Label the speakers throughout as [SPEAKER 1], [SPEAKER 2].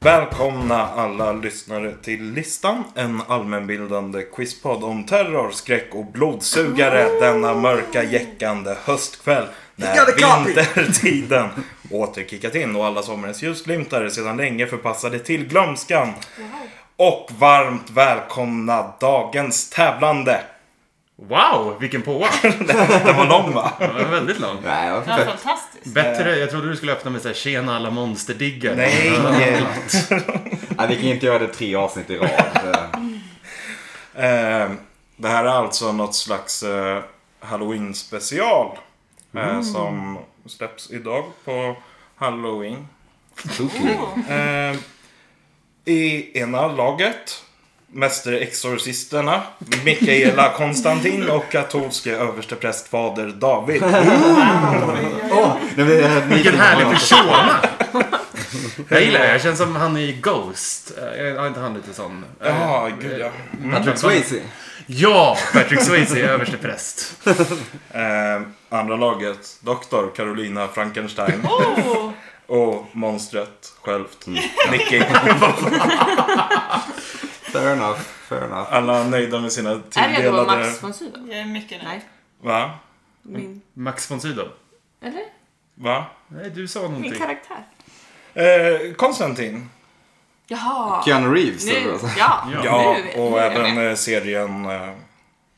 [SPEAKER 1] Välkomna alla lyssnare till listan. En allmänbildande quizpodd om terror, skräck och blodsugare denna mörka, jäckande höstkväll. När
[SPEAKER 2] got a copy.
[SPEAKER 1] vintertiden åter kickat in och alla sommarens ljusglimtar är sedan länge förpassade till glömskan. Och varmt välkomna dagens tävlande.
[SPEAKER 3] Wow, vilken påa!
[SPEAKER 1] Det var lång va?
[SPEAKER 3] Den var väldigt lång.
[SPEAKER 2] Nej, vad
[SPEAKER 4] Ja,
[SPEAKER 2] för
[SPEAKER 4] fantastiskt.
[SPEAKER 3] Bättre, jag trodde du skulle öppna med såhär “Tjena alla monsterdiggare”.
[SPEAKER 1] Nej.
[SPEAKER 2] Nej, vi kan ju inte göra det tre avsnitt i rad. Eh,
[SPEAKER 1] Eh, det här är alltså något slags eh, Halloween special. Eh,
[SPEAKER 5] Mm.
[SPEAKER 1] Som släpps idag på Halloween.
[SPEAKER 2] Tokigt.
[SPEAKER 1] Eh, I ena laget. Mästerexorcisterna. Mikaela Konstantin och katolske översteprästfader David.
[SPEAKER 2] Åh, nu blir jag
[SPEAKER 3] Vilken
[SPEAKER 2] nyfiken på
[SPEAKER 3] härlig
[SPEAKER 2] honom.
[SPEAKER 3] persona! Jag gillar det. Jag känns som han i Ghost. Eh, Har inte han lite sån? eh,
[SPEAKER 1] Jaha, gud ja.
[SPEAKER 2] Patrick Swayze.
[SPEAKER 3] Ja! Patrick Swayze är överstepräst.
[SPEAKER 1] Eh, andra laget. Doktor Carolina Frankenstein.
[SPEAKER 4] Oh,
[SPEAKER 1] Och monstret självt. Nicky.
[SPEAKER 2] Fair enough, fair enough.
[SPEAKER 1] Alla nöjda med sina
[SPEAKER 5] Är det då
[SPEAKER 1] tilldelade... Mm.
[SPEAKER 5] Max von Sydow?
[SPEAKER 4] jag är mycket nöjd.
[SPEAKER 5] Nej.
[SPEAKER 1] Va?
[SPEAKER 5] Min,
[SPEAKER 3] Max von Sydow.
[SPEAKER 5] eller?
[SPEAKER 1] Va?
[SPEAKER 3] Nej, du sa
[SPEAKER 5] Min
[SPEAKER 3] någonting.
[SPEAKER 5] karaktär.
[SPEAKER 1] Eh, Konstantin.
[SPEAKER 5] Jaha.
[SPEAKER 2] Keanu Reeves.
[SPEAKER 5] Nu,
[SPEAKER 2] alltså.
[SPEAKER 5] ja.
[SPEAKER 3] Ja.
[SPEAKER 1] Ja,
[SPEAKER 5] nu- nu
[SPEAKER 1] och
[SPEAKER 5] är jag
[SPEAKER 1] även
[SPEAKER 5] med.
[SPEAKER 1] eh, serien... Eh,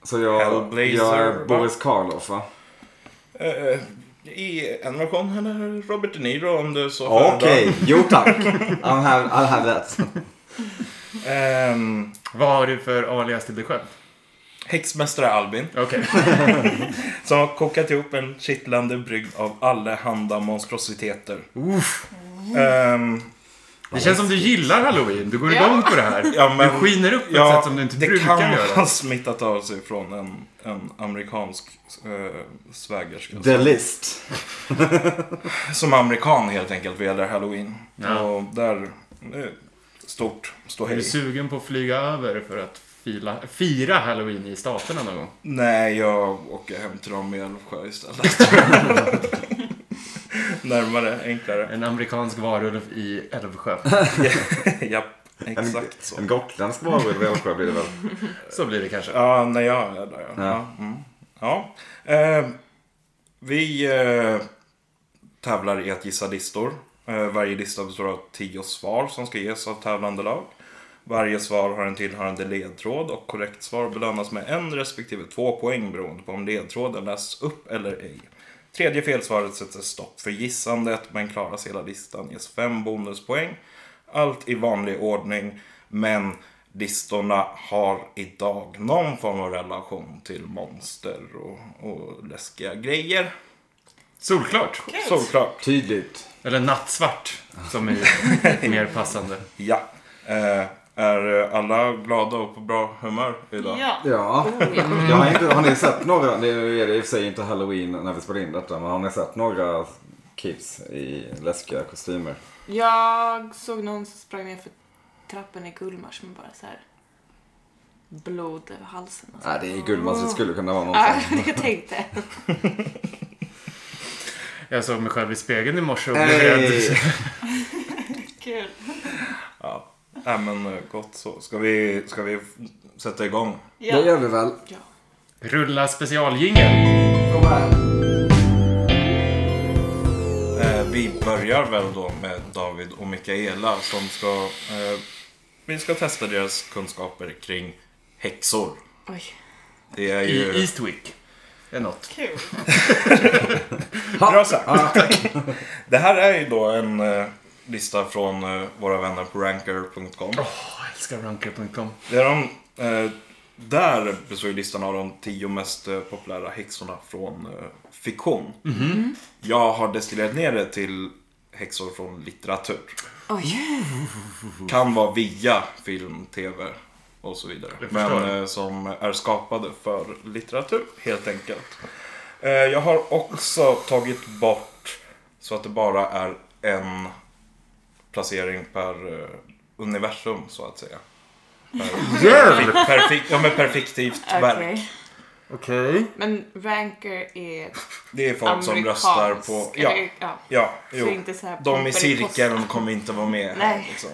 [SPEAKER 2] Så jag,
[SPEAKER 1] Hellblazer,
[SPEAKER 2] jag
[SPEAKER 1] va?
[SPEAKER 2] är Boris Karloff va?
[SPEAKER 1] eh, I en version eller Robert De Niro om du så
[SPEAKER 2] Okej, jo tack. I'm have, I'll have that.
[SPEAKER 1] föredrar. Ehm,
[SPEAKER 3] Vad har du för alias till dig själv?
[SPEAKER 1] Häxmästare Albin
[SPEAKER 3] Okej.
[SPEAKER 1] som har kokat ihop en kittlande brygd av allehanda monstrositeter. Ehm,
[SPEAKER 3] Det känns som du gillar halloween. Du går
[SPEAKER 5] Ja.
[SPEAKER 3] igång på det här.
[SPEAKER 1] ja, men,
[SPEAKER 3] Du skiner upp på ett sätt som du inte
[SPEAKER 1] det
[SPEAKER 3] brukar
[SPEAKER 1] kan
[SPEAKER 3] göra.
[SPEAKER 1] ha smittat av sig från en, en amerikansk eh, svägerska.
[SPEAKER 2] The list.
[SPEAKER 1] Som amerikan helt enkelt vad gäller halloween.
[SPEAKER 3] Ja.
[SPEAKER 1] Och där, eh, stort
[SPEAKER 3] Är du
[SPEAKER 1] ståhej.
[SPEAKER 3] sugen på att flyga över för att fila, fira halloween i staterna någon gång?
[SPEAKER 1] Nej, jag åker hem till dem i Älvsjö istället. Närmare, enklare.
[SPEAKER 3] En amerikansk varulv i Älvsjö.
[SPEAKER 1] Japp,
[SPEAKER 2] En,
[SPEAKER 1] exakt så.
[SPEAKER 2] en gotländsk varulv i Älvsjö blir det väl?
[SPEAKER 3] Så blir det kanske.
[SPEAKER 1] Ja, när jag är där. Ja. Ja.
[SPEAKER 2] Ja.
[SPEAKER 1] Mm. ja. Eh, vi eh, tävlar i att gissa listor. Eh, varje lista består av tio svar som ska ges av tävlande lag. Varje svar har en tillhörande ledtråd och korrekt svar belönas med en respektive två poäng beroende på om ledtråden lästs upp eller ej. Tredje felsvaret sätter stopp för gissandet men klaras hela listan ges fem bonuspoäng. Allt i vanlig ordning men listorna har idag någon form av relation till monster och, och läskiga grejer.
[SPEAKER 3] Solklart.
[SPEAKER 1] Såklart.
[SPEAKER 2] Tydligt.
[SPEAKER 3] Eller nattsvart, som är mer passande.
[SPEAKER 1] Ja. Eh, är alla glada och på bra humör idag?
[SPEAKER 4] Ja.
[SPEAKER 2] Ja. Mm. Jag har, inte, har ni sett några, det är det i och för sig inte halloween när vi spelar in detta, men har ni sett några kids i läskiga kostymer?
[SPEAKER 5] Jag såg någon som sprang ner för trappen i Gullmars med bara så här blod över halsen. Och så.
[SPEAKER 2] Nej, det är Gullmars, det skulle kunna vara någon
[SPEAKER 5] Ja,
[SPEAKER 2] sån.
[SPEAKER 5] jag tänkte.
[SPEAKER 3] Jag såg mig själv i spegeln i morse och blev rädd.
[SPEAKER 2] Hey.
[SPEAKER 4] Kul.
[SPEAKER 1] Ja. Nej men eh, gott så. Ska vi, ska vi f- sätta igång?
[SPEAKER 2] Det
[SPEAKER 4] Ja.
[SPEAKER 2] gör vi väl.
[SPEAKER 5] Ja.
[SPEAKER 3] Rulla specialjingel.
[SPEAKER 2] Kom här.
[SPEAKER 1] Eh, vi börjar väl då med David och Mikaela som ska... Eh, vi ska testa deras kunskaper kring häxor.
[SPEAKER 5] Oj.
[SPEAKER 1] Det är
[SPEAKER 3] I
[SPEAKER 1] ju...
[SPEAKER 3] Eastwick. Det är något.
[SPEAKER 4] Kul.
[SPEAKER 1] Bra sagt! Det här är ju då en eh, lista från eh, våra vänner på ranker.com.
[SPEAKER 3] Åh, jag älskar ranker.com.
[SPEAKER 1] Det är de, eh, där består ju listan av de tio mest eh, populära häxorna från eh, fiktion. Mhm. Jag har destillerat ner det till häxor från litteratur.
[SPEAKER 5] Oj.
[SPEAKER 1] Kan vara via film, tv och så vidare.
[SPEAKER 3] Jag förstår.
[SPEAKER 1] Men eh, som är skapade för litteratur helt enkelt. Eh, jag har också tagit bort så att det bara är en placering per eh, universum så att säga. Per, per, per, ja, men perfektivt verk.
[SPEAKER 5] Okej.
[SPEAKER 3] Okej.
[SPEAKER 5] Men ranker är
[SPEAKER 1] Det är folk som
[SPEAKER 5] amerikansk,
[SPEAKER 1] röstar på... Ja,
[SPEAKER 5] eller, ja.
[SPEAKER 1] ja
[SPEAKER 5] Så
[SPEAKER 1] jo.
[SPEAKER 5] inte så här
[SPEAKER 1] De i
[SPEAKER 5] Pomperipossa.
[SPEAKER 1] cirkeln kommer inte vara med.
[SPEAKER 5] Nej.
[SPEAKER 1] Liksom.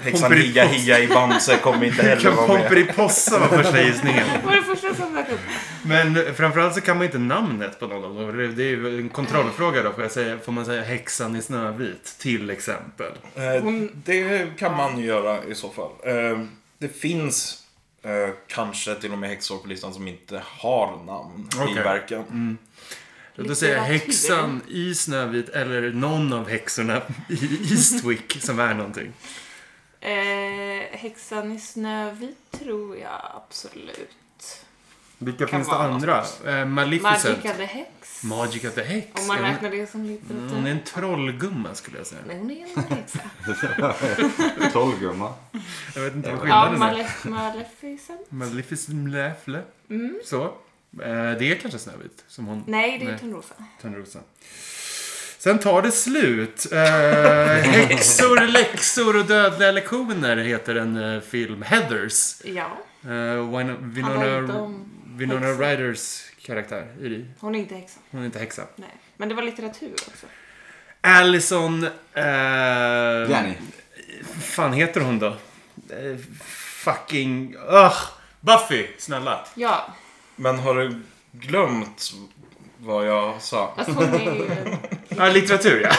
[SPEAKER 1] Häxan Hia Hia i Bamse kommer inte heller
[SPEAKER 3] Kan
[SPEAKER 1] vara med.
[SPEAKER 3] Pomperipossa var första gissningen.
[SPEAKER 5] Det var det första som dök upp.
[SPEAKER 3] Men framförallt så kan man inte namnet på någon av dem. Det är- Det är ju en kontrollfråga då. Får, jag säga, får man säga häxan i Snövit till exempel?
[SPEAKER 1] Eh,
[SPEAKER 5] Hon-
[SPEAKER 1] Det kan man ju göra i så fall. Eh, Det finns eh, kanske till och med häxor på listan som inte har namn i
[SPEAKER 3] Okej.
[SPEAKER 1] verken.
[SPEAKER 3] Låt oss säga
[SPEAKER 5] Litteratur.
[SPEAKER 3] häxan i Snövit eller någon av häxorna i Eastwick som är någonting.
[SPEAKER 5] Eh, häxan i Snövit tror jag absolut.
[SPEAKER 3] Vilka
[SPEAKER 5] Kan
[SPEAKER 3] finns det
[SPEAKER 5] vara något.
[SPEAKER 3] andra? Eh, Maleficent.
[SPEAKER 5] Magica the Hex.
[SPEAKER 3] Magica the Hex.
[SPEAKER 5] Om man
[SPEAKER 3] Är hon-
[SPEAKER 5] räknar det som
[SPEAKER 3] Mm,
[SPEAKER 5] litteratur.
[SPEAKER 3] Hon är en trollgumma skulle jag säga.
[SPEAKER 5] Nej, hon är en häxa.
[SPEAKER 2] Trollgumma.
[SPEAKER 3] Jag vet inte vad
[SPEAKER 5] ja,
[SPEAKER 3] skillnaden är.
[SPEAKER 5] Malef- Maleficent.
[SPEAKER 3] Maleficent Läfle.
[SPEAKER 5] Mm.
[SPEAKER 3] Så. Eh, Det är kanske Snövit som hon
[SPEAKER 5] Nej, det är
[SPEAKER 3] Nej.
[SPEAKER 5] Törnrosa.
[SPEAKER 3] Törnrosa. Sen tar det slut. Eh, häxor, läxor och dödliga lektioner heter en eh, film. Heathers.
[SPEAKER 5] Ja,
[SPEAKER 3] Eh, Win-
[SPEAKER 5] handlar inte
[SPEAKER 3] Winona,
[SPEAKER 5] om...
[SPEAKER 3] Winona
[SPEAKER 5] häxor.
[SPEAKER 3] Ryders karaktär. Iri.
[SPEAKER 5] Hon är inte häxa.
[SPEAKER 3] Hon är inte häxa.
[SPEAKER 5] Nej. Men det var litteratur också.
[SPEAKER 3] Allison... eh,
[SPEAKER 2] Jenny.
[SPEAKER 3] fan heter hon då? Eh, fucking... Ugh. Buffy, snälla.
[SPEAKER 5] Ja,
[SPEAKER 1] Men har du glömt vad jag sa?
[SPEAKER 5] fast hon är ju en...
[SPEAKER 3] Ja, litteratur ja.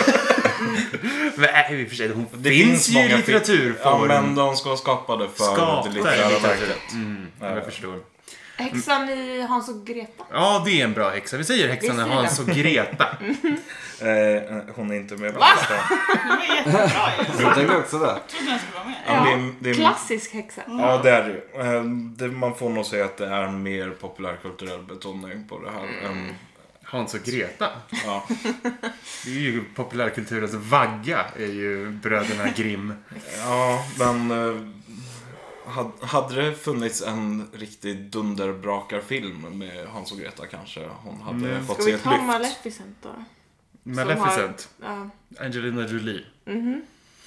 [SPEAKER 3] Men äh, i och för sig, hon
[SPEAKER 1] Det
[SPEAKER 3] finns,
[SPEAKER 1] finns
[SPEAKER 3] ju i
[SPEAKER 1] många fi-
[SPEAKER 3] litteratur
[SPEAKER 1] Ja,
[SPEAKER 3] för
[SPEAKER 1] men de ska vara skapade för
[SPEAKER 3] Skapade
[SPEAKER 1] det litterära
[SPEAKER 3] litteratur.
[SPEAKER 1] verket.
[SPEAKER 3] Mm, jag förstår.
[SPEAKER 5] Häxan i Hans och Greta.
[SPEAKER 3] Ja, det är en bra häxa. Vi säger häxan
[SPEAKER 5] Visst är
[SPEAKER 3] Hans och Greta.
[SPEAKER 1] Eh, eh, hon är inte med på
[SPEAKER 5] Va?
[SPEAKER 1] listan.
[SPEAKER 4] Det var jättebra ju. Jag
[SPEAKER 2] Jag tänkte också det.
[SPEAKER 4] trodde jag skulle vara med.
[SPEAKER 1] Ja, det är, det är,
[SPEAKER 5] Klassisk häxa.
[SPEAKER 1] Ja, det är det ju. Eh, det. Man får nog säga att det är en mer populärkulturell betoning på det här. än-
[SPEAKER 3] Hans och Greta.
[SPEAKER 1] ja.
[SPEAKER 3] Det är ju populärkulturens vagga, är ju bröderna Grimm.
[SPEAKER 1] ja, men eh, had- hade det funnits en riktig dunderbrakarfilm med Hans och Greta kanske hon hade
[SPEAKER 3] Mm.
[SPEAKER 1] fått
[SPEAKER 5] Ska
[SPEAKER 1] se
[SPEAKER 5] vi
[SPEAKER 1] ett
[SPEAKER 5] ta
[SPEAKER 1] lyft.
[SPEAKER 5] Maleficent då?
[SPEAKER 3] Maleficent.
[SPEAKER 5] Ja.
[SPEAKER 3] Angelina Jolie.
[SPEAKER 5] Mhm.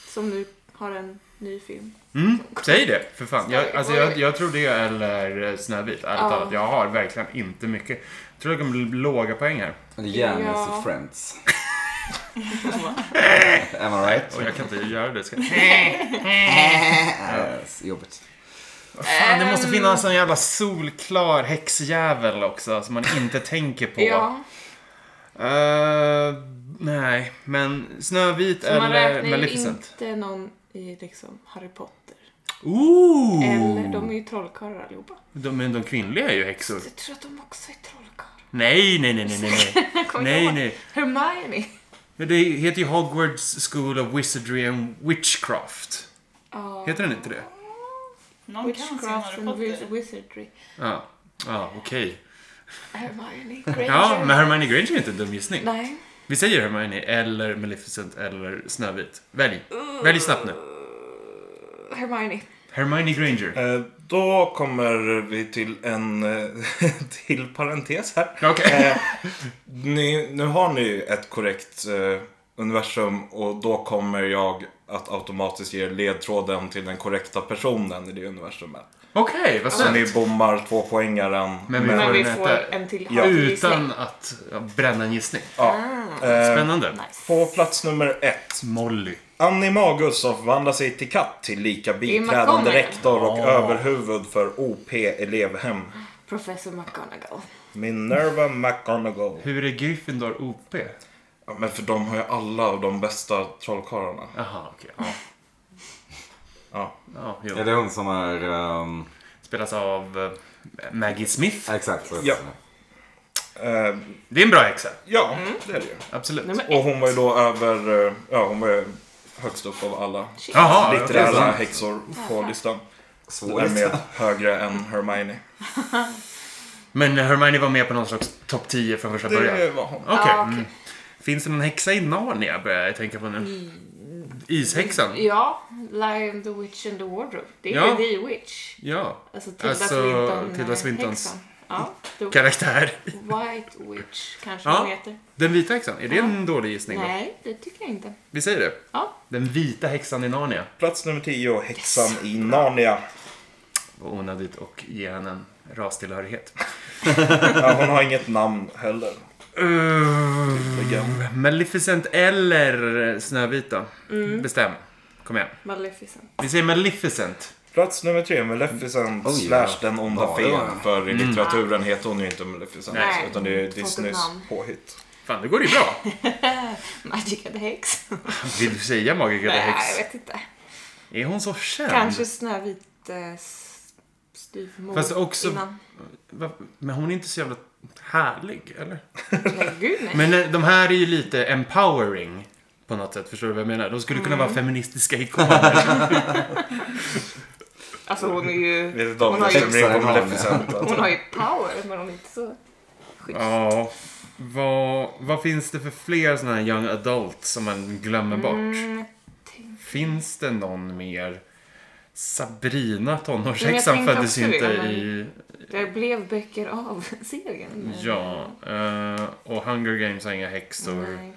[SPEAKER 5] Som nu har en ny film.
[SPEAKER 3] Mm, säg det för fan. Jag, alltså, jag, jag tror det eller eh, Snövit, ärligt
[SPEAKER 5] Ja.
[SPEAKER 3] talat. Jag har verkligen inte mycket. Jag tror jag kommer bli låga poäng här.
[SPEAKER 2] Jennys
[SPEAKER 5] Ja.
[SPEAKER 2] och alltså, Friends. Am I right?
[SPEAKER 3] Och jag kan inte göra det. Ska...
[SPEAKER 2] Eh, Jobbigt.
[SPEAKER 3] Fan, det måste finnas en jävla solklar häxjävel också som man inte tänker på.
[SPEAKER 5] Ja,
[SPEAKER 3] Eh, nej, men Snövit
[SPEAKER 5] så man
[SPEAKER 3] eller
[SPEAKER 5] räknar ju
[SPEAKER 3] Maleficent?
[SPEAKER 5] inte någon i liksom Harry Potter.
[SPEAKER 3] Ooh!
[SPEAKER 5] Eller, de är ju trollkarlar allihopa.
[SPEAKER 3] De, men de kvinnliga är ju häxor.
[SPEAKER 5] Jag tror att de också är trollkarlar.
[SPEAKER 3] Nej, nej, nej, nej, nej, nej.
[SPEAKER 5] Jag kommer
[SPEAKER 3] nej,
[SPEAKER 5] ihåg.
[SPEAKER 3] nej.
[SPEAKER 5] Hermione.
[SPEAKER 3] Men Det heter ju Hogwarts School of Wizardry and Witchcraft.
[SPEAKER 5] Ja.
[SPEAKER 3] Heter den inte det?
[SPEAKER 4] Någon kan sin
[SPEAKER 5] Witchcraft
[SPEAKER 4] Harry
[SPEAKER 5] and wiz-
[SPEAKER 4] Potter.
[SPEAKER 5] wizardry.
[SPEAKER 3] Ja, ja okej.
[SPEAKER 5] Hermione Granger.
[SPEAKER 3] Ja, men Hermione Granger är inte en dum gissning.
[SPEAKER 5] Nej.
[SPEAKER 3] Vi säger Hermione eller Maleficent eller Snövit. Välj. Välj snabbt nu.
[SPEAKER 5] Uh, Hermione.
[SPEAKER 3] Hermione Granger.
[SPEAKER 1] Eh, Då kommer vi till en eh, till parentes här.
[SPEAKER 3] Okej.
[SPEAKER 1] Eh, ni, nu har ni ju ett korrekt eh, universum och då kommer jag att automatiskt ge er ledtråden till den korrekta personen i det universumet.
[SPEAKER 3] Okej, vad
[SPEAKER 1] Så
[SPEAKER 3] snällt.
[SPEAKER 1] ni bommar tvåpoängaren.
[SPEAKER 3] Men vi
[SPEAKER 5] Men
[SPEAKER 3] får
[SPEAKER 5] vi
[SPEAKER 3] den
[SPEAKER 5] får
[SPEAKER 3] äta.
[SPEAKER 5] en till
[SPEAKER 1] Ja.
[SPEAKER 5] halvgissning.
[SPEAKER 3] Utan att ja, bränna en gissning.
[SPEAKER 1] ja.
[SPEAKER 5] Ah,
[SPEAKER 1] eh,
[SPEAKER 3] Spännande.
[SPEAKER 5] nice.
[SPEAKER 1] på plats nummer ett.
[SPEAKER 3] Molly.
[SPEAKER 1] Animagus omvandlar sig till katt till lika biträdande
[SPEAKER 5] McGonagall.
[SPEAKER 1] rektor och
[SPEAKER 3] Ja.
[SPEAKER 1] överhuvud för OP elevhem.
[SPEAKER 5] Professor McGonagall.
[SPEAKER 1] Minerva McGonagall.
[SPEAKER 3] Hur är Gryffindor OP?
[SPEAKER 1] Ja, men för de har ju alla av de bästa trollkarlarna.
[SPEAKER 3] Jaha, okej.
[SPEAKER 1] Ja.
[SPEAKER 3] Ja. Ja,
[SPEAKER 2] Är
[SPEAKER 3] jo.
[SPEAKER 2] det hon som är... ehm,
[SPEAKER 3] Spelas av eh, Maggie Smith.
[SPEAKER 2] exakt så.
[SPEAKER 1] Ja. Eh,
[SPEAKER 3] Det är en bra häxa.
[SPEAKER 1] ja, det är det ju.
[SPEAKER 3] Absolut.
[SPEAKER 5] Nummer
[SPEAKER 1] Och hon var ju då över, eh, ja hon var ju högst upp av alla
[SPEAKER 3] Jaha, okej.
[SPEAKER 1] litterära häxor på listan.
[SPEAKER 2] Svår
[SPEAKER 1] Därmed högre än Hermione.
[SPEAKER 3] Men Hermione var med på någon slags topp 10 från första början?
[SPEAKER 1] Det var hon.
[SPEAKER 3] Okej.
[SPEAKER 5] Ja, okej.
[SPEAKER 3] mm. Finns det någon häxa i Narnia börjar jag tänka på nu. Ishäxan?
[SPEAKER 5] Ja, Lion, the Witch and the Wardrobe. Det är
[SPEAKER 3] Ja.
[SPEAKER 5] ju The Witch.
[SPEAKER 3] Ja.
[SPEAKER 5] Alltså Tilda
[SPEAKER 3] Alltså,
[SPEAKER 5] Swinton.
[SPEAKER 3] Tilda
[SPEAKER 5] eh,
[SPEAKER 3] Swintons-
[SPEAKER 5] häxan. Ja, the
[SPEAKER 3] Karaktär.
[SPEAKER 5] White Witch kanske
[SPEAKER 3] Ja.
[SPEAKER 5] hon heter.
[SPEAKER 3] Den vita häxan, är det en dålig gissning? då?
[SPEAKER 5] Nej, det tycker jag inte.
[SPEAKER 3] Vi säger det.
[SPEAKER 5] Ja.
[SPEAKER 3] Den vita häxan i Narnia.
[SPEAKER 1] Plats nummer 10, Häxan i Narnia.
[SPEAKER 3] Var onödigt och ge henne en rastillhörighet.
[SPEAKER 1] Ja, hon har inget namn heller.
[SPEAKER 3] Uh, Maleficent eller Snövita.
[SPEAKER 5] Mm.
[SPEAKER 3] Bestäm. Kom igen.
[SPEAKER 5] Maleficent.
[SPEAKER 3] Vi säger Maleficent.
[SPEAKER 1] Plats nummer tre, Maleficent
[SPEAKER 2] Oj,
[SPEAKER 1] slash
[SPEAKER 2] ja.
[SPEAKER 1] den onda
[SPEAKER 2] Ja, det var Mm.
[SPEAKER 1] fen.
[SPEAKER 2] det.
[SPEAKER 1] För i litteraturen heter hon ju inte Maleficent.
[SPEAKER 5] Nej,
[SPEAKER 1] utan det är
[SPEAKER 5] hon får inte
[SPEAKER 1] Disneys
[SPEAKER 5] namn.
[SPEAKER 1] påhitt.
[SPEAKER 3] Fan, det går ju bra.
[SPEAKER 5] Magic of the Hex.
[SPEAKER 3] Vill du säga Magica the
[SPEAKER 5] Nej, jag
[SPEAKER 3] Hex?
[SPEAKER 5] vet inte.
[SPEAKER 3] Är hon så känd?
[SPEAKER 5] Kanske Snövit eh, s- styvmor
[SPEAKER 3] Fast också-
[SPEAKER 5] innan.
[SPEAKER 3] Va? Men hon är inte så jävla härlig, eller?
[SPEAKER 5] Nej, gud nej.
[SPEAKER 3] Men eh, de här är ju lite empowering på något sätt. Förstår du vad jag menar? De skulle kunna vara feministiska ikoner.
[SPEAKER 5] Alltså hon är ju...
[SPEAKER 1] Vet inte om alltså.
[SPEAKER 5] Hon har
[SPEAKER 1] det
[SPEAKER 5] ju-
[SPEAKER 1] stämmer in på
[SPEAKER 2] Extra namn.
[SPEAKER 1] Maleficent.
[SPEAKER 5] Hon har ju power, men hon är inte så...
[SPEAKER 3] ja. Vad, vad finns det för fler sådana här young adults som man glömmer bort?
[SPEAKER 5] Mm.
[SPEAKER 3] Finns det någon mer? Sabrina,
[SPEAKER 5] Men
[SPEAKER 3] tonårshäxan,
[SPEAKER 5] jag tänkte
[SPEAKER 3] föddes ju
[SPEAKER 5] också
[SPEAKER 3] inte
[SPEAKER 5] det, men-
[SPEAKER 3] i...
[SPEAKER 5] Det blev böcker av serien. men-
[SPEAKER 3] Ja. eh, och Hunger Games har inga häxor.
[SPEAKER 5] Nej.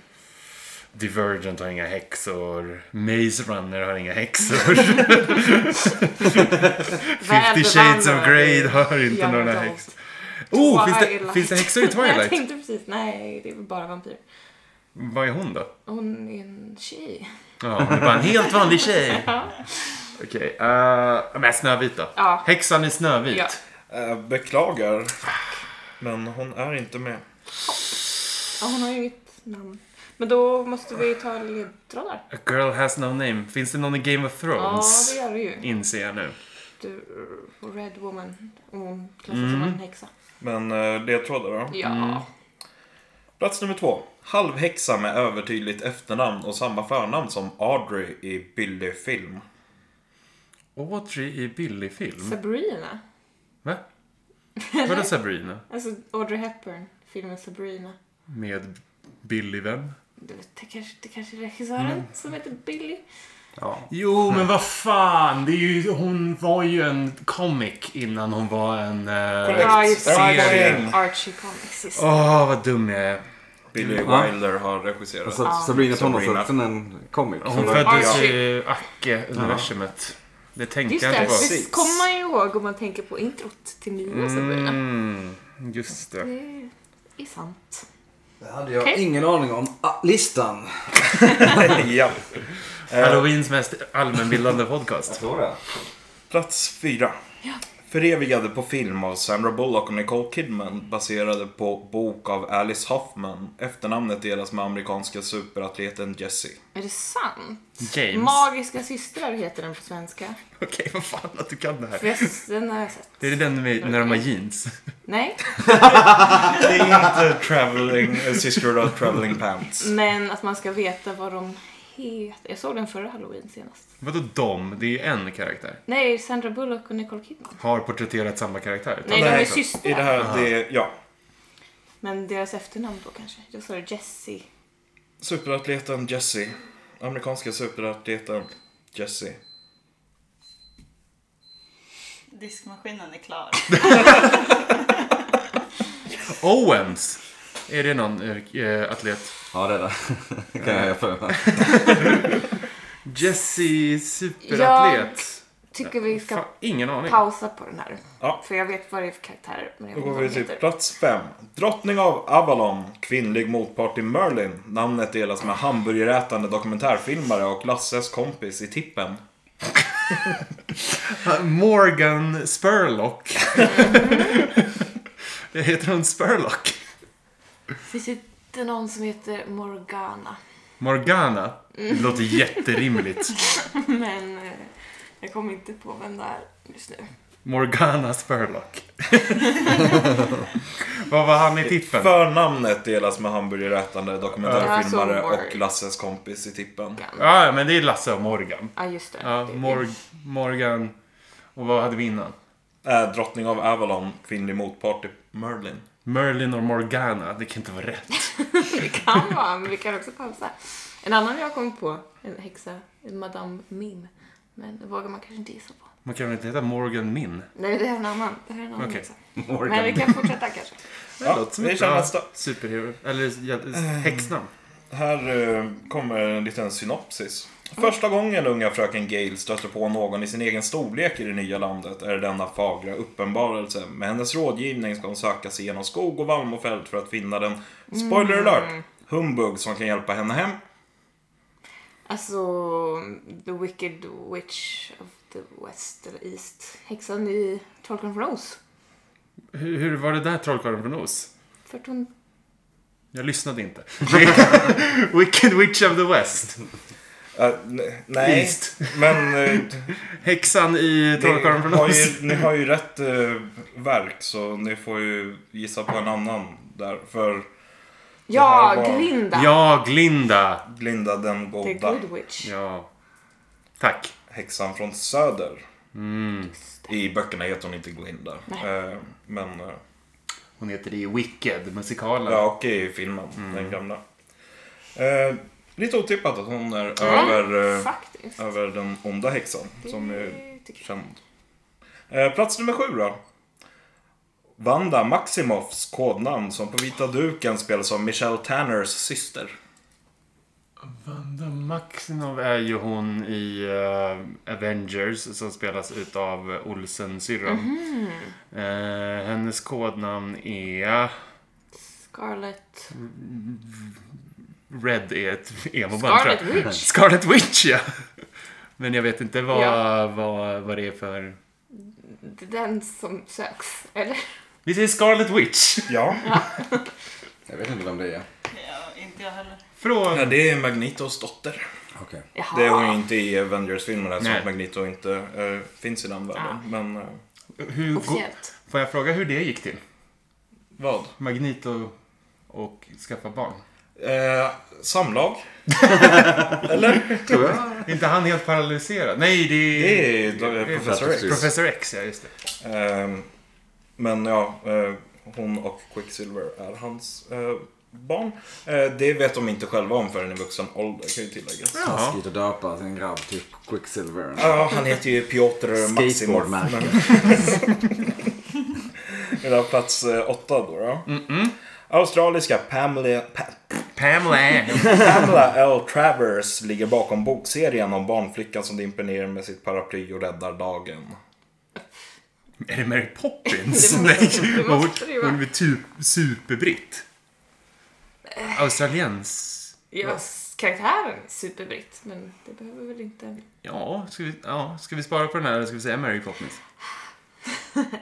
[SPEAKER 3] Divergent har inga häxor. Maze Runner har inga häxor. Fifty
[SPEAKER 5] Väl
[SPEAKER 3] Shades of
[SPEAKER 5] bevandrad
[SPEAKER 3] Grey
[SPEAKER 5] i
[SPEAKER 3] har inte
[SPEAKER 5] young
[SPEAKER 3] några
[SPEAKER 5] adult.
[SPEAKER 3] häxor. Oh, finns det,
[SPEAKER 5] Twilight.
[SPEAKER 3] finns det häxor i
[SPEAKER 5] jag
[SPEAKER 3] Twilight?
[SPEAKER 5] tänkte precis, nej det är väl bara vampyr.
[SPEAKER 3] Vad är hon då?
[SPEAKER 5] Hon är en tjej.
[SPEAKER 3] Ja, hon är bara en helt vanlig tjej. Okej, eh, men Snövit då?
[SPEAKER 5] Ja.
[SPEAKER 3] Häxan i Snövit.
[SPEAKER 5] Ja.
[SPEAKER 1] Eh, Beklagar. Men hon är inte med.
[SPEAKER 5] Ja, hon har ju inget namn. Men då måste vi ta ledtrådar.
[SPEAKER 3] A girl has no name. Finns det någon i Game of
[SPEAKER 5] Ja,
[SPEAKER 3] Thrones?
[SPEAKER 5] det gör det ju.
[SPEAKER 3] Inser jag nu.
[SPEAKER 5] Du, Red Woman. Och hon klassas som
[SPEAKER 3] Mm.
[SPEAKER 5] en häxa.
[SPEAKER 1] Men eh, ledtrådar då?
[SPEAKER 5] Ja.
[SPEAKER 1] Plats nummer två. Halvhäxa med övertydligt efternamn och samma förnamn som Audrey i Billy-film.
[SPEAKER 3] Audrey i Billy-film?
[SPEAKER 5] Sabrina.
[SPEAKER 3] Va? Vadå Sabrina?
[SPEAKER 5] Alltså Audrey Hepburn. Filmen Sabrina.
[SPEAKER 3] Med Billy vem?
[SPEAKER 5] Det, det, kanske, det kanske är regissören
[SPEAKER 3] Mm.
[SPEAKER 5] som heter Billy.
[SPEAKER 2] Ja.
[SPEAKER 3] Jo, men vad fan. Det är ju, hon var ju en comic innan hon var en... eh,
[SPEAKER 1] Korrekt.
[SPEAKER 5] Ja, just det.
[SPEAKER 1] Serien.
[SPEAKER 5] Archie- Archie Comics. Just.
[SPEAKER 3] Åh, vad dum jag är.
[SPEAKER 1] Billy
[SPEAKER 2] Ja.
[SPEAKER 1] Wilder har regisserat.
[SPEAKER 2] Mm. Alltså, Sabrina
[SPEAKER 1] Sabrina.
[SPEAKER 2] tonårsväxeln är en comic.
[SPEAKER 3] Hon
[SPEAKER 2] Eller?
[SPEAKER 3] föddes
[SPEAKER 5] Archie.
[SPEAKER 3] i Acke-universumet. Mm. Det
[SPEAKER 5] Ah, Just
[SPEAKER 3] tänkte jag
[SPEAKER 5] det,
[SPEAKER 3] inte på.
[SPEAKER 5] det kommer man ju ihåg om man tänker på introt till nya Sabrina.
[SPEAKER 3] Mm, just det.
[SPEAKER 5] Det är sant.
[SPEAKER 2] Det hade jag
[SPEAKER 5] Okej.
[SPEAKER 2] ingen aning om. Ah, listan.
[SPEAKER 1] ja.
[SPEAKER 5] Eh.
[SPEAKER 3] Halloweens mest allmänbildande podcast.
[SPEAKER 2] Tror det.
[SPEAKER 1] Plats fyra. Förevigade på film av Sandra Bullock och Nicole Kidman baserade på bok av Alice Hoffman. Efternamnet delas med amerikanska superatleten Jessie.
[SPEAKER 5] Är det sant?
[SPEAKER 3] James.
[SPEAKER 5] Magiska systrar heter den på svenska.
[SPEAKER 3] Okej, vad fan att du kan det här.
[SPEAKER 5] För jag, den har jag sett.
[SPEAKER 3] Det är den med när de har jeans.
[SPEAKER 5] Nej,
[SPEAKER 1] Det är inte traveling, eh, Sister of Traveling Pants.
[SPEAKER 5] men att man ska veta vad de heter. Jag såg den förra halloween senast.
[SPEAKER 3] Vadå de? Det är ju en karaktär.
[SPEAKER 5] Nej, Sandra Bullock och Nicole Kidman.
[SPEAKER 3] Har porträtterat samma karaktär.
[SPEAKER 5] Nej, de är systrar.
[SPEAKER 1] I det här, det är, ja.
[SPEAKER 5] Men deras efternamn då kanske. Jag sa det Jessie.
[SPEAKER 1] Superatleten Jessie. Amerikanska superatleten Jessie.
[SPEAKER 4] Diskmaskinen är klar.
[SPEAKER 3] Owens! Är det någon eh, atlet?
[SPEAKER 2] Ja, det är det. Det kan jag göra för mig.
[SPEAKER 3] Jesse superatlet.
[SPEAKER 5] Tycker vi ska
[SPEAKER 3] Fan, ingen aning.
[SPEAKER 5] pausa på den här.
[SPEAKER 1] Ja.
[SPEAKER 5] För jag vet vad det är för karaktärer. Men jag
[SPEAKER 1] Då
[SPEAKER 5] vet inte
[SPEAKER 1] går
[SPEAKER 5] vad
[SPEAKER 1] vi
[SPEAKER 5] de
[SPEAKER 1] till
[SPEAKER 5] heter.
[SPEAKER 1] plats 5. Drottning av Avalon, kvinnlig motpart till Merlin. Namnet delas med hamburgerätande dokumentärfilmare och Lasses kompis i Tippen.
[SPEAKER 3] Morgan Spurlock. Det heter hon Spurlock?
[SPEAKER 5] Finns det inte någon som heter Morgana?
[SPEAKER 3] Morgana. Det låter jätterimligt.
[SPEAKER 5] Men eh, jag kommer inte på vem det är just nu.
[SPEAKER 3] Morgana Spurlock. Vad var han i tippen?
[SPEAKER 1] Förnamnet delas med hamburgerätande
[SPEAKER 5] Ja,
[SPEAKER 1] dokumentärfilmare
[SPEAKER 5] så Morgan.
[SPEAKER 1] och Lasses kompis i Tippen.
[SPEAKER 3] Ja, ja, men det är Lasse och Morgan.
[SPEAKER 5] Ja, just det.
[SPEAKER 3] Mm. Ja,
[SPEAKER 5] Det-
[SPEAKER 3] Mor- Morgan. Och vad hade vi innan?
[SPEAKER 1] Äh, Drottning av Avalon, kvinnlig motpart till Merlin.
[SPEAKER 3] Merlin och Morgana. Det kan inte vara rätt.
[SPEAKER 5] Det kan vara, men vi kan också pausa. En annan jag har kommit på, en häxa, en Madame Mim. Men det vågar man kanske inte gissa på.
[SPEAKER 3] Man kan väl inte heta Morgan Min?
[SPEAKER 5] Nej, det här är en annan. Det här är en annan
[SPEAKER 3] Okej.
[SPEAKER 5] häxa. Men vi
[SPEAKER 2] Morgan.
[SPEAKER 5] kan fortsätta kanske.
[SPEAKER 1] Ja, vi kör nästa.
[SPEAKER 5] Ehm.
[SPEAKER 3] superhero. Eller ja, häxnamn.
[SPEAKER 1] Här eh, kommer en liten synopsis. Första gången unga fröken Gale stöter på någon i sin egen storlek i det nya landet är det denna fagra uppenbarelse. Med hennes rådgivning ska hon söka sig genom skog och valm och fält för att finna den, spoiler alert, humbug som kan hjälpa henne hem.
[SPEAKER 5] Alltså, The Wicked Witch of the West eller East. Häxan i Trollkarlen från Oz.
[SPEAKER 3] Hur, hur var det där Trollkarlen från Oz?
[SPEAKER 5] För att hon...
[SPEAKER 3] Jag lyssnade inte. Wicked Witch of the West.
[SPEAKER 1] Eh, ne- nej,
[SPEAKER 3] East.
[SPEAKER 1] men eh,
[SPEAKER 3] Häxan i Trollkarlen
[SPEAKER 1] ni,
[SPEAKER 3] från
[SPEAKER 1] har
[SPEAKER 3] Oz.
[SPEAKER 1] ju, ni har ju rätt eh, verk så ni får ju gissa på en annan där. För
[SPEAKER 5] Ja,
[SPEAKER 1] Det här var-
[SPEAKER 5] Glinda!
[SPEAKER 3] Ja, Glinda.
[SPEAKER 1] Glinda den
[SPEAKER 5] The
[SPEAKER 1] goda,
[SPEAKER 5] Good Witch.
[SPEAKER 3] Ja. Tack.
[SPEAKER 1] häxan från söder.
[SPEAKER 5] Just det.
[SPEAKER 1] I böckerna heter hon inte Glinda. Eh, men... Eh,
[SPEAKER 3] Hon heter det i Wicked, musikalen.
[SPEAKER 1] Ja, och i filmen. Den gamla. Eh, lite otippat att hon är över, eh,
[SPEAKER 5] Faktiskt.
[SPEAKER 1] över den onda häxan som är
[SPEAKER 5] Det tycker jag.
[SPEAKER 1] känd. Eh, plats nummer sju då. Vanda Maximoffs kodnamn som på vita duken spelas av Michelle Tanners syster.
[SPEAKER 3] Vanda Maximov är ju hon i eh, Avengers som spelas utav Olsen-syrran.
[SPEAKER 5] Mhm.
[SPEAKER 3] Eh, hennes kodnamn är...
[SPEAKER 5] Scarlet...
[SPEAKER 3] Red är ett emo-band tror
[SPEAKER 5] Scarlet
[SPEAKER 3] jag.
[SPEAKER 5] Witch!
[SPEAKER 3] Scarlet Witch ja! Men jag vet inte vad,
[SPEAKER 5] Ja.
[SPEAKER 3] vad, vad det är för...
[SPEAKER 5] Det är Den som söks, eller?
[SPEAKER 3] Vi säger Scarlet Witch!
[SPEAKER 1] Ja.
[SPEAKER 2] Jag vet inte vem det är.
[SPEAKER 4] Ja, inte jag heller.
[SPEAKER 1] ja,
[SPEAKER 3] Från...
[SPEAKER 1] det är Magnitos dotter.
[SPEAKER 2] Okej.
[SPEAKER 5] Jaha.
[SPEAKER 1] Det är hon ju inte i Avengers-filmerna så
[SPEAKER 3] Nej.
[SPEAKER 1] att Magnito inte eh, finns i den världen. Men eh,
[SPEAKER 3] Hur go-
[SPEAKER 5] Officiellt.
[SPEAKER 3] Får jag fråga hur det gick till?
[SPEAKER 1] vad?
[SPEAKER 3] Magneto och skaffa barn.
[SPEAKER 1] Eh, samlag.
[SPEAKER 2] Tror jag.
[SPEAKER 3] Är inte han helt paralyserad? Nej, det är...
[SPEAKER 1] Det är eh, Professor X.
[SPEAKER 3] Professor X, ja just det.
[SPEAKER 1] Ehm, men ja, eh, hon och Quicksilver är hans eh, barn. Eh, det vet de inte själva om förrän i vuxen ålder kan ju tilläggas. Ja,
[SPEAKER 2] Taskigt att döpa sin grabb till Quicksilver.
[SPEAKER 1] han heter ju Piotr Maximov.
[SPEAKER 2] Skateboardmärke.
[SPEAKER 1] Det där plats eh, åtta då. då. Australiska Pamela, pa,
[SPEAKER 3] Pamela!
[SPEAKER 1] Pamela L. Travers ligger bakom bokserien om barnflickan som dimper ner med sitt paraply och räddar dagen.
[SPEAKER 3] Är det Mary Poppins?
[SPEAKER 5] Det måste-
[SPEAKER 3] Nej,
[SPEAKER 5] det
[SPEAKER 3] hon,
[SPEAKER 5] måste det ju vara.
[SPEAKER 3] hon är typ superbritt. Australiens...
[SPEAKER 5] Yes, karaktären är superbritt, men det behöver väl inte...
[SPEAKER 3] Ja ska, vi, ja, ska vi spara på den här eller ska vi säga Mary Poppins?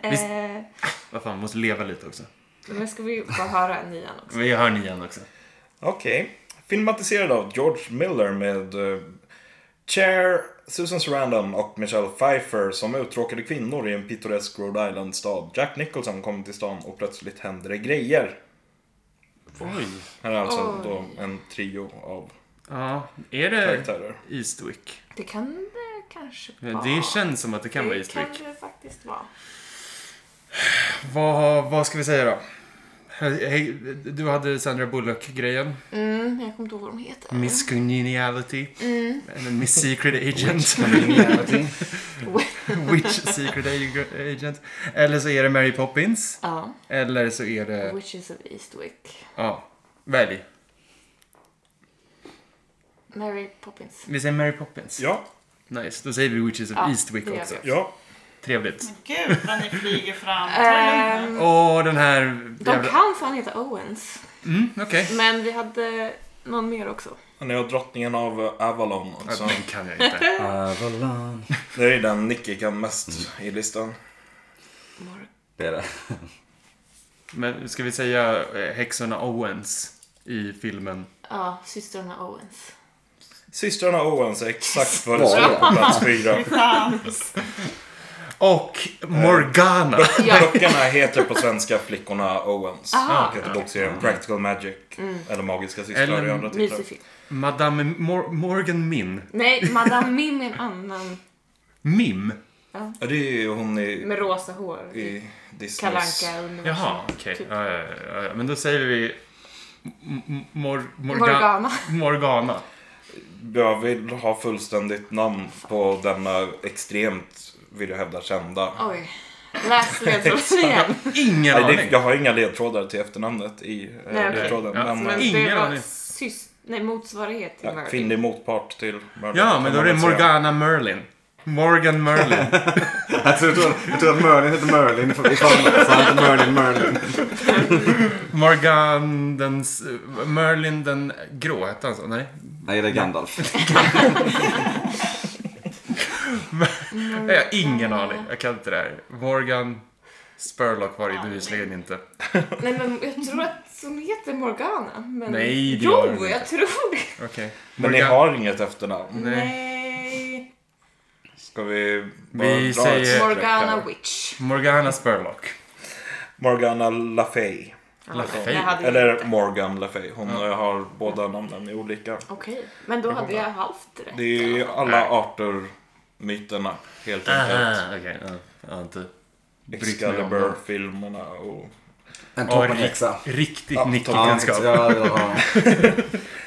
[SPEAKER 3] Visst.
[SPEAKER 5] Eh,
[SPEAKER 3] Vad fan, måste leva lite också.
[SPEAKER 5] men ska vi få höra nian också?
[SPEAKER 3] Vi hör nian också.
[SPEAKER 1] Okej. Filmatiserad av George Miller med eh, Cher, Susan Sarandon och Michelle Pfeiffer som uttråkade kvinnor i en pittoresk Rhode Island-stad. Jack Nicholson kommer till stan och plötsligt händer det grejer.
[SPEAKER 3] Oj.
[SPEAKER 1] Här är alltså
[SPEAKER 5] Oj.
[SPEAKER 1] då en trio av
[SPEAKER 3] Ja, är det
[SPEAKER 1] karaktärer.
[SPEAKER 3] Eastwick?
[SPEAKER 5] Det kan det kanske vara.
[SPEAKER 3] Det känns som att det kan vara
[SPEAKER 5] Det kan
[SPEAKER 3] Eastwick.
[SPEAKER 5] det faktiskt vara.
[SPEAKER 3] Vad, vad ska vi säga då? Hej- hej, Du hade Sandra Bullock-grejen.
[SPEAKER 5] Mm, jag kommer inte ihåg vad de heter.
[SPEAKER 3] Miss Congeniality. Eller Miss Secret Agent. Witch Secret Ag- Agent. Eller så är det Mary Poppins.
[SPEAKER 5] Ja,
[SPEAKER 3] Eller så är det...
[SPEAKER 5] Witches of Eastwick.
[SPEAKER 3] Ja, välj.
[SPEAKER 5] Mary Poppins.
[SPEAKER 3] Vi säger Mary Poppins.
[SPEAKER 1] Ja,
[SPEAKER 3] Nice, då säger vi Witches of
[SPEAKER 5] Ja,
[SPEAKER 3] Eastwick
[SPEAKER 5] det gör
[SPEAKER 3] också.
[SPEAKER 5] vi. Mm.
[SPEAKER 1] ja.
[SPEAKER 3] Trevligt.
[SPEAKER 4] Gud vad ni flyger fram. Ta det lugnt nu.
[SPEAKER 5] Ehm,
[SPEAKER 3] Och den här...
[SPEAKER 5] de kan fan heta Owens.
[SPEAKER 3] Mm, okej.
[SPEAKER 5] Men vi hade någon mer också.
[SPEAKER 1] Han är drottningen av eh, Avalon
[SPEAKER 3] Ja,
[SPEAKER 1] också.
[SPEAKER 3] Den kan jag inte.
[SPEAKER 2] Äh, Avalon.
[SPEAKER 1] Det är den Nicky kan mest i listan.
[SPEAKER 5] Mor-
[SPEAKER 2] Det är det.
[SPEAKER 3] Men ska vi säga eh, häxorna Owens i filmen?
[SPEAKER 5] Ja, systrarna Owens.
[SPEAKER 1] Systrarna Owens är exakt vad det
[SPEAKER 2] Var
[SPEAKER 1] står
[SPEAKER 2] det?
[SPEAKER 1] på plats fyra.
[SPEAKER 4] Chans.
[SPEAKER 3] Och Morgana!
[SPEAKER 5] Ja,
[SPEAKER 1] Böckerna heter på svenska Flickorna Owens.
[SPEAKER 5] Aha. Mm.
[SPEAKER 1] Och heter bokserien Practical Magic. Eller Magiska systrar
[SPEAKER 3] Eller
[SPEAKER 1] i andra titlar.
[SPEAKER 5] mysig film.
[SPEAKER 3] Madame Mor- Morgan Min.
[SPEAKER 5] Nej, Madame Mim är en annan
[SPEAKER 3] Mim?
[SPEAKER 1] Ja, det är ju hon i,
[SPEAKER 5] med rosa hår.
[SPEAKER 1] i
[SPEAKER 5] Kalle
[SPEAKER 1] Disneys...
[SPEAKER 5] Anka
[SPEAKER 3] Jaha,
[SPEAKER 5] universum.
[SPEAKER 3] okej.
[SPEAKER 5] Typ.
[SPEAKER 3] Ja, ja, ja, ja. Men då säger vi... M- m- Mor- Morga-
[SPEAKER 5] Morgana.
[SPEAKER 3] Morgana.
[SPEAKER 1] Jag vill ha fullständigt namn på denna extremt, vill jag hävda, kända.
[SPEAKER 5] Oj. Läs ledtråden igen.
[SPEAKER 3] Ingen
[SPEAKER 1] Nej, det,
[SPEAKER 3] aning.
[SPEAKER 1] jag har inga ledtrådar till efternamnet i eh,
[SPEAKER 5] Nej, okej.
[SPEAKER 1] ledtråden.
[SPEAKER 3] Ja,
[SPEAKER 1] men,
[SPEAKER 5] Men
[SPEAKER 3] Ingen
[SPEAKER 5] det var
[SPEAKER 3] aning.
[SPEAKER 5] sys- Nej, motsvarighet till
[SPEAKER 1] Ja,
[SPEAKER 5] Merlin.
[SPEAKER 1] kvinnlig motpart till Merlin.
[SPEAKER 3] Ja,
[SPEAKER 1] kan
[SPEAKER 3] men
[SPEAKER 1] man
[SPEAKER 3] då är det
[SPEAKER 1] väl säga.
[SPEAKER 3] Morgana Merlin. Morgan Merlin.
[SPEAKER 2] Alltså, Jag tror, jag tror, jag tror att Merlin heter Merlin för- i förnamn. Så han heter Merlin Merlin.
[SPEAKER 3] Morgan den... s- Merlin den grå, hette han så? Nej.
[SPEAKER 2] Nej, det är Gandalf.
[SPEAKER 3] Nej,
[SPEAKER 5] Mm.
[SPEAKER 3] Jag har Eh, ingen aning. Jag kan inte det här. Morgan Spurlock var det ju bevisligen inte.
[SPEAKER 5] Nej, men jag tror att hon heter Morgana. Men...
[SPEAKER 3] Nej, det gör
[SPEAKER 5] Jo,
[SPEAKER 3] hon
[SPEAKER 5] jag
[SPEAKER 3] inte.
[SPEAKER 5] tror det.
[SPEAKER 3] Okej.
[SPEAKER 1] Men ni
[SPEAKER 3] Morgan-
[SPEAKER 1] har inget efternamn.
[SPEAKER 3] Nej.
[SPEAKER 5] Nej.
[SPEAKER 1] Ska vi bara
[SPEAKER 3] Vi
[SPEAKER 1] dra
[SPEAKER 3] säger-
[SPEAKER 1] ett streck
[SPEAKER 5] Morgana
[SPEAKER 1] här?
[SPEAKER 5] Witch.
[SPEAKER 3] Morgana Spurlock.
[SPEAKER 1] Morgana LaFay.
[SPEAKER 3] Lafay.
[SPEAKER 5] Jag hade
[SPEAKER 1] Eller
[SPEAKER 5] inte.
[SPEAKER 1] Morgan LaFay. Hon eh, har båda namnen är olika.
[SPEAKER 5] Okej, men då hade jag halvt rätt.
[SPEAKER 1] Det är ju alla Arthur-myterna helt enkelt.
[SPEAKER 3] Ah, okej. Ja, jag har inte brytt mig om dem.
[SPEAKER 1] Excalibur-filmerna och...
[SPEAKER 2] En
[SPEAKER 3] Ja,
[SPEAKER 2] toppenhäxa.
[SPEAKER 3] Riktigt
[SPEAKER 1] Ja,
[SPEAKER 2] Ja,
[SPEAKER 3] nickelkunskap.
[SPEAKER 2] ja, ja.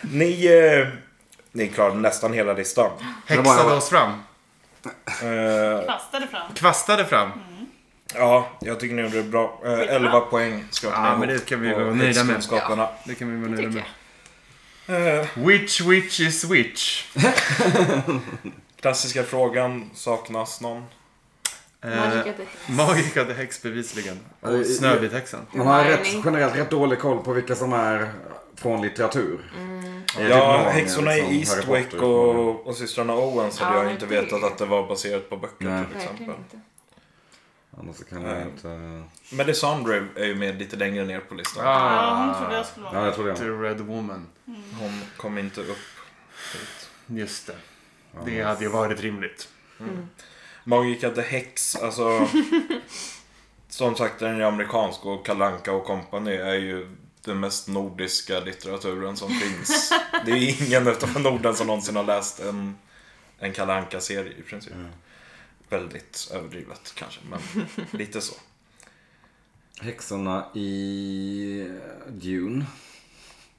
[SPEAKER 1] Ni, eh, ni klarade nästan hela listan.
[SPEAKER 3] Häxade oss fram.
[SPEAKER 1] Eh,
[SPEAKER 4] Fastade fram.
[SPEAKER 3] Kvastade fram.
[SPEAKER 1] ja, jag tycker ni gjorde det bra. Eh, 11 poäng skrapade
[SPEAKER 3] Ja,
[SPEAKER 1] ni
[SPEAKER 3] men
[SPEAKER 1] ihop
[SPEAKER 3] det kan vi
[SPEAKER 1] på
[SPEAKER 3] vara nöjda med.
[SPEAKER 1] häxkunskaperna.
[SPEAKER 3] Det kan vi vara nöjda
[SPEAKER 5] tycker
[SPEAKER 3] med.
[SPEAKER 5] jag.
[SPEAKER 1] Eh,
[SPEAKER 3] Which witch is which?
[SPEAKER 1] klassiska frågan, saknas någon?
[SPEAKER 3] Eh,
[SPEAKER 5] Magica the Hex.
[SPEAKER 3] Magica the Hex bevisligen.
[SPEAKER 2] Eh,
[SPEAKER 3] Och Snövithäxan.
[SPEAKER 2] Man har
[SPEAKER 5] Nej,
[SPEAKER 2] rätt,
[SPEAKER 5] nej.
[SPEAKER 2] generellt rätt dålig koll på vilka som är från litteratur.
[SPEAKER 5] Mm,
[SPEAKER 2] Är det
[SPEAKER 1] Ja,
[SPEAKER 2] någon,
[SPEAKER 1] häxorna
[SPEAKER 2] liksom,
[SPEAKER 1] i
[SPEAKER 2] Harry
[SPEAKER 1] Eastwick
[SPEAKER 2] Potter, någon?
[SPEAKER 1] och, och systrarna Owens hade
[SPEAKER 5] Ja,
[SPEAKER 1] jag
[SPEAKER 5] men
[SPEAKER 1] inte
[SPEAKER 5] det-
[SPEAKER 1] vetat att det var baserat på böcker
[SPEAKER 2] Nej.
[SPEAKER 1] till exempel.
[SPEAKER 5] Verkligen inte.
[SPEAKER 2] Annars så kan man inte...
[SPEAKER 1] Melisandre är ju med lite längre ner på listan.
[SPEAKER 4] Ja, hon trodde jag skulle vara
[SPEAKER 2] Ja, jag tror
[SPEAKER 3] The
[SPEAKER 2] det.
[SPEAKER 3] Red Woman.
[SPEAKER 1] Hon kom inte upp hit.
[SPEAKER 3] Just det. Det hade ju varit rimligt.
[SPEAKER 1] Magica the Hex, alltså... som sagt, den är ju amerikansk och Kalanka och kompani är ju den mest nordiska litteraturen som finns. Det är ingen utanför Norden som någonsin har läst en, en kalanka serie i princip. Väldigt överdrivet kanske, men lite så.
[SPEAKER 2] Häxorna i eh, Dune.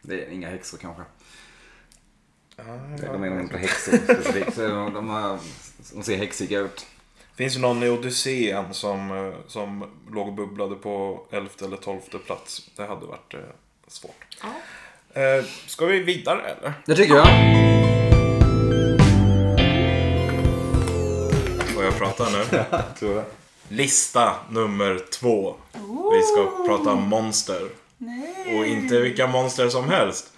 [SPEAKER 2] Det är inga häxor kanske. De är nog inte häxor specifikt. Så De, de, har, de ser häxiga ut.
[SPEAKER 1] finns ju någon i Odysseen som, eh, som låg och bubblade på elfte eller tolfte plats. Det hade varit eh, svårt.
[SPEAKER 5] Ja.
[SPEAKER 1] Eh, ska vi vidare eller?
[SPEAKER 2] Det tycker jag.
[SPEAKER 1] Får jag prata nu?
[SPEAKER 2] Tror det.
[SPEAKER 1] Lista nummer två. Vi ska prata monster. Och inte vilka monster som helst.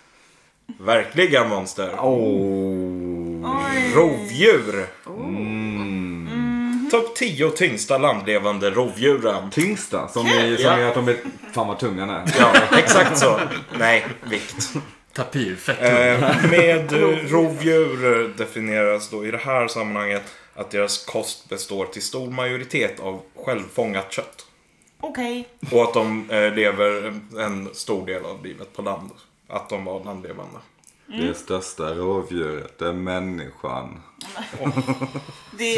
[SPEAKER 1] Verkliga monster.
[SPEAKER 2] Oh.
[SPEAKER 1] Rovdjur. Mm. Topp 10 tyngsta landlevande rovdjuren.
[SPEAKER 2] Tyngsta, som, är, som
[SPEAKER 1] Ja.
[SPEAKER 2] är att de är... Fan vad tunga den är.
[SPEAKER 1] Ja, exakt så. Nej, vikt.
[SPEAKER 3] Tapir. Fett.
[SPEAKER 1] Eh, Med eh, rovdjur definieras då i det här sammanhanget att deras kost består till stor majoritet av självfångat kött.
[SPEAKER 4] Okej.
[SPEAKER 1] Och att de eh, lever en- en stor del av livet på land. Att de var landlevande.
[SPEAKER 4] Mm.
[SPEAKER 2] Det största rovdjuret är människan.
[SPEAKER 4] Det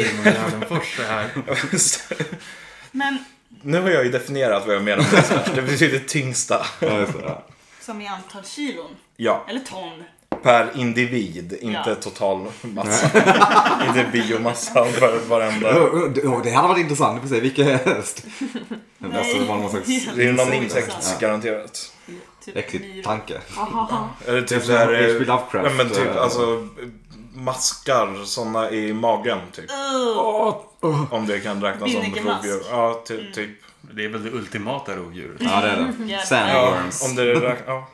[SPEAKER 4] är-
[SPEAKER 3] Simon Gärdenfors det här.
[SPEAKER 4] Men
[SPEAKER 1] nu har jag ju definierat vad jag menar med störst. Det betyder tyngsta.
[SPEAKER 2] Ja, just det. Ja.
[SPEAKER 4] som i antal kilon.
[SPEAKER 1] Ja,
[SPEAKER 4] Eller ton.
[SPEAKER 1] per individ, inte
[SPEAKER 4] Ja.
[SPEAKER 1] total massa. inte biomassan för varenda.
[SPEAKER 2] Ja, ja, det- ja, det hade varit intressant i och för sig. Vilken häst? Nej. Alltså, det var någon slags
[SPEAKER 1] Det är ju någon
[SPEAKER 4] Insekter.
[SPEAKER 1] insekt garanterat.
[SPEAKER 4] Typ
[SPEAKER 2] äcklig
[SPEAKER 4] myr.
[SPEAKER 2] tanke.
[SPEAKER 1] Eller typ
[SPEAKER 2] Det
[SPEAKER 1] så
[SPEAKER 2] är
[SPEAKER 1] här,
[SPEAKER 2] som H.P.
[SPEAKER 1] eh, ja,
[SPEAKER 2] Lovecraft.
[SPEAKER 1] men typ
[SPEAKER 2] eh,
[SPEAKER 1] alltså maskar sådana i magen typ. Om det kan räknas som
[SPEAKER 4] Binnekemask.
[SPEAKER 1] rovdjur. Ja, ty, typ.
[SPEAKER 3] Det är väl det ultimata rovdjuret.
[SPEAKER 2] Ja, det är det.
[SPEAKER 4] Ja.
[SPEAKER 1] Ja,
[SPEAKER 2] Sandworms.
[SPEAKER 1] om det räknas. Ja.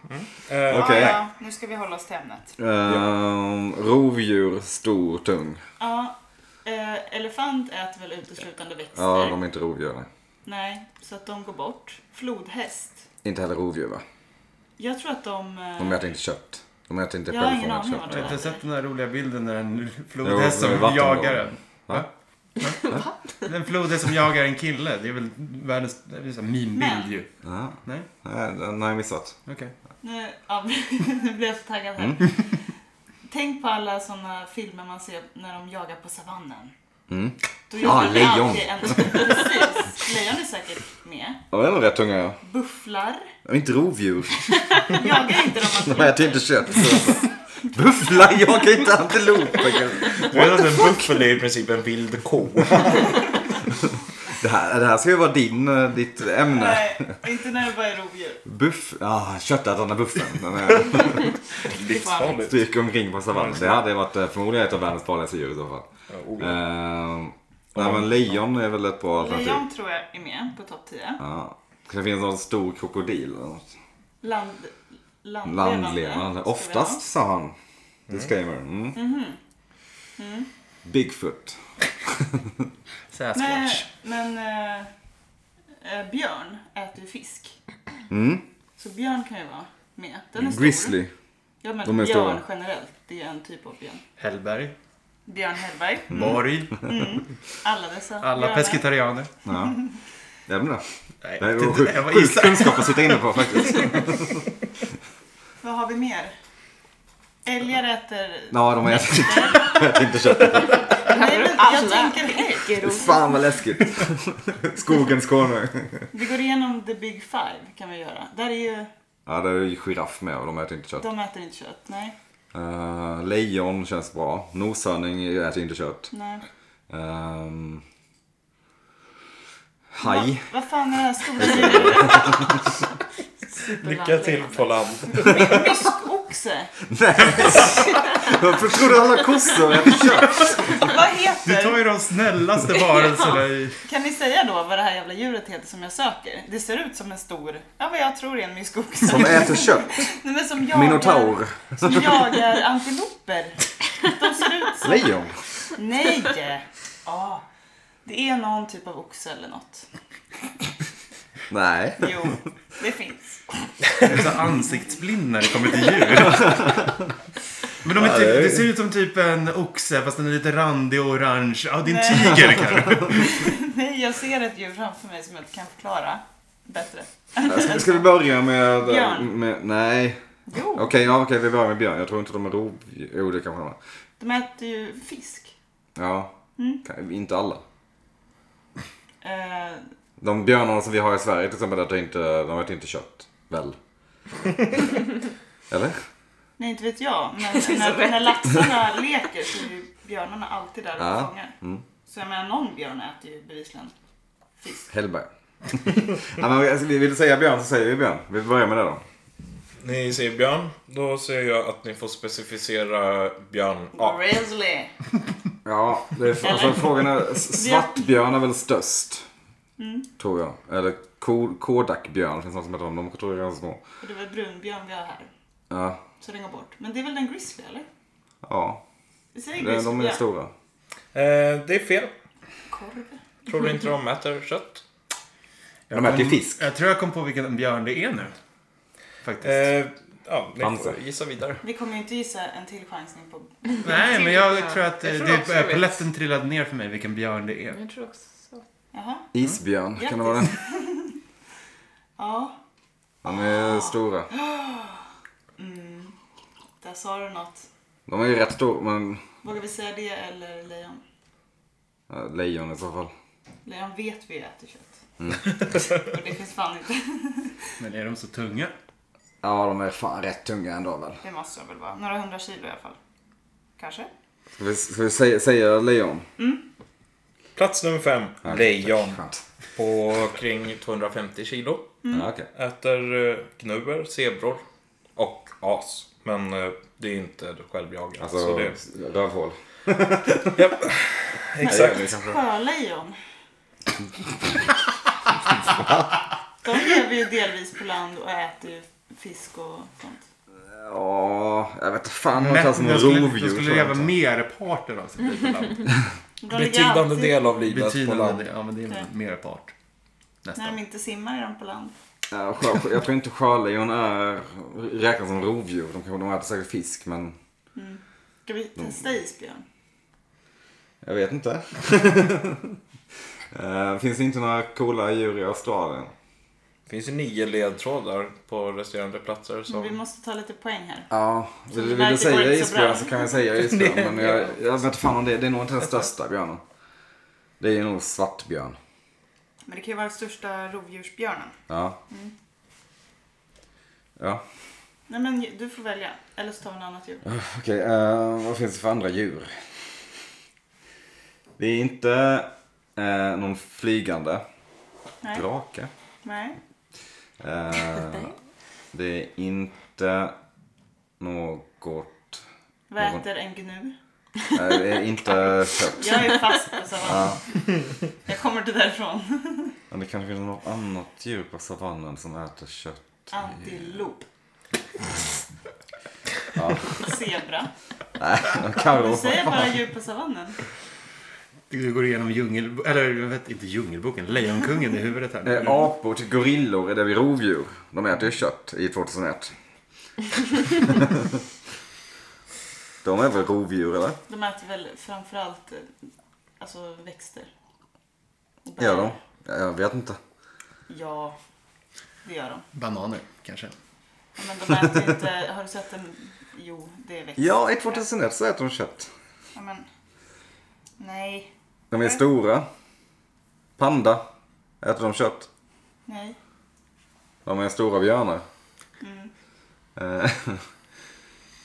[SPEAKER 1] Mm. Eh,
[SPEAKER 2] Okej.
[SPEAKER 4] Ja, ja, nu ska vi hålla oss till ämnet.
[SPEAKER 2] Ehm, rovdjur, stor, tung.
[SPEAKER 4] Ja, eh, elefant äter väl uteslutande växter?
[SPEAKER 2] Ja, de är inte rovdjur. nej.
[SPEAKER 4] Nej, så att de går bort. Flodhäst.
[SPEAKER 2] Inte heller rovdjur, va?
[SPEAKER 4] Jag tror att de... eh,
[SPEAKER 2] De äter inte kött. De äter inte
[SPEAKER 4] Jag har ingen
[SPEAKER 2] självfångat
[SPEAKER 4] aning om
[SPEAKER 2] kött.
[SPEAKER 4] det.
[SPEAKER 3] Jag har inte sett den här roliga bilden när en
[SPEAKER 2] Jo,
[SPEAKER 3] flodhäst som
[SPEAKER 2] det är vattendrag.
[SPEAKER 3] jagar en.
[SPEAKER 2] Va?
[SPEAKER 3] Va? Den flodhäst som jagar en kille. Det är väl världens det är väl så här meme-bild
[SPEAKER 4] Men-
[SPEAKER 3] ju.
[SPEAKER 2] Ja,
[SPEAKER 3] Nej,
[SPEAKER 2] nej, den har jag missat.
[SPEAKER 3] okej.
[SPEAKER 4] Nu, ja, nu blir jag så taggad
[SPEAKER 2] Mm.
[SPEAKER 4] här. Tänk på alla såna filmer man ser när de jagar på savannen.
[SPEAKER 2] Mm.
[SPEAKER 4] Då
[SPEAKER 2] Ah,
[SPEAKER 4] jagar vi
[SPEAKER 2] lejon.
[SPEAKER 4] alltid En, precis. Lejon är säkert med.
[SPEAKER 2] Ja, de är nog rätt tunga, ja.
[SPEAKER 4] Bufflar.
[SPEAKER 2] Och Inte rovdjur.
[SPEAKER 4] Jagar inte de
[SPEAKER 2] De äter
[SPEAKER 4] antiloper?
[SPEAKER 2] inte kött. Bufflar jagar inte antiloper. kanske.
[SPEAKER 1] Du vet att en buffel är i princip en vild ko.
[SPEAKER 2] Det här, det här ska ju vara din, eh, ditt ämne.
[SPEAKER 4] Nej, inte när det bara är rovdjur.
[SPEAKER 2] Buff, ah, köttätande buffen. Den är-
[SPEAKER 1] Livsfarligt.
[SPEAKER 2] Stryker omkring på savannen. Det hade varit eh, förmodligen ett av världens farligaste djur i så fall.
[SPEAKER 1] Ja, oh, ja.
[SPEAKER 2] Ehm, nej men lejon är väl ett bra alternativ.
[SPEAKER 4] Lejon tror jag är med på topp 10.
[SPEAKER 2] Ja. Det finns någon stor krokodil eller något.
[SPEAKER 4] Land, landlevande.
[SPEAKER 2] Landlevande.
[SPEAKER 4] ska vi
[SPEAKER 2] Oftast sa han. Disclaimer. Mm.
[SPEAKER 4] Mm.
[SPEAKER 2] Bigfoot.
[SPEAKER 4] ha. Nej, men eh, eh, björn äter ju fisk.
[SPEAKER 2] Mm.
[SPEAKER 4] Så björn kan ju vara med. Den är stor.
[SPEAKER 2] Grizzly.
[SPEAKER 4] Ja, men
[SPEAKER 2] De är
[SPEAKER 4] björn
[SPEAKER 2] stora.
[SPEAKER 4] generellt. Det är en typ av björn.
[SPEAKER 3] Hellberg,
[SPEAKER 4] Björn Hellberg.
[SPEAKER 3] Borg,
[SPEAKER 4] Alla dessa
[SPEAKER 3] alla
[SPEAKER 4] björnar.
[SPEAKER 3] pescetarianer.
[SPEAKER 2] Ja. Det är väl det.
[SPEAKER 3] Nej,
[SPEAKER 2] Det är
[SPEAKER 3] det-
[SPEAKER 2] ju
[SPEAKER 3] det var
[SPEAKER 2] sjuk, sjuk
[SPEAKER 3] Isak.
[SPEAKER 2] kunskap att sitta inne på faktiskt.
[SPEAKER 4] Vad har vi mer? Älgar äter...
[SPEAKER 2] Ja, de äter äter inte kött.
[SPEAKER 4] Nej, men jag tänker ägg.
[SPEAKER 2] Fan vad läskigt. Skogens konung.
[SPEAKER 4] Vi går igenom the big five kan vi göra. Där är ju...
[SPEAKER 2] Ja, det är ju giraff med och de äter inte kött.
[SPEAKER 4] De äter inte kött. Nej.
[SPEAKER 2] Eh, lejon känns bra. Noshörning äter inte kött.
[SPEAKER 4] nej.
[SPEAKER 2] Ehm, haj.
[SPEAKER 4] Va- Vad fan är det här stora djuret?
[SPEAKER 1] Lycka till på land.
[SPEAKER 4] Myskoxe?
[SPEAKER 2] Varför tror du alla kossor äter kött?
[SPEAKER 4] Vad
[SPEAKER 3] Du tar
[SPEAKER 4] heter...
[SPEAKER 3] ju de snällaste varelserna i...
[SPEAKER 4] Kan ni säga då vad det här jävla djuret heter som jag söker? Det ser ut som en stor... Ja, vad jag tror är en myskoxe.
[SPEAKER 2] De äter kött.
[SPEAKER 4] Nej, men som jagar...
[SPEAKER 2] Minotaur.
[SPEAKER 4] Som jagar antiloper. De ser ut som...
[SPEAKER 2] Lejon.
[SPEAKER 4] Nej! Ja. Det är någon typ av oxe eller något.
[SPEAKER 2] Nej.
[SPEAKER 4] Jo, det finns.
[SPEAKER 3] Det är så ansiktsblind när det kommer till djur. Men de är typ, det ser ut som typ en oxe fast den är lite randig och orange. Ja, det är en
[SPEAKER 4] Nej.
[SPEAKER 3] tiger kanske.
[SPEAKER 4] Nej, jag ser ett djur framför mig som jag inte kan förklara bättre.
[SPEAKER 2] Ska, ska vi börja med... eh,
[SPEAKER 4] Björn.
[SPEAKER 2] med nej.
[SPEAKER 4] Jo,
[SPEAKER 2] Okej, ja, okej, vi börjar med björn. Jag tror inte de är rovdjur. Jo, det kanske de är.
[SPEAKER 4] de äter ju fisk.
[SPEAKER 2] Ja. Kan- Inte alla.
[SPEAKER 4] Eh,
[SPEAKER 2] De björnarna som vi har i Sverige till exempel, äter inte, de äter inte kött. Väl? Eller?
[SPEAKER 4] nej, inte vet jag. Men när, när laxarna leker så är ju björnarna alltid där och
[SPEAKER 2] Ja. mm.
[SPEAKER 4] fångar. Så jag menar, någon björn äter ju bevisligen fisk.
[SPEAKER 2] Hellberg. ja, men, alltså, vi vill säga björn så säger vi björn. Vi börjar med det då.
[SPEAKER 1] Ni säger björn. Då säger jag att ni får specificera Eh, björnart.
[SPEAKER 4] Grizzly.
[SPEAKER 2] Ja, det är, alltså,
[SPEAKER 4] Eller?
[SPEAKER 2] frågan är, s- svartbjörn är väl störst?
[SPEAKER 4] Mm.
[SPEAKER 2] Tror jag. Eller ko- kodakbjörn, det finns något som heter dem. De tror jag är ganska små.
[SPEAKER 4] Och det var brunbjörn vi har här.
[SPEAKER 2] Ja,
[SPEAKER 4] Så den går bort. Men det är väl den grizzly, eller?
[SPEAKER 2] ja.
[SPEAKER 4] Vi säger
[SPEAKER 2] De,
[SPEAKER 4] grizzly.
[SPEAKER 2] de är stora.
[SPEAKER 1] Eh, det är fel.
[SPEAKER 4] Korv.
[SPEAKER 1] Tror du inte de äter kött?
[SPEAKER 2] De äter ju fisk.
[SPEAKER 3] Jag tror jag kom på vilken björn det är nu. Faktiskt.
[SPEAKER 1] Eh, ja, ni
[SPEAKER 2] Bamse.
[SPEAKER 1] får gissa vidare.
[SPEAKER 4] Vi kommer ju inte gissa en till chansning på...
[SPEAKER 3] Nej, men jag tror att eh,
[SPEAKER 5] Jag tror
[SPEAKER 3] det,
[SPEAKER 5] också
[SPEAKER 3] eh,
[SPEAKER 5] jag vet.
[SPEAKER 3] polletten trillade ner för mig vilken björn det är.
[SPEAKER 5] Jag tror också
[SPEAKER 4] Jaha.
[SPEAKER 2] Isbjörn, kan det vara den?
[SPEAKER 4] Grattis. Ja,
[SPEAKER 2] De är stora.
[SPEAKER 4] där sa du något.
[SPEAKER 2] De är ju rätt stora, men
[SPEAKER 4] Vågar vi säga det eller lejon?
[SPEAKER 2] ja, lejon i så fall.
[SPEAKER 4] Lejon vet vi äter kött.
[SPEAKER 2] Mm.
[SPEAKER 4] Och det finns fan inte.
[SPEAKER 3] Men är de så tunga?
[SPEAKER 2] Ja, de är fan rätt tunga ändå väl.
[SPEAKER 4] Det måste de väl vara. Några hundra kilo i alla fall. Kanske?
[SPEAKER 2] Ska vi, ska vi säga, säga lejon?
[SPEAKER 1] Plats nummer fem. Lejon.
[SPEAKER 2] Skönt.
[SPEAKER 1] På kring 250 kilo.
[SPEAKER 2] Ja, okej.
[SPEAKER 1] Äter eh, gnuer, zebror och as. Men eh, det är inte självjagande.
[SPEAKER 2] Alltså,
[SPEAKER 1] så det,
[SPEAKER 2] rövhål. liksom-
[SPEAKER 1] Japp, exakt.
[SPEAKER 4] Sjölejon. De lever ju delvis på land och äter ju fisk och sånt.
[SPEAKER 2] Ja, jag vet inte fan om man
[SPEAKER 3] Men
[SPEAKER 2] kallar som
[SPEAKER 3] de
[SPEAKER 2] rovdjur.
[SPEAKER 3] skulle, de skulle
[SPEAKER 2] tror jag
[SPEAKER 3] leva
[SPEAKER 2] inte.
[SPEAKER 3] merparten av typ, sitt liv på land.
[SPEAKER 4] De ligger
[SPEAKER 1] Betydande
[SPEAKER 4] alltid,
[SPEAKER 1] del av livet på
[SPEAKER 3] Betydande
[SPEAKER 1] land.
[SPEAKER 3] del. Ja, men det är
[SPEAKER 4] Nej.
[SPEAKER 3] merpart.
[SPEAKER 4] när
[SPEAKER 3] Nästan.
[SPEAKER 4] de inte simmar är de på land.
[SPEAKER 2] Ja, sjö- jag tror inte sjölejon är räknas som rovdjur. De, kanske- de äter säkert fisk, men
[SPEAKER 4] Ska vi testa isbjörn?
[SPEAKER 2] jag vet inte. Eh, Finns det inte några coola djur i Australien?
[SPEAKER 1] Det finns ju nio ledtrådar på resterande platser.
[SPEAKER 4] Vi
[SPEAKER 3] Mm.
[SPEAKER 1] Som...
[SPEAKER 4] måste ta lite poäng här.
[SPEAKER 2] Ja, vill, vill
[SPEAKER 4] verkar
[SPEAKER 2] du
[SPEAKER 4] gå
[SPEAKER 2] säga
[SPEAKER 4] inte så bra.
[SPEAKER 2] isbjörn så kan jag säga isbjörn. Men jag, jag vet inte fan om det, det är nog inte den största björnen. Det är nog svartbjörn.
[SPEAKER 4] Men det kan ju vara den största rovdjursbjörnen.
[SPEAKER 2] Ja. Ja,
[SPEAKER 4] Nej men du får välja. Eller så tar vi något annat djur.
[SPEAKER 2] okej. eh, vad finns det för andra djur? Det är inte eh, någon flygande
[SPEAKER 4] Nej.
[SPEAKER 2] drake.
[SPEAKER 4] Nej.
[SPEAKER 2] Eh, Det är inte något...
[SPEAKER 4] Vad äter en gnu?
[SPEAKER 2] Nej, det är inte kött.
[SPEAKER 4] Jag är fast på savannen. Jag kommer inte därifrån.
[SPEAKER 2] Men det kanske finns något annat djur på savannen som äter kött.
[SPEAKER 4] Antilop.
[SPEAKER 2] Ja.
[SPEAKER 4] Zebra.
[SPEAKER 2] Karo.
[SPEAKER 4] Du säger bara djur på savannen.
[SPEAKER 3] Du går igenom djungel... Eller jag vet inte djungelboken. Lejonkungen i huvudet här.
[SPEAKER 2] Eh, Apor till gorillor är det vid rovdjur. De äter ju kött i 2001. De är väl rovdjur eller?
[SPEAKER 4] De äter väl framförallt eh, alltså, växter. Och bär.
[SPEAKER 2] Gör de? Jag vet inte.
[SPEAKER 4] Ja, det gör de.
[SPEAKER 3] Bananer kanske.
[SPEAKER 4] Ja, Men de äter inte... Har du sett en... Jo, det är växt.
[SPEAKER 2] Ja, i 2001 så äter de kött.
[SPEAKER 4] Ja, men... Nej.
[SPEAKER 2] De är stora. Panda. Äter de kött?
[SPEAKER 4] Nej.
[SPEAKER 2] De är stora björnar. Eh,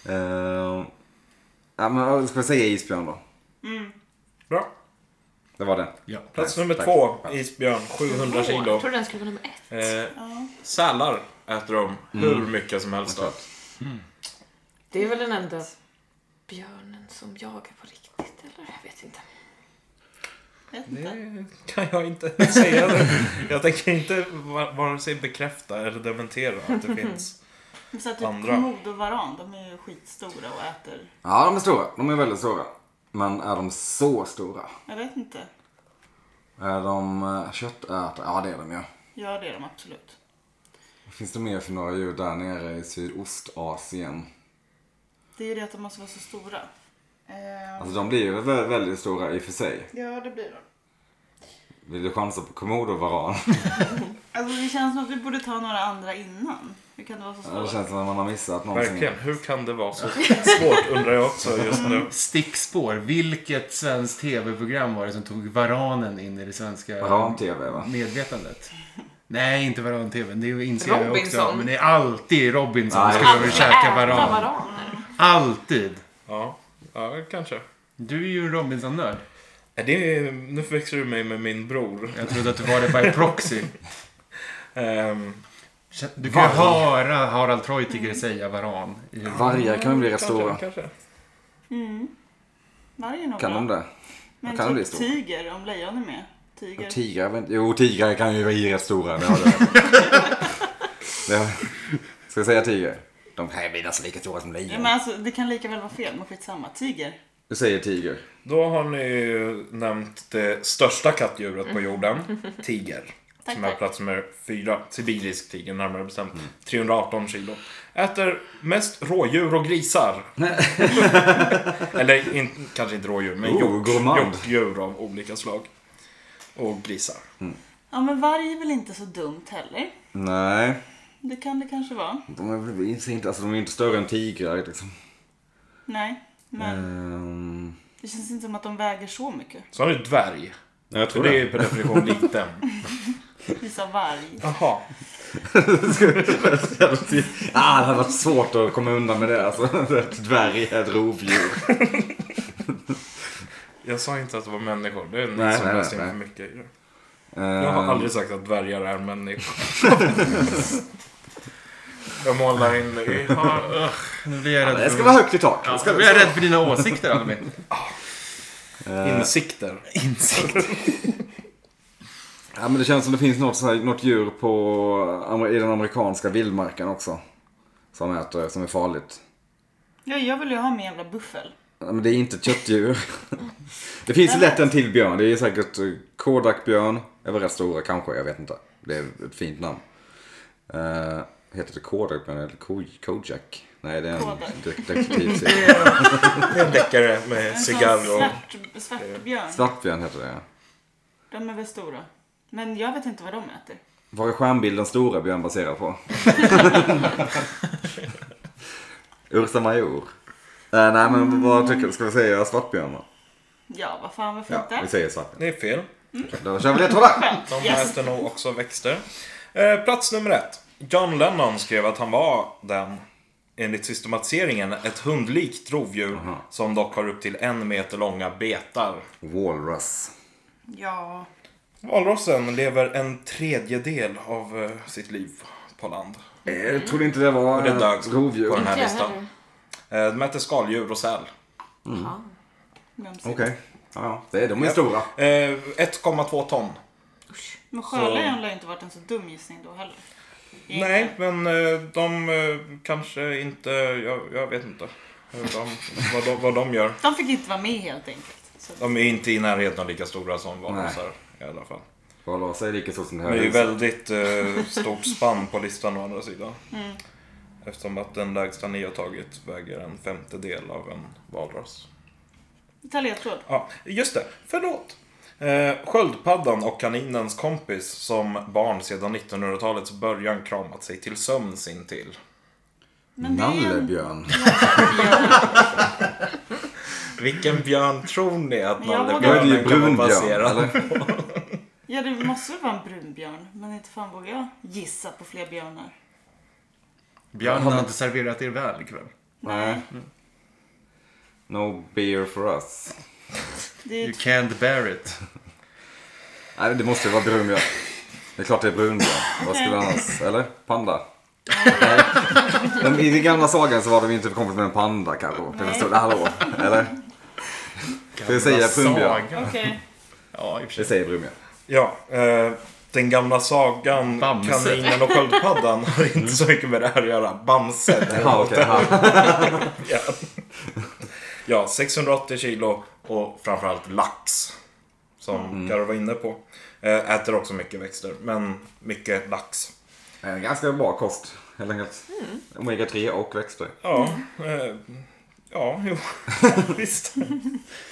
[SPEAKER 2] eh, ja, men vad ska vi säga isbjörn då?
[SPEAKER 1] Bra.
[SPEAKER 2] Det var det.
[SPEAKER 3] Ja.
[SPEAKER 1] Plats
[SPEAKER 2] Tack,
[SPEAKER 1] nummer
[SPEAKER 2] tack.
[SPEAKER 1] två, isbjörn,
[SPEAKER 3] Mm.
[SPEAKER 1] 700
[SPEAKER 5] Åh,
[SPEAKER 1] kilo.
[SPEAKER 5] jag trodde den skulle vara nummer ett.
[SPEAKER 1] Eh, sälar äter de hur
[SPEAKER 2] Mm.
[SPEAKER 1] mycket som helst av.
[SPEAKER 5] Det är väl den enda björnen som jagar på riktigt, eller? Jag vet inte.
[SPEAKER 4] Vet inte.
[SPEAKER 1] Det kan jag inte säga. Det. Jag tänker inte va- vare sig bekräfta eller dementera att
[SPEAKER 3] Mm.
[SPEAKER 1] det finns.
[SPEAKER 4] Men Så att typ
[SPEAKER 1] Andra.
[SPEAKER 4] komod och varan, de är ju skitstora och äter.
[SPEAKER 2] Ja, de är stora. De är väldigt stora. Men är de så stora?
[SPEAKER 4] Jag vet inte.
[SPEAKER 2] Är de eh, köttätare? Ja, det är de ju.
[SPEAKER 4] Ja, det är de absolut.
[SPEAKER 2] Finns det mer för några djur där nere i Sydostasien?
[SPEAKER 4] Det är ju det att de måste vara så stora. Eh,
[SPEAKER 2] Alltså de blir ju vä- väldigt stora i och för sig.
[SPEAKER 4] ja, det blir de.
[SPEAKER 2] Vill du chansa på komodovaran?
[SPEAKER 4] Alltså det känns som att vi borde ta några andra innan. Hur kan det vara så
[SPEAKER 2] Det
[SPEAKER 4] svårt?
[SPEAKER 2] känns som att man har missat någonting.
[SPEAKER 1] Verkligen. Hur kan det vara så svårt undrar jag också just nu.
[SPEAKER 3] Stickspår. Vilket svenskt tv-program var det som tog varanen in i det svenska
[SPEAKER 2] Varan-tv va?
[SPEAKER 3] medvetandet? Nej, inte varan-tv. Det inser jag också.
[SPEAKER 5] Robinson.
[SPEAKER 3] Men det är alltid Robinson
[SPEAKER 2] Nej,
[SPEAKER 3] skulle
[SPEAKER 2] just
[SPEAKER 5] Ska
[SPEAKER 3] försöka
[SPEAKER 5] äta
[SPEAKER 3] varan.
[SPEAKER 5] varaner?
[SPEAKER 3] Alltid.
[SPEAKER 1] Ja, ja kanske.
[SPEAKER 3] Du är ju en Robinson-nörd.
[SPEAKER 1] Nej, Det är, nu förväxlar du mig med min bror.
[SPEAKER 3] Jag trodde att du var det by proxy.
[SPEAKER 1] Ehm,
[SPEAKER 3] Du kan ju höra Harald Treutiger säga varan. i huvudet.
[SPEAKER 2] Vargar kan ju bli rätt
[SPEAKER 1] kanske,
[SPEAKER 2] stora.
[SPEAKER 1] Kanske.
[SPEAKER 4] Mm. Vargen har
[SPEAKER 2] Kan
[SPEAKER 4] bra.
[SPEAKER 2] de det?
[SPEAKER 4] Men
[SPEAKER 2] kan de bli
[SPEAKER 4] typ
[SPEAKER 2] stora?
[SPEAKER 4] tiger, om lejon är med. Tiger.
[SPEAKER 2] Tigrar? väl inte- Jo, tigrar kan ju bli rätt stora. Det har du rätt i. Det har- Ska jag säga tiger? De här blir nästan lika stora som
[SPEAKER 4] Ja, men
[SPEAKER 2] lejon.
[SPEAKER 4] alltså, det kan lika väl vara fel, men skitsamma. Tiger.
[SPEAKER 2] Du säger tiger.
[SPEAKER 1] Då har ni ju nämnt det största kattdjuret på jorden, tiger.
[SPEAKER 4] Mm. Tack,
[SPEAKER 1] som är
[SPEAKER 4] tack.
[SPEAKER 1] plats nummer fyra. Sibirisk tiger närmare bestämt.
[SPEAKER 2] Mm.
[SPEAKER 1] 318 kilo. Äter mest rådjur och grisar. Eller in, kanske inte rådjur, men
[SPEAKER 2] Oh,
[SPEAKER 1] hjort,
[SPEAKER 2] gourmand.
[SPEAKER 1] hjortdjur av olika slag. Och grisar.
[SPEAKER 4] Ja, men varg är väl inte så dumt heller.
[SPEAKER 2] Nej,
[SPEAKER 4] Det kan det kanske vara.
[SPEAKER 2] de är väl inte- inte, alltså, de är inte större än tigrar liksom.
[SPEAKER 4] Nej, men
[SPEAKER 2] Ehm,
[SPEAKER 4] det känns inte som att de väger så mycket.
[SPEAKER 1] Så har ni dvärg.
[SPEAKER 2] jag
[SPEAKER 1] För det är ju per definition liten.
[SPEAKER 4] Vi sa varg.
[SPEAKER 1] Jaha.
[SPEAKER 2] Ah, det hade varit svårt att komma undan med det. Alltså, ett dvärg är ett rovdjur.
[SPEAKER 1] Jag sa inte att det var människor. Det är
[SPEAKER 2] Nej,
[SPEAKER 1] ni som
[SPEAKER 2] nej,
[SPEAKER 1] läste in
[SPEAKER 2] nej,
[SPEAKER 1] för mycket i det. Jag har
[SPEAKER 2] Ehm,
[SPEAKER 1] aldrig sagt att dvärgar är människor. jag målar in i...
[SPEAKER 2] Eh.
[SPEAKER 1] Ja,
[SPEAKER 3] Nu blir jag
[SPEAKER 2] Det
[SPEAKER 3] rädd
[SPEAKER 2] ska
[SPEAKER 3] för,
[SPEAKER 2] vara högt i tak. Det
[SPEAKER 3] ja,
[SPEAKER 2] ska
[SPEAKER 3] nu
[SPEAKER 2] det
[SPEAKER 3] blir jag rädd för dina åsikter, Albin.
[SPEAKER 1] ugh, eh, Insikter.
[SPEAKER 2] Ja, men det känns som det finns något, så här, något djur på, amer- i den amerikanska vildmarken också. Som äter, som är farligt.
[SPEAKER 4] Ja, jag vill ju ha med en jävla buffel.
[SPEAKER 2] Ja, men det är inte ett köttdjur. Det finns ju lätt en till björn. Det är säkert eh, Kodakbjörn. Är väl rätt stora kanske, jag vet inte. Det är ett fint namn. Eh, heter det Kodakbjörn eller Ko- Kojak? Nej, det är en
[SPEAKER 4] Kodak.
[SPEAKER 2] de- detektivserie.
[SPEAKER 1] Det är en deckare med
[SPEAKER 4] En sån
[SPEAKER 1] cigarr och...
[SPEAKER 4] svart, svartbjörn.
[SPEAKER 2] Svartbjörn heter det, ja.
[SPEAKER 4] De är väl stora. Men jag vet inte vad de äter.
[SPEAKER 2] Var är stjärnbilden stora björn baserad på? Ursa Major. Äh, nej men
[SPEAKER 1] Mm.
[SPEAKER 2] vad tycker du? Ska vi säga svartbjörn då?
[SPEAKER 4] Ja, vad fan varför
[SPEAKER 2] Ja, vi
[SPEAKER 4] inte?
[SPEAKER 2] säger svartbjörn.
[SPEAKER 1] Det är fel.
[SPEAKER 2] Då kör vi det där.
[SPEAKER 4] Skönt.
[SPEAKER 1] De
[SPEAKER 4] Yes.
[SPEAKER 1] äter nog också växter. Eh, plats nummer ett. John Lennon skrev att han var den, enligt systematiseringen, ett hundlikt rovdjur som dock har upp till en meter långa betar.
[SPEAKER 2] Walrus.
[SPEAKER 4] Ja,
[SPEAKER 1] Valrossen lever en tredjedel av eh, sitt liv på land.
[SPEAKER 2] Eh, Jag trodde inte det var
[SPEAKER 1] Och det
[SPEAKER 2] eh,
[SPEAKER 1] dögs
[SPEAKER 2] rovdjur.
[SPEAKER 1] på den
[SPEAKER 2] Okej.
[SPEAKER 1] här
[SPEAKER 5] Inte jag
[SPEAKER 1] listan.
[SPEAKER 5] heller.
[SPEAKER 1] Eh, De äter skaldjur och säl.
[SPEAKER 5] Ja.
[SPEAKER 4] Mumsigt.
[SPEAKER 2] Ja, ja. Det är, de är stora.
[SPEAKER 1] Eh, 1,2 ton.
[SPEAKER 4] Men sjölejon lär ju inte varit en så dum gissning då heller.
[SPEAKER 1] Nej, men eh, de eh, kanske inte... Jag, jag vet inte hur de, vad, de, vad de gör.
[SPEAKER 4] De fick inte vara med helt enkelt. Så
[SPEAKER 1] De är inte i närheten av lika stora som valrosar i alla fall.
[SPEAKER 2] Vad la sig lika stort som det här
[SPEAKER 1] Det är ju
[SPEAKER 2] huset.
[SPEAKER 1] väldigt eh, stort spann på listan å andra sidan.
[SPEAKER 5] Mm.
[SPEAKER 1] Eftersom att den lägsta ni har tagit väger en femtedel av en valros.
[SPEAKER 4] ta ledtråd.
[SPEAKER 1] Ja, just det. Förlåt. Eh, sköldpaddan och kaninens kompis som barn sedan 1900-talets början kramat sig till sömn sin till.
[SPEAKER 4] Men det är ju en
[SPEAKER 2] Nallebjörn.
[SPEAKER 1] Vilken björn tror ni att
[SPEAKER 4] Men jag vågar-
[SPEAKER 2] Då är det ju
[SPEAKER 1] nallebjörnen kan vara
[SPEAKER 2] brunbjörn.
[SPEAKER 1] baserad?
[SPEAKER 2] Eller?
[SPEAKER 4] Ja, det måste väl vara en brunbjörn. Men inte fan vågar jag gissa på fler björnar.
[SPEAKER 3] Björn har inte serverat er väl ikväll.
[SPEAKER 2] Nej. No beer for us.
[SPEAKER 4] Det är
[SPEAKER 3] You
[SPEAKER 4] ju
[SPEAKER 3] can't bear it.
[SPEAKER 2] Nej, det måste ju vara brunbjörn. Det är klart det är brunbjörn. Vad skulle det annars... Eller? Panda? Nej. Men I den gamla sagan så var de ju inte kompis med en panda kanske. Det var stod, hallå? Eller? Ska jag säga brunbjörn?
[SPEAKER 3] Saga.
[SPEAKER 4] Okej.
[SPEAKER 3] Ja, i och för
[SPEAKER 2] Vi
[SPEAKER 3] sig.
[SPEAKER 2] säger brunbjörn.
[SPEAKER 1] Ja, eh, den gamla sagan
[SPEAKER 3] Bamse.
[SPEAKER 1] Kaninen och sköldpaddan har inte så mycket med det här att göra. Bamse.
[SPEAKER 2] Ja, okej. ja.
[SPEAKER 1] Ja. ja, 680 kilo och framförallt lax. Som
[SPEAKER 2] Mm.
[SPEAKER 1] Karo var inne på. Eh, Äter också mycket växter, men mycket lax.
[SPEAKER 2] Eh, Ganska bra kost helt enkelt.
[SPEAKER 4] Mm.
[SPEAKER 2] Omega 3 och växter.
[SPEAKER 1] Ja, eh, ja jo. Visst.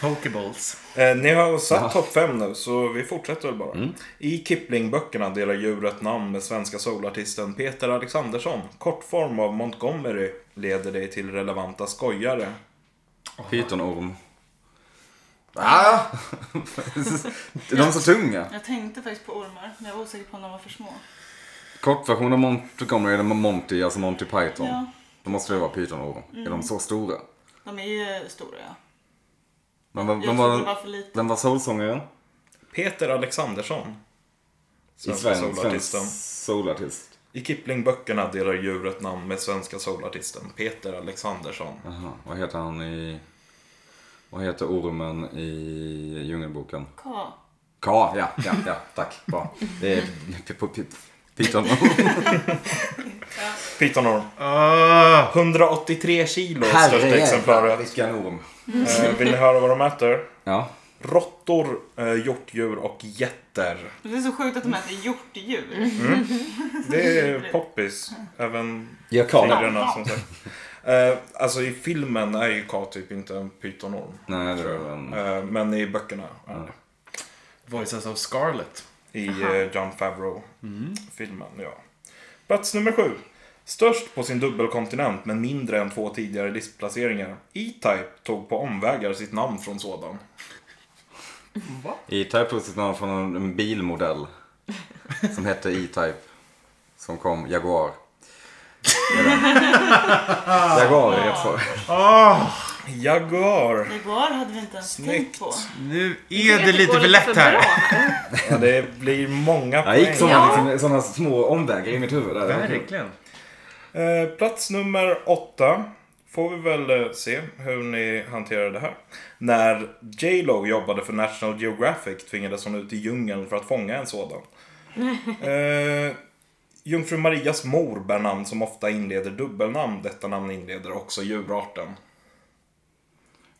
[SPEAKER 3] Pokeballs.
[SPEAKER 1] Eh, ni har satt topp 5 nu, så vi fortsätter väl bara. I Kipling-böckerna delar djuret namn med svenska soulartisten Peter Alexandersson. Kortform av Montgomery leder dig till relevanta skojare.
[SPEAKER 2] Pytonorm. Ah! de är så tunga.
[SPEAKER 4] Jag tänkte faktiskt på ormar, men jag var osäker på om de var för små.
[SPEAKER 2] Kortversion av Montgomery är Monty, alltså Monty Python.
[SPEAKER 4] Ja. Mm.
[SPEAKER 2] Då måste det vara pytonorm. Är de så stora?
[SPEAKER 4] De är ju stora, ja.
[SPEAKER 2] Men vem,
[SPEAKER 4] Jag
[SPEAKER 2] vem,
[SPEAKER 4] trodde det var
[SPEAKER 2] var,
[SPEAKER 4] för lite.
[SPEAKER 2] vem var soulsångaren?
[SPEAKER 1] Peter Alexandersson.
[SPEAKER 2] I
[SPEAKER 1] Svenska
[SPEAKER 2] Sverige?
[SPEAKER 1] soulartisten.
[SPEAKER 2] Svensk soulartist.
[SPEAKER 1] I Kipling-böckerna delar djuret namn med svenska soulartisten Peter Alexandersson.
[SPEAKER 2] Aha, vad heter han i... Vad heter ormen i Djungelboken?
[SPEAKER 4] Ka.
[SPEAKER 2] Ka, ja, ja, ja, tack. Bra. Det är p- p- p- pyton.
[SPEAKER 1] Pytonorm.
[SPEAKER 3] Ah!
[SPEAKER 1] 183 kilo största exemplaret.
[SPEAKER 2] vilken orm.
[SPEAKER 1] Eh, vill ni höra vad de äter?
[SPEAKER 2] Ja.
[SPEAKER 1] Råttor, eh, hjortdjur och getter.
[SPEAKER 4] Men Det är så sjukt att de äter hjortdjur.
[SPEAKER 1] Det är poppis. Även
[SPEAKER 2] Jag
[SPEAKER 1] tigrarna som sagt. Eh, alltså i filmen är ju K typ inte en pytonorm.
[SPEAKER 2] Nej, det var en...
[SPEAKER 1] Eh, men i böckerna är det.
[SPEAKER 3] Voices of Scarlet.
[SPEAKER 1] I eh, John Favreau-filmen, ja. Plats nummer sju. Störst på sin dubbelkontinent men mindre än två tidigare listplaceringar. E-Type tog på omvägar sitt namn från sådan.
[SPEAKER 2] E-Type tog sitt namn från en- en bilmodell. Som hette E-Type. Som kom Jaguar. Eller- Jaguar är rätt svar.
[SPEAKER 1] Jaguar.
[SPEAKER 4] Igår hade vi inte ens tänkt
[SPEAKER 1] Snyggt.
[SPEAKER 4] på.
[SPEAKER 3] Nu är det lite för lätt här.
[SPEAKER 1] Ja, det blir många
[SPEAKER 2] Jag gick
[SPEAKER 1] poäng.
[SPEAKER 2] sådana,
[SPEAKER 5] Ja.
[SPEAKER 2] liksom, sådana små omvägar i mitt huvud. Där. Det var kul.
[SPEAKER 3] Verkligen.
[SPEAKER 1] Eh, plats nummer åtta. Får vi väl eh, se hur ni hanterar det här. När J Lo jobbade för National Geographic tvingades hon ut i djungeln för att fånga en sådan. Eh, Jungfru Marias mor bär namn som ofta inleder dubbelnamn. Detta namn inleder också djurarten.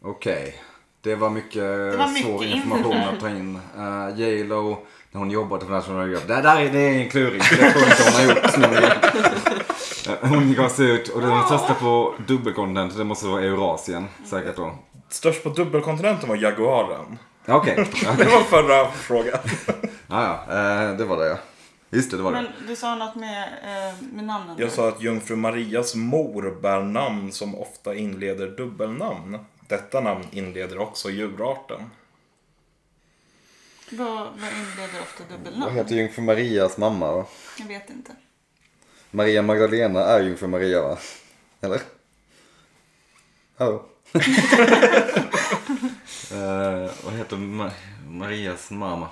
[SPEAKER 2] Okej. Det var mycket,
[SPEAKER 4] var mycket
[SPEAKER 2] svår information
[SPEAKER 4] info.
[SPEAKER 2] att ta in. Uh, J.Lo, när hon jobbade för National Geographic. Det där är det är en kluring. Det tror jag inte hon har gjort. så många gånger. Eh, Hon gav sig ut och den största på dubbelkontinenten, det måste vara Eurasien säkert då.
[SPEAKER 1] Störst på dubbelkontinenten var jaguaren.
[SPEAKER 2] Ja, Okej, ja,
[SPEAKER 1] Det var förra frågan.
[SPEAKER 2] ja, ja, eh, det var det ja. Just det, det var det.
[SPEAKER 4] Men du sa något med, eh, med namnen.
[SPEAKER 1] Jag sa att Jungfru Marias mor bär namn som ofta inleder dubbelnamn. Detta namn inleder också djurarten.
[SPEAKER 4] Vad, vad inleder ofta
[SPEAKER 2] Vad
[SPEAKER 4] dubbelnamn?
[SPEAKER 2] heter Jungfru Marias mamma va?
[SPEAKER 4] Jag vet inte.
[SPEAKER 2] Maria Magdalena är Jungfru Maria va? Eller? Hallå? Eh, vad heter Ma- Marias mamma?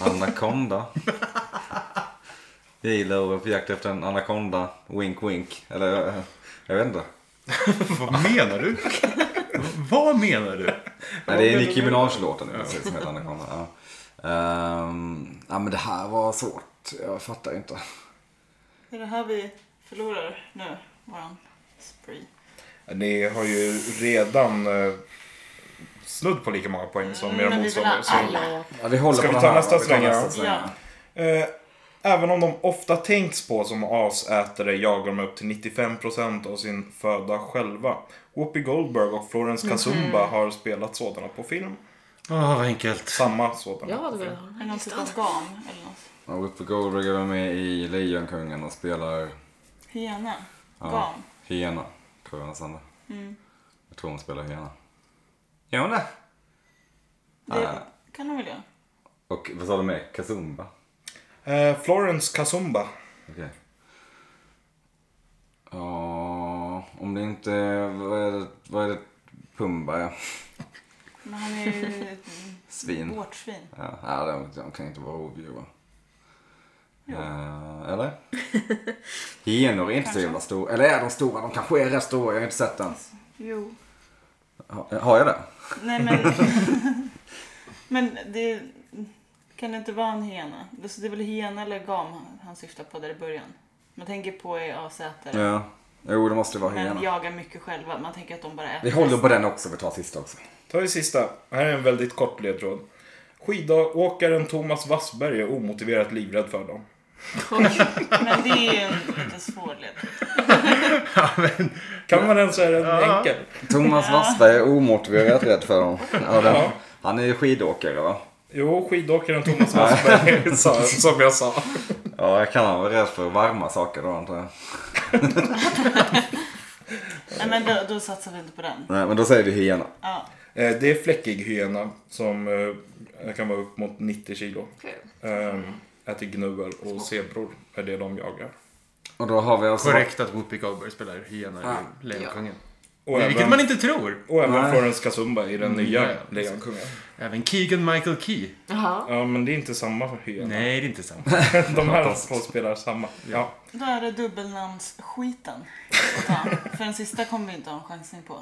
[SPEAKER 2] Anaconda? Jag gillar orden på jakt efter en anakonda. Wink wink. Eller eh, jag vet inte.
[SPEAKER 3] Vad menar du? Vad menar du?
[SPEAKER 2] Nej, det är Nicki Minaj-låten nu precis, som heter Anaconda. Ja. Ehm, ja men det här var svårt. Jag fattar ju inte.
[SPEAKER 4] Det är det här vi förlorar nu, våran spree.
[SPEAKER 1] Ni har ju redan eh, snudd på lika många poäng som era
[SPEAKER 4] Mm, Men vi vill ha
[SPEAKER 1] motståndare. Så,
[SPEAKER 4] alla.
[SPEAKER 2] Ja, vi håller
[SPEAKER 1] Ska
[SPEAKER 2] på
[SPEAKER 1] vi
[SPEAKER 2] den
[SPEAKER 1] ta
[SPEAKER 2] här,
[SPEAKER 1] nästa
[SPEAKER 2] va? Vi tar
[SPEAKER 1] släng,
[SPEAKER 2] nästa
[SPEAKER 1] ja?
[SPEAKER 2] släng,
[SPEAKER 4] Ja,
[SPEAKER 1] eh, även om de ofta tänks på som asätare jagar de upp till 95% av sin föda själva. Whoopi Goldberg och
[SPEAKER 4] Mhm.
[SPEAKER 1] Florence Kazumba har spelat sådana på film.
[SPEAKER 3] Åh, vad enkelt.
[SPEAKER 1] Samma sådana.
[SPEAKER 5] Jag hade velat ha
[SPEAKER 4] är det
[SPEAKER 5] den här
[SPEAKER 4] någon typ
[SPEAKER 5] listan.
[SPEAKER 4] av gam eller något?
[SPEAKER 2] Ja, Whoopi Goldberg är med i Lejonkungen och spelar
[SPEAKER 4] Hyena?
[SPEAKER 2] Ja.
[SPEAKER 4] Gam?
[SPEAKER 2] hyena. Tror jag nästan det. Jag tror hon spelar hyena. Gör hon det?
[SPEAKER 4] Det kan de väl göra?
[SPEAKER 2] Och vad sa du med? Kazumba?
[SPEAKER 1] Eh, Florence Kazumba.
[SPEAKER 2] Okej. Ja, om det inte... Vad är det? Vad är det? Pumba, ja.
[SPEAKER 4] Men han är ju ett
[SPEAKER 2] Svin.
[SPEAKER 4] vårtsvin.
[SPEAKER 2] Ja, ja de, de kan inte vara rovdjur, va? Eh, eller? Hyenor är inte så jävla stora. Eller är de stora? De kanske är rätt stora. Jag har inte sett den.
[SPEAKER 4] Jo.
[SPEAKER 2] Ha, har jag det?
[SPEAKER 4] Nej men... men det... Kan det inte vara en hyena? Det så det är väl hyena eller gam han- han syftar på där i början? Man tänker på är asätare.
[SPEAKER 2] Ja. Jo, det måste vara
[SPEAKER 4] Men
[SPEAKER 2] hyena.
[SPEAKER 4] jagar mycket själva. Man tänker att de bara
[SPEAKER 2] Vi
[SPEAKER 4] äter.
[SPEAKER 2] håller på den också. Vi tar sista också.
[SPEAKER 1] Ta det sista. Här är en väldigt kort ledtråd. Skidåkaren Thomas Wassberg är omotiverat livrädd för dem.
[SPEAKER 4] Men det är ju en lite svår ledtråd.
[SPEAKER 1] Kan man den så är den enkel.
[SPEAKER 2] Thomas Wassberg är omotiverat rädd för dem. Ja, den,
[SPEAKER 1] Ja.
[SPEAKER 2] Han är ju skidåkare, va?
[SPEAKER 1] Jo, skidåkaren Thomas Wassberg sa, som jag sa.
[SPEAKER 2] Ja, jag kan han vara rädd för varma saker då, antar jag.
[SPEAKER 4] Nej men då, då satsar vi inte på den.
[SPEAKER 2] Nej, men då säger vi hyena.
[SPEAKER 4] Ja.
[SPEAKER 1] Eh, Det är fläckig hyena som eh, kan vara upp mot 90 kilo.
[SPEAKER 5] Kul.
[SPEAKER 1] Eh, Äter gnuer och zebror är det de jagar.
[SPEAKER 2] Och då har vi alltså...
[SPEAKER 3] Korrekt att Whoopi Goldberg spelar hyena i Lejonkungen.
[SPEAKER 1] Ah, Och
[SPEAKER 3] Vilket
[SPEAKER 1] även,
[SPEAKER 3] man inte tror.
[SPEAKER 1] och även
[SPEAKER 2] Nej.
[SPEAKER 1] Florence Kazumba i den nya
[SPEAKER 3] Ja.
[SPEAKER 1] Lejonkungen.
[SPEAKER 3] Även Keegan Michael Key.
[SPEAKER 5] Jaha.
[SPEAKER 1] Ja, men det är inte samma hyena.
[SPEAKER 3] Nej, det är inte sant.
[SPEAKER 1] De här två spelar samma. Ja.
[SPEAKER 4] Då är det dubbelnamnsskiten. att ta. För den sista kommer vi inte ha en chansning på.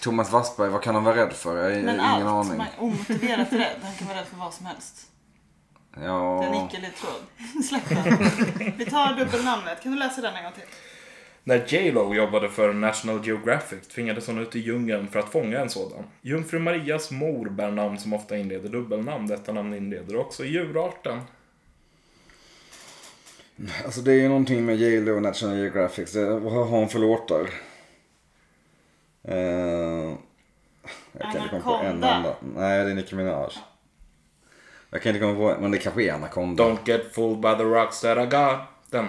[SPEAKER 2] Thomas Wassberg, vad kan han vara rädd för? Jag har
[SPEAKER 4] Men
[SPEAKER 2] Eh, ingen
[SPEAKER 4] allt.
[SPEAKER 2] aning.
[SPEAKER 4] Man är omotiverat rädd. Han kan vara rädd för vad som helst. Det är en
[SPEAKER 2] Ja...
[SPEAKER 4] icke-ledtråd. Släpp den. Vi tar dubbelnamnet. Kan du läsa den en gång till?
[SPEAKER 1] När J Lo jobbade för National Geographic tvingades hon ut i djungeln för att fånga en sådan. Jungfru Marias mor bär namn som ofta inleder dubbelnamn. Detta namn inleder också djurarten.
[SPEAKER 2] Alltså det är ju någonting med J.Lo och National Geographic. Det- Vad har hon för låtar? Eh, jag kan inte komma på en
[SPEAKER 4] Anaconda.
[SPEAKER 2] enda. Nej, det är Nicki Minaj. Jag kan inte komma på en, men det kanske är Anaconda.
[SPEAKER 1] Don't get fooled by the rocks that I got. Den.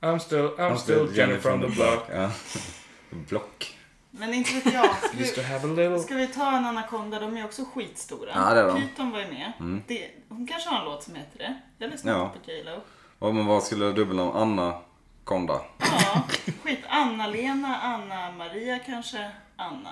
[SPEAKER 1] I'm still, I'm, still, Jenny from the block.
[SPEAKER 2] Ja. block.
[SPEAKER 4] Men inte vet jag. Ska
[SPEAKER 1] Used to
[SPEAKER 4] vi,
[SPEAKER 1] have a little...
[SPEAKER 4] ska vi ta en anakonda? De är också skitstora.
[SPEAKER 2] Ja, det är de. Mm.
[SPEAKER 4] Python var ju med. Det, hon kanske har en låt som heter det. Jag lyssnar
[SPEAKER 2] Ja.
[SPEAKER 4] inte på J.Lo.
[SPEAKER 2] Ja, men vad skulle dubbelnamn Anna Konda?
[SPEAKER 4] Ja, skit. Anna-Lena, Anna-Maria kanske. Anna...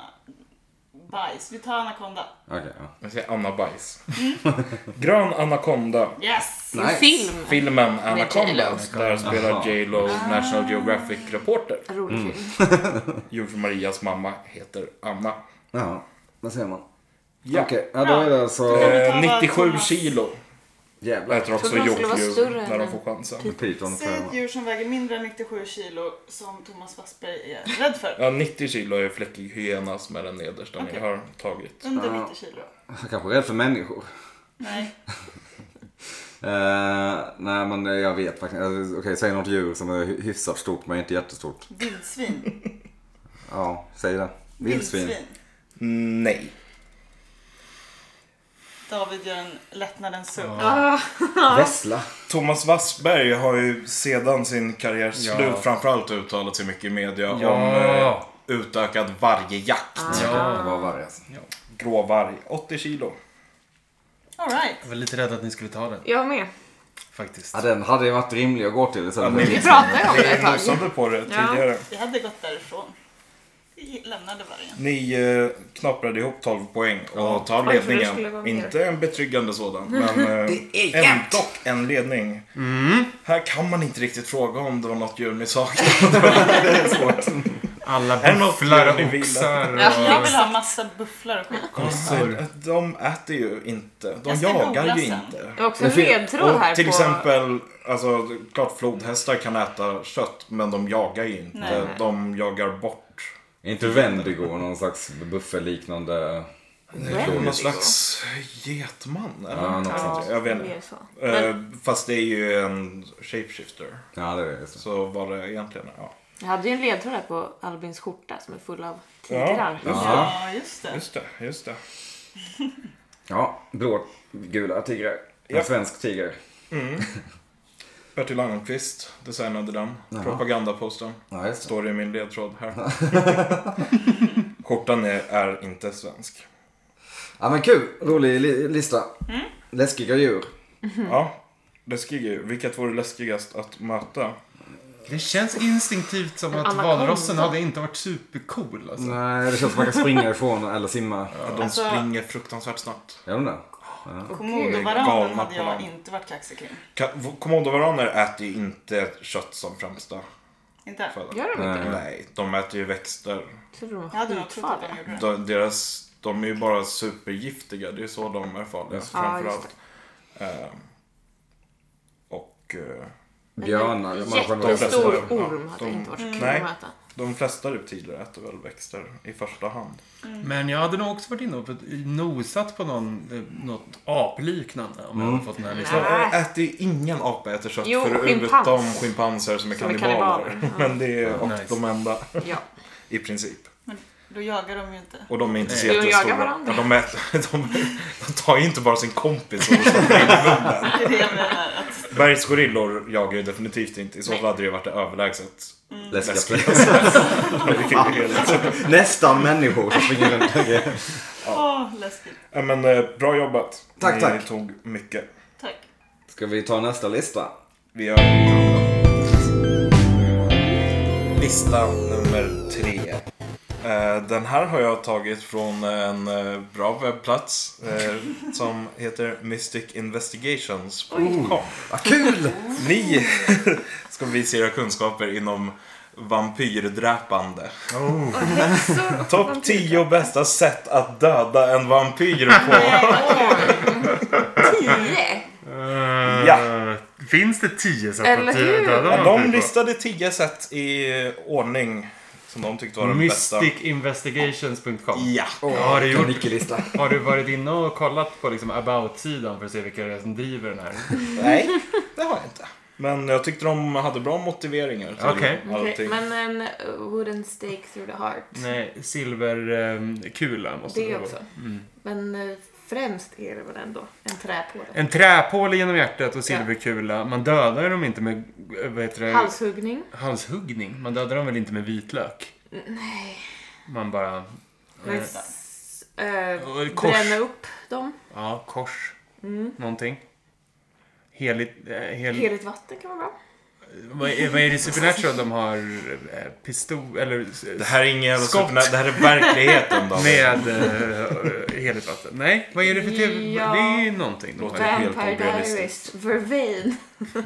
[SPEAKER 4] Bajs. Vi tar anakonda.
[SPEAKER 2] Okej, ja.
[SPEAKER 1] Jag säger Anna Bajs.
[SPEAKER 5] Mm.
[SPEAKER 1] Grön Anaconda.
[SPEAKER 4] Yes!
[SPEAKER 2] Nice.
[SPEAKER 5] Film.
[SPEAKER 1] Filmen Anaconda.
[SPEAKER 5] J.Lo. Ah.
[SPEAKER 1] Där spelar J Lo National Geographic reporter.
[SPEAKER 5] En rolig film.
[SPEAKER 1] Jungfru Marias mamma heter Anna.
[SPEAKER 2] Ja, där ser man.
[SPEAKER 1] Ja.
[SPEAKER 2] Okej, ja, då är det alltså...
[SPEAKER 1] Eh,
[SPEAKER 4] betala
[SPEAKER 1] 97
[SPEAKER 4] Thomas.
[SPEAKER 1] kilo
[SPEAKER 2] Jävlar.
[SPEAKER 1] äter också
[SPEAKER 5] Trodde de skulle vara
[SPEAKER 1] hjortdjur
[SPEAKER 5] större
[SPEAKER 1] när de
[SPEAKER 5] än- typ-
[SPEAKER 1] får chansen.
[SPEAKER 2] Python tror
[SPEAKER 4] Säg
[SPEAKER 2] jag.
[SPEAKER 4] ett djur som väger mindre än 97 kilo som Thomas Wassberg är rädd för.
[SPEAKER 1] Ja, 90 kilo är fläckig hyena som är den nedersta ni
[SPEAKER 4] Okej.
[SPEAKER 1] har tagit.
[SPEAKER 4] Under
[SPEAKER 2] Ja.
[SPEAKER 4] 90 kilo.
[SPEAKER 2] Jag kanske är rädd för människor.
[SPEAKER 4] Nej.
[SPEAKER 2] Eh, nej men jag vet faktiskt alltså, Okej, säg något djur som är hy- hyfsat stort men inte jättestort.
[SPEAKER 4] Vildsvin.
[SPEAKER 2] Ja, säg det. Vildsvin.
[SPEAKER 1] Mm, Nej.
[SPEAKER 4] David gör en lättnadens suck.
[SPEAKER 2] Vessla.
[SPEAKER 1] Thomas Wassberg har ju sedan sin karriärs
[SPEAKER 3] Ja.
[SPEAKER 1] slut framförallt uttalat sig mycket i media
[SPEAKER 3] Ja.
[SPEAKER 1] om eh, utökad vargjakt.
[SPEAKER 2] Ja, det var varje alltså.
[SPEAKER 1] Gråvarg, 80 kilo.
[SPEAKER 4] All right.
[SPEAKER 3] Jag var lite rädd att ni skulle ta den,
[SPEAKER 5] Jag med.
[SPEAKER 3] faktiskt.
[SPEAKER 2] Ja, den hade ju varit rimlig att gå till istället för
[SPEAKER 5] Vi pratade ju om
[SPEAKER 1] Det
[SPEAKER 5] det ett
[SPEAKER 1] är
[SPEAKER 5] tag.
[SPEAKER 1] nosade på det
[SPEAKER 5] Ja.
[SPEAKER 1] tidigare.
[SPEAKER 4] Vi hade gått därifrån. lämnade vargen.
[SPEAKER 1] Ni eh, knaprade ihop 12 poäng och tar
[SPEAKER 5] Oj, för det
[SPEAKER 1] ledningen.
[SPEAKER 5] skulle vara mer.
[SPEAKER 1] Inte en betryggande sådan, men eh, en, dock en ledning. Mm. Här kan man inte riktigt fråga om det var något djur ni saknade. det är svårt.
[SPEAKER 3] Alla
[SPEAKER 1] Är det något
[SPEAKER 3] bufflar
[SPEAKER 1] ni
[SPEAKER 3] och
[SPEAKER 1] vill?
[SPEAKER 3] oxar
[SPEAKER 4] Jag vill
[SPEAKER 3] och...
[SPEAKER 4] ha massa bufflar och skit.
[SPEAKER 1] Konstigt. De äter ju inte. De
[SPEAKER 4] Jag ska
[SPEAKER 1] jagar
[SPEAKER 4] googla
[SPEAKER 1] ju
[SPEAKER 4] sen.
[SPEAKER 1] inte.
[SPEAKER 5] Det var också en
[SPEAKER 2] Men fin-
[SPEAKER 5] ledtråd
[SPEAKER 1] Och
[SPEAKER 5] här
[SPEAKER 1] till
[SPEAKER 5] på...
[SPEAKER 1] exempel, alltså klart flodhästar kan äta kött, men de jagar ju inte.
[SPEAKER 4] Nej, nej.
[SPEAKER 1] De jagar bort.
[SPEAKER 2] Är inte Wendigo någon slags buffelliknande?
[SPEAKER 5] Wendigo.
[SPEAKER 1] Någon slags getman eller
[SPEAKER 2] Ja,
[SPEAKER 1] något
[SPEAKER 2] något
[SPEAKER 1] sånt.
[SPEAKER 5] Ja,
[SPEAKER 1] Jag vet
[SPEAKER 5] mer
[SPEAKER 1] inte.
[SPEAKER 5] så.
[SPEAKER 1] Eh, Fast det är ju en shapeshifter.
[SPEAKER 2] Ja, det är det. Så.
[SPEAKER 1] Så var det egentligen, ja.
[SPEAKER 5] Jag hade ju en ledtråd här på Albins skjorta som är full av
[SPEAKER 1] Ja.
[SPEAKER 5] tigrar.
[SPEAKER 2] Ja.
[SPEAKER 4] Ja, just det.
[SPEAKER 1] Just det, just det.
[SPEAKER 2] Ja, blågula tigrar. En
[SPEAKER 1] Ja.
[SPEAKER 2] svensk tiger.
[SPEAKER 1] Bertil Almqvist designade den.
[SPEAKER 2] Jaha.
[SPEAKER 1] Propagandaposten.
[SPEAKER 2] Ja, just det.
[SPEAKER 1] Står i min ledtråd här. Skjortan är, är inte svensk.
[SPEAKER 2] Ja, men kul. Rolig li- lista. Läskiga djur.
[SPEAKER 5] Mm.
[SPEAKER 1] Ja, läskig ju. Vilket vore läskigast att möta?
[SPEAKER 3] Det känns instinktivt som att
[SPEAKER 5] anakonda.
[SPEAKER 3] valrossen hade inte varit supercool. Alltså.
[SPEAKER 2] Nej, det känns som man kan springa ifrån eller simma.
[SPEAKER 1] De
[SPEAKER 4] Alltså-
[SPEAKER 1] springer fruktansvärt snabbt.
[SPEAKER 2] Gör de det?
[SPEAKER 1] Galna
[SPEAKER 4] Komodovaranen
[SPEAKER 1] på
[SPEAKER 4] hade jag
[SPEAKER 1] dem.
[SPEAKER 4] inte varit kaxig kring.
[SPEAKER 1] Ka- Kommodovaraner äter ju inte kött som främsta
[SPEAKER 4] Inte?
[SPEAKER 1] föda.
[SPEAKER 5] Gör de inte?
[SPEAKER 2] Nej.
[SPEAKER 1] Nej, de äter ju växter.
[SPEAKER 5] Jag trodde de
[SPEAKER 4] Jag
[SPEAKER 5] var
[SPEAKER 4] hade nog trott att
[SPEAKER 5] skitfarliga.
[SPEAKER 4] de gjorde
[SPEAKER 1] De,
[SPEAKER 4] det.
[SPEAKER 1] deras, de är ju bara supergiftiga. Det är så de är farliga
[SPEAKER 5] Ja, just
[SPEAKER 1] framförallt. Ehm, och eh,
[SPEAKER 2] Björnar.
[SPEAKER 5] En
[SPEAKER 2] man kan väl-
[SPEAKER 1] jättestor-
[SPEAKER 5] Jättestor
[SPEAKER 1] flesta.
[SPEAKER 5] orm
[SPEAKER 1] Ja,
[SPEAKER 5] hade
[SPEAKER 1] de-
[SPEAKER 5] inte varit så kul
[SPEAKER 1] Nej.
[SPEAKER 5] att möta.
[SPEAKER 1] de flesta reptiler äter väl växter i första hand.
[SPEAKER 3] Men jag hade nog också varit inne och nosat på någon, eh, något apliknande om jag hade fått den här listan.
[SPEAKER 1] Så ä- äter ju ingen apa äter kött
[SPEAKER 5] Jo,
[SPEAKER 1] förutom
[SPEAKER 5] schimpans.
[SPEAKER 1] schimpanser som är
[SPEAKER 5] Som är
[SPEAKER 1] kannibaler.
[SPEAKER 5] kannibaler, ja.
[SPEAKER 1] Men det är och
[SPEAKER 3] Nice.
[SPEAKER 1] de enda
[SPEAKER 5] Ja.
[SPEAKER 1] i princip.
[SPEAKER 4] Men då jagar de ju inte.
[SPEAKER 1] Och de är inte så
[SPEAKER 3] Nej.
[SPEAKER 5] De jagar
[SPEAKER 1] jättestora.
[SPEAKER 5] varandra.
[SPEAKER 1] Ja, de, äter, de, de tar ju inte bara sin kompis och stoppar in i munnen.
[SPEAKER 4] Det är det jag menar. Att,
[SPEAKER 1] Bergsgorillor jagar ju definitivt inte. I så fall
[SPEAKER 5] Nej.
[SPEAKER 1] hade det ju varit det överlägset
[SPEAKER 2] Läskiga
[SPEAKER 1] läskiga.
[SPEAKER 2] Nästan människor som springer runt.
[SPEAKER 4] åh, läskigt.
[SPEAKER 1] Ja, Men eh, bra jobbat.
[SPEAKER 2] Tack,
[SPEAKER 1] Ni
[SPEAKER 2] tack.
[SPEAKER 1] tog mycket.
[SPEAKER 4] Tack.
[SPEAKER 2] Ska vi ta nästa lista?
[SPEAKER 1] Vi gör Lista nummer tre. Eh, Den här har jag tagit från en eh, bra webbplats eh, som heter mysticinvestigations.com.
[SPEAKER 2] Vad kul!
[SPEAKER 1] Ni ska visa era kunskaper inom vampyrdräpande. Topp 10 bästa sätt att döda en vampyr på.
[SPEAKER 5] Tio!
[SPEAKER 1] Ja.
[SPEAKER 3] Eh, Finns det tio sätt
[SPEAKER 5] Eller
[SPEAKER 3] att
[SPEAKER 5] hur?
[SPEAKER 3] döda typ
[SPEAKER 1] De listade 10 sätt i ordning som de tyckte var de bästa.
[SPEAKER 3] Mysticinvestigations.com
[SPEAKER 1] Ja.
[SPEAKER 3] Har du gjort
[SPEAKER 2] Nickelista.
[SPEAKER 3] Har du varit inne och kollat på liksom about-sidan för att se vilka det är som driver den här?
[SPEAKER 1] Nej, det har jag inte. Men jag tyckte de hade bra motiveringar till
[SPEAKER 3] Okej.
[SPEAKER 1] allting.
[SPEAKER 5] Okej, Men en uh, wooden stake through the heart.
[SPEAKER 3] Nej, silverkula måste
[SPEAKER 5] Det
[SPEAKER 3] det
[SPEAKER 5] också.
[SPEAKER 3] vara.
[SPEAKER 5] Men uh, främst är det väl ändå en träpåle.
[SPEAKER 3] En träpåle genom hjärtat och silverkula. Man dödar ju dem inte med eh, vad heter det?
[SPEAKER 5] Halshuggning.
[SPEAKER 3] halshuggning. Man dödar dem väl inte med vitlök?
[SPEAKER 5] Nej.
[SPEAKER 3] Man bara...
[SPEAKER 5] Men,
[SPEAKER 3] Eh,
[SPEAKER 5] s- eh,
[SPEAKER 3] och kors.
[SPEAKER 5] bränna upp dem. Mm.
[SPEAKER 3] Ja, kors. Någonting. Heligt... Eh, hel...
[SPEAKER 5] Heligt vatten kan vara bra.
[SPEAKER 3] vad, är, vad är det i Supernatural de har? Eh, pistol... Eller... s-
[SPEAKER 1] Det här är ingen
[SPEAKER 3] Skott.
[SPEAKER 1] supernä- Det här är verkligheten då.
[SPEAKER 3] Med eh, heligt vatten. Nej, vad är det för tv?
[SPEAKER 5] Ja.
[SPEAKER 3] Det är ju någonting. de
[SPEAKER 1] Låter
[SPEAKER 3] har.
[SPEAKER 1] helt
[SPEAKER 5] Vampire
[SPEAKER 1] orealistiskt.
[SPEAKER 5] Diaries. Vervain.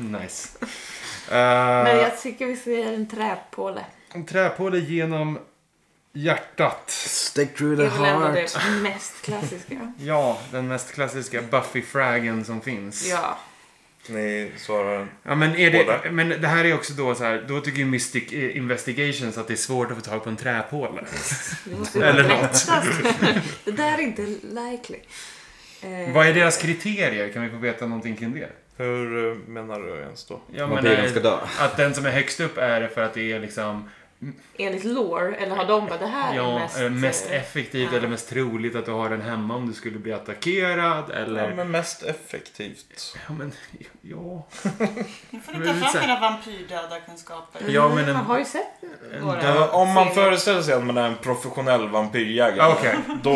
[SPEAKER 3] Nice. Uh,
[SPEAKER 5] Men jag tycker vi säger en träpåle.
[SPEAKER 3] en Eh, träpåle genom hjärtat.
[SPEAKER 2] Stick through
[SPEAKER 5] Det
[SPEAKER 2] the
[SPEAKER 5] är väl ändå
[SPEAKER 2] heart.
[SPEAKER 5] det mest klassiska.
[SPEAKER 3] Ja, den mest klassiska Buffy-fragen som finns.
[SPEAKER 5] Ja.
[SPEAKER 1] Ni svarar...
[SPEAKER 3] Ja, men, är
[SPEAKER 1] Båda.
[SPEAKER 3] det, men det här är också då så här, då tycker ju Mystic eh, Investigations att det är svårt att få tag på en träpåle.
[SPEAKER 5] Det måste ju vara
[SPEAKER 3] Eller
[SPEAKER 5] lättast. Det där är inte likely. Eh,
[SPEAKER 3] Vad är deras kriterier? Kan vi få veta någonting kring det?
[SPEAKER 1] Hur eh, menar du ens då?
[SPEAKER 3] Ja, men,
[SPEAKER 2] Vampyren
[SPEAKER 3] eh,
[SPEAKER 2] ska dö.
[SPEAKER 3] Att den som är högst upp är det för att det är liksom
[SPEAKER 5] Enligt lore, eller har de bara det här är
[SPEAKER 3] ja,
[SPEAKER 5] mest...
[SPEAKER 3] mest, mest
[SPEAKER 5] eh,
[SPEAKER 3] effektivt
[SPEAKER 5] ja.
[SPEAKER 3] eller mest troligt att du har den hemma om du skulle bli attackerad eller...
[SPEAKER 1] Ja, men mest effektivt.
[SPEAKER 3] ja, men ja.
[SPEAKER 4] Nu får
[SPEAKER 3] Men
[SPEAKER 4] ni
[SPEAKER 3] det är
[SPEAKER 4] ta
[SPEAKER 3] så
[SPEAKER 4] fram
[SPEAKER 3] här-
[SPEAKER 4] era vampyrdödarkunskaper.
[SPEAKER 3] ja, men en,
[SPEAKER 5] Mm, Man har ju sett
[SPEAKER 3] en
[SPEAKER 5] några.
[SPEAKER 3] död-
[SPEAKER 1] Ja, om man
[SPEAKER 5] serier.
[SPEAKER 1] föreställer sig att man är en professionell vampyrjägare.
[SPEAKER 3] Ja, Okej.
[SPEAKER 1] Då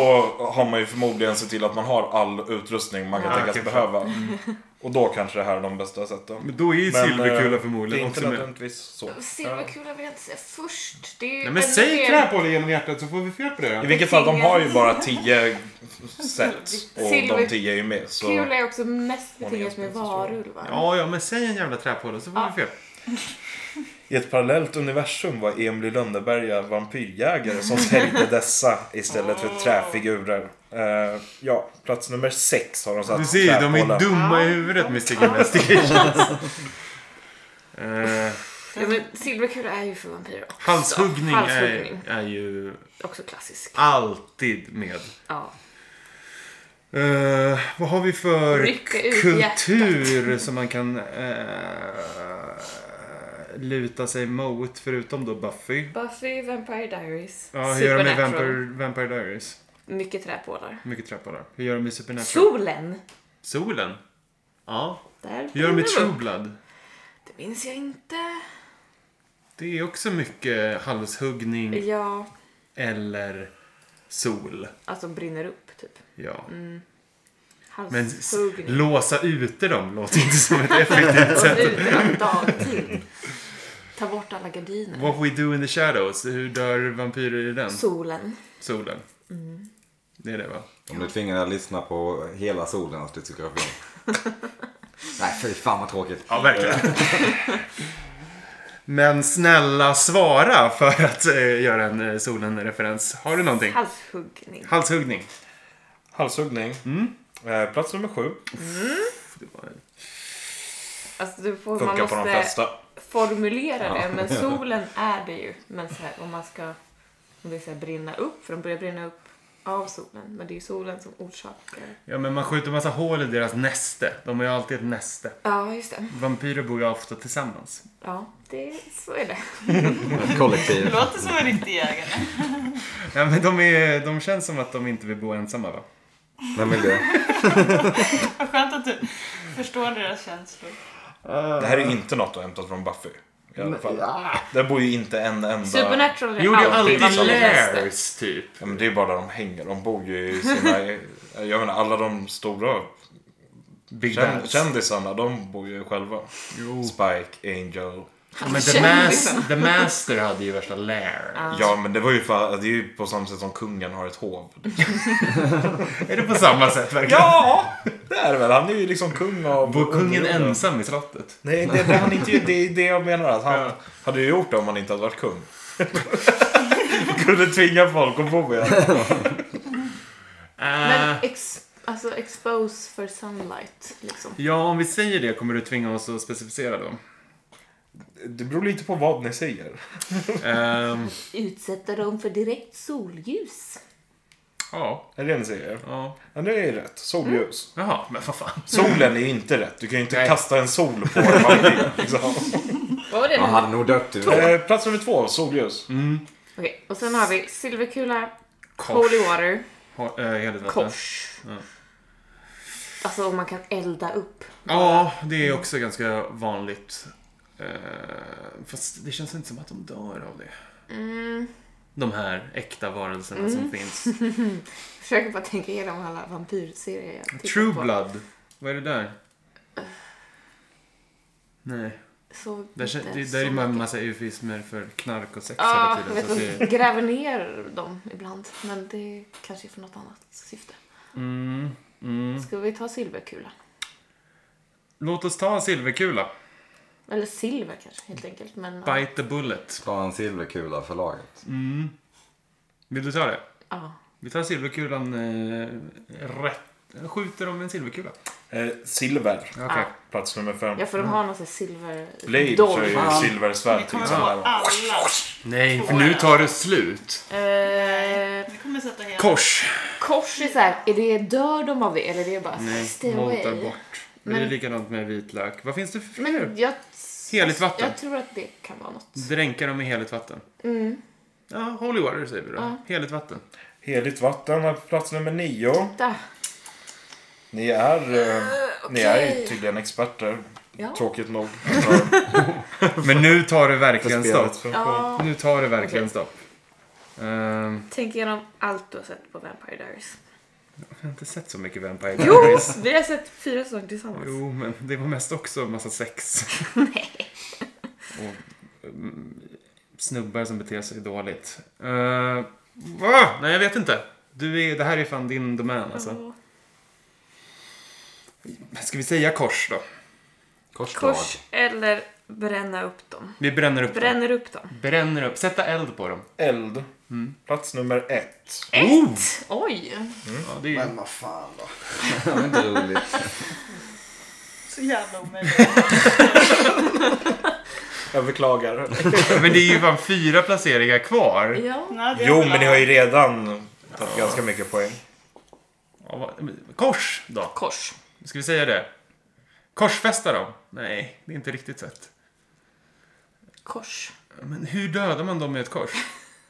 [SPEAKER 1] har man ju förmodligen sett till att man har all utrustning man kan
[SPEAKER 3] Ja,
[SPEAKER 1] tänkas
[SPEAKER 3] okej. Mm.
[SPEAKER 1] behöva. Och då kanske det här är de bästa sätten.
[SPEAKER 3] Men då är ju
[SPEAKER 1] Men,
[SPEAKER 3] silverkula
[SPEAKER 1] eh, Det är
[SPEAKER 3] förmodligen
[SPEAKER 1] inte
[SPEAKER 3] också med.
[SPEAKER 1] nödvändigtvis så.
[SPEAKER 5] Silverkula vill jag inte säga först. Det är ju
[SPEAKER 3] Nej men
[SPEAKER 5] ännu
[SPEAKER 3] säg
[SPEAKER 5] mer-
[SPEAKER 3] knäpåle genom hjärtat så får vi fel på det.
[SPEAKER 1] I
[SPEAKER 3] då.
[SPEAKER 1] vilket fall, de har ju bara tio set. Och de
[SPEAKER 5] Silver-
[SPEAKER 1] tio är ju med. Så
[SPEAKER 5] Kula är också mest
[SPEAKER 1] Hon är
[SPEAKER 5] betingat med
[SPEAKER 1] egentligen så stor.
[SPEAKER 5] varulvar.
[SPEAKER 3] Ja, ja, men säg en jävla träpåle så får vi fel.
[SPEAKER 1] i ett parallellt universum var Emily Lönneberga vampyrjägare som säljde dessa istället för träfigurer. Eh, ja, plats nummer sex har de satt
[SPEAKER 3] Du ser ju, de är
[SPEAKER 1] träpålen.
[SPEAKER 3] dumma i huvudet Mystic Investigations. Eh,
[SPEAKER 5] Ja, men silverkula är ju för vampyrer också.
[SPEAKER 3] halshuggning är,
[SPEAKER 5] Halshuggning.
[SPEAKER 3] är ju
[SPEAKER 5] Också klassisk.
[SPEAKER 3] alltid med.
[SPEAKER 5] Ja.
[SPEAKER 3] Eh, vad har vi för
[SPEAKER 5] Rycka ut
[SPEAKER 3] kultur som man kan eh, luta sig mot förutom då Buffy?
[SPEAKER 5] Buffy, Vampire Diaries.
[SPEAKER 3] Ja, hur gör de med
[SPEAKER 5] Supernatural.
[SPEAKER 3] Vampire, Vampire Diaries?
[SPEAKER 5] Mycket träpålar.
[SPEAKER 3] Mycket träpålar. Hur gör de med Supernatural?
[SPEAKER 5] Solen!
[SPEAKER 3] Solen? Ja.
[SPEAKER 5] Där
[SPEAKER 3] Hur gör de med
[SPEAKER 5] brinner
[SPEAKER 3] True
[SPEAKER 5] de upp.
[SPEAKER 3] Blood?
[SPEAKER 5] Det minns jag inte.
[SPEAKER 3] Det är också mycket halshuggning
[SPEAKER 5] Ja,
[SPEAKER 3] eller sol.
[SPEAKER 5] att de brinner upp typ.
[SPEAKER 3] Ja. Men s-
[SPEAKER 5] Halshuggning. Alltså,
[SPEAKER 3] låsa ute dem låter inte som ett effektivt...
[SPEAKER 5] Och utan dagtid. Ta bort alla gardiner.
[SPEAKER 3] What we do in the shadows. Hur dör vampyrer i den?
[SPEAKER 5] Solen.
[SPEAKER 3] Solen.
[SPEAKER 5] Mm.
[SPEAKER 3] Det är det va?
[SPEAKER 2] Om du tvingar att lyssna på hela solen av diskografi. Nej, fy fan vad tråkigt.
[SPEAKER 3] Ja, verkligen. Men snälla svara för att eh, göra en eh, solen-referens. Har du någonting?
[SPEAKER 5] Halshuggning.
[SPEAKER 3] Halshuggning.
[SPEAKER 1] Halshuggning.
[SPEAKER 3] Mm.
[SPEAKER 1] Eh, plats nummer sju.
[SPEAKER 3] Det var en-
[SPEAKER 5] Alltså, du får, man
[SPEAKER 1] Funkar på de
[SPEAKER 5] måste
[SPEAKER 1] flesta.
[SPEAKER 5] formulera det. Men solen är det ju. Men så här, om man ska om det är så här, brinna upp. För de börjar brinna upp av solen. Men det är ju solen som orsakar.
[SPEAKER 3] Ja, men man skjuter massa hål i deras näste. De har ju alltid ett näste.
[SPEAKER 5] Ja, just det.
[SPEAKER 3] Vampyrer bor ju ofta tillsammans.
[SPEAKER 5] Ja, det, så är det.
[SPEAKER 4] Det
[SPEAKER 2] Kollektiv.
[SPEAKER 4] låter som en riktig jägare.
[SPEAKER 3] Ja, men de, är, de känns som att de inte vill bo ensamma va?
[SPEAKER 2] Vem vill det?
[SPEAKER 4] Vad skönt att du förstår deras känslor.
[SPEAKER 1] Det här är inte något att hämta från Buffy. I alla fall. Där bor ju inte en enda...
[SPEAKER 5] Ah! Supernatural är
[SPEAKER 3] Jo, det är alltid
[SPEAKER 5] vampyrernas bästa.
[SPEAKER 3] lairs typ.
[SPEAKER 1] Ja, men det är bara där de hänger. De bor ju i sina... jag menar, alla de stora
[SPEAKER 3] Big
[SPEAKER 1] känd,
[SPEAKER 3] Bang.
[SPEAKER 1] kändisarna, de bor ju själva.
[SPEAKER 3] Jo.
[SPEAKER 1] Spike, Angel.
[SPEAKER 3] Ja, men the,
[SPEAKER 5] Kändisar.
[SPEAKER 3] mas- the Master hade ju värsta lair.
[SPEAKER 1] Ja, men det var ju för, det är ju på samma sätt som kungen har ett hov.
[SPEAKER 3] Är det på samma sätt verkligen?
[SPEAKER 1] Ja! Det är det väl. Han är ju liksom kung av...
[SPEAKER 3] Bor kungen
[SPEAKER 1] underjorden.
[SPEAKER 3] ensam i slottet?
[SPEAKER 1] Nej, det, det, han inte, ju- det är det jag menar. Att han
[SPEAKER 3] Ja.
[SPEAKER 1] hade ju gjort det om han inte hade varit kung. Kunde tvinga folk att bo med honom.
[SPEAKER 5] Men
[SPEAKER 3] Äh,
[SPEAKER 5] ex, alltså expose for sunlight liksom.
[SPEAKER 3] ja, om vi säger det kommer du tvinga oss att specificera då.
[SPEAKER 1] Det beror lite på vad ni säger.
[SPEAKER 3] Ehm,
[SPEAKER 5] Utsätta dem för direkt solljus.
[SPEAKER 3] ja,
[SPEAKER 1] Är det det ni säger?
[SPEAKER 3] ja.
[SPEAKER 1] Ja, det är rätt. Solljus.
[SPEAKER 3] Jaha, men vad fan.
[SPEAKER 1] Solen är ju inte rätt. Du kan ju inte
[SPEAKER 3] Nej.
[SPEAKER 1] kasta en sol på en vampyr. Liksom.
[SPEAKER 5] Vad var det
[SPEAKER 2] Man
[SPEAKER 5] nu?
[SPEAKER 2] hade nog dött du.
[SPEAKER 1] Eh, plats nummer två, solljus.
[SPEAKER 5] Okej, och sen har vi silverkula,
[SPEAKER 3] Kors.
[SPEAKER 5] holy water,
[SPEAKER 3] Ho- eh, heligt vatten.
[SPEAKER 5] kors.
[SPEAKER 1] Mm.
[SPEAKER 5] Alltså om man kan elda upp.
[SPEAKER 3] Ja, det är också ganska vanligt. Eh, fast det känns inte som att de dör av det.
[SPEAKER 5] Mm.
[SPEAKER 3] De här äkta varelserna som finns.
[SPEAKER 5] Försöker bara tänka igenom alla vampyrserier jag tittar
[SPEAKER 3] True
[SPEAKER 5] på.
[SPEAKER 3] Blood. Vad är det där? Nej.
[SPEAKER 5] Så
[SPEAKER 3] Där, kän- det,
[SPEAKER 5] inte
[SPEAKER 3] där är
[SPEAKER 5] så
[SPEAKER 3] bara en
[SPEAKER 5] mycket.
[SPEAKER 3] massa eufismer för knark och sex
[SPEAKER 5] Ja,
[SPEAKER 3] hela tiden.
[SPEAKER 5] jag vet
[SPEAKER 3] Så att det,
[SPEAKER 5] de gräver ner dem ibland. Men det kanske är för något annat syfte.
[SPEAKER 3] mm, mm.
[SPEAKER 5] Ska vi ta silverkula?
[SPEAKER 3] Låt oss ta silverkula.
[SPEAKER 5] Eller silver kanske helt enkelt. Men,
[SPEAKER 3] Bite the bullet.
[SPEAKER 2] Ta en silverkula för laget.
[SPEAKER 3] Mm. Vill du ta det?
[SPEAKER 5] Ja.
[SPEAKER 3] Vi tar silverkulan eh, rätt. Skjuter om en silverkula.
[SPEAKER 1] Eh, silver.
[SPEAKER 3] Okej. Mm.
[SPEAKER 5] Ah.
[SPEAKER 1] Plats nummer fem.
[SPEAKER 5] Ja, för de har någon sån här silver...
[SPEAKER 1] Blade
[SPEAKER 5] dolk.
[SPEAKER 1] så är ju
[SPEAKER 2] Fan.
[SPEAKER 1] silversvärd
[SPEAKER 4] Vi
[SPEAKER 1] till
[SPEAKER 4] kommer få
[SPEAKER 1] exempel.
[SPEAKER 4] alla.
[SPEAKER 3] Nej, för nu tar det slut.
[SPEAKER 5] Eh,
[SPEAKER 4] Vi kommer sätta hela...
[SPEAKER 3] Kors.
[SPEAKER 5] kors är såhär, är det, dör de av det eller är det bara så här,
[SPEAKER 3] Nej,
[SPEAKER 5] stay
[SPEAKER 3] motar
[SPEAKER 5] away?
[SPEAKER 3] bort. Men
[SPEAKER 5] Men-
[SPEAKER 3] det är likadant med vitlök. Vad finns det för
[SPEAKER 5] Men
[SPEAKER 3] fler?
[SPEAKER 5] jag,
[SPEAKER 3] Heligt vatten.
[SPEAKER 5] jag tror att det kan vara något.
[SPEAKER 3] Dränka dem i heligt vatten.
[SPEAKER 5] Mm.
[SPEAKER 3] Ja, holy water säger vi då.
[SPEAKER 5] Ja.
[SPEAKER 3] Heligt vatten.
[SPEAKER 1] Heligt vatten har plats nummer nio.
[SPEAKER 5] Där.
[SPEAKER 1] Ni är, eh, ni är ju
[SPEAKER 3] typ-
[SPEAKER 5] okej.
[SPEAKER 1] tydligen experter.
[SPEAKER 5] Ja.
[SPEAKER 1] Tråkigt nog.
[SPEAKER 3] Men nu tar det verkligen
[SPEAKER 1] Spelet
[SPEAKER 3] stopp.
[SPEAKER 1] funkar.
[SPEAKER 5] Ja,
[SPEAKER 3] Nu tar det verkligen stopp. Ehm,
[SPEAKER 5] tänk igenom allt du har sett på Vampire Diaries.
[SPEAKER 3] Jag har inte sett så mycket Vampire
[SPEAKER 5] Jo,
[SPEAKER 3] Diaries.
[SPEAKER 5] vi har sett fyra säsonger tillsammans.
[SPEAKER 3] Jo, men det var mest också en massa sex. Nej. Och mm, snubbar som beter sig dåligt. Eh, va? Nej, jag vet inte. Du är, det här är fan din domän alltså.
[SPEAKER 5] Ja.
[SPEAKER 3] Ska vi säga kors då?
[SPEAKER 2] Korsdrag.
[SPEAKER 5] Kors eller bränna upp dem.
[SPEAKER 3] Vi bränner upp dem.
[SPEAKER 5] Bränner upp dem.
[SPEAKER 3] Bränner upp. Sätta eld på dem.
[SPEAKER 1] Eld. Plats nummer ett.
[SPEAKER 5] Ett! Oj!
[SPEAKER 3] Ja, det är,
[SPEAKER 2] vad fan då. det var inte roligt.
[SPEAKER 4] Så jävla omöjligt.
[SPEAKER 1] Jag beklagar.
[SPEAKER 3] men det är ju fan fyra placeringar kvar.
[SPEAKER 5] Ja.
[SPEAKER 4] Nej, det är
[SPEAKER 1] jo,
[SPEAKER 4] väl
[SPEAKER 1] men ni har ju redan tagit ganska mycket poäng.
[SPEAKER 3] Ja, vad- men Kors då?
[SPEAKER 5] Kors.
[SPEAKER 3] Ska vi säga det? Korsfästa dem? Nej, det är inte riktigt rätt.
[SPEAKER 5] Kors.
[SPEAKER 3] Men hur dödar man dem med ett kors?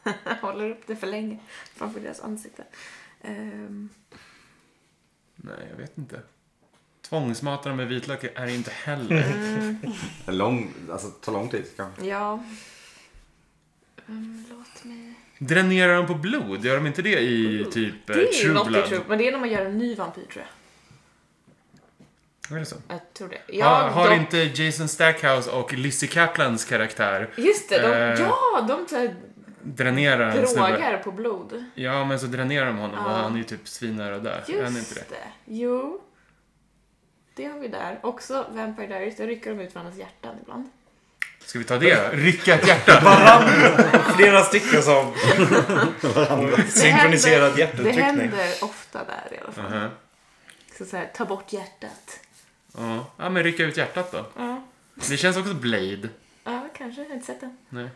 [SPEAKER 5] Jag håller upp det för länge framför deras ansikte. Ehm,
[SPEAKER 3] Nej, jag vet inte. Tvångsmata dem med vitlök är inte heller.
[SPEAKER 2] En lång, alltså ta lång tid kanske.
[SPEAKER 5] ja. Mm, låt mig...
[SPEAKER 3] Dränera dem på blod, gör de inte det i typ eh,
[SPEAKER 5] Det är ju
[SPEAKER 3] True
[SPEAKER 5] något i
[SPEAKER 3] Blood?
[SPEAKER 5] True Men det är när man gör en ny vampyr tror jag.
[SPEAKER 3] Är det så?
[SPEAKER 5] Jag tror det.
[SPEAKER 3] har
[SPEAKER 5] Ja,
[SPEAKER 3] har
[SPEAKER 5] de...
[SPEAKER 3] inte Jason Stackhouse och Lizzie Caplans karaktär
[SPEAKER 5] Just det, de...
[SPEAKER 3] Eh,
[SPEAKER 5] ja, de så här
[SPEAKER 3] dränerar en snubbe?
[SPEAKER 5] drogar på blod.
[SPEAKER 3] Ja, men så dränerar de honom och
[SPEAKER 5] Ja.
[SPEAKER 3] han är ju typ svinnödig där. Är han
[SPEAKER 5] Just
[SPEAKER 3] inte det?
[SPEAKER 5] det. Jo. Det har vi där. Också Vampire Diaries, där rycker de ut varandras hjärtan ibland.
[SPEAKER 3] Ska vi ta det då? Rycka ett hjärta?
[SPEAKER 1] Flera stycken som... Synkroniserad
[SPEAKER 5] Det
[SPEAKER 1] hjärtuttryckning.
[SPEAKER 5] händer ofta där i alla fall.
[SPEAKER 3] Mhm.
[SPEAKER 5] Så, så här, ta bort hjärtat.
[SPEAKER 3] Ja. ja, men rycka ut hjärtat då.
[SPEAKER 5] Ja,
[SPEAKER 3] Det känns också Blade.
[SPEAKER 5] ja kanske. Jag har inte sett den.
[SPEAKER 3] Nej.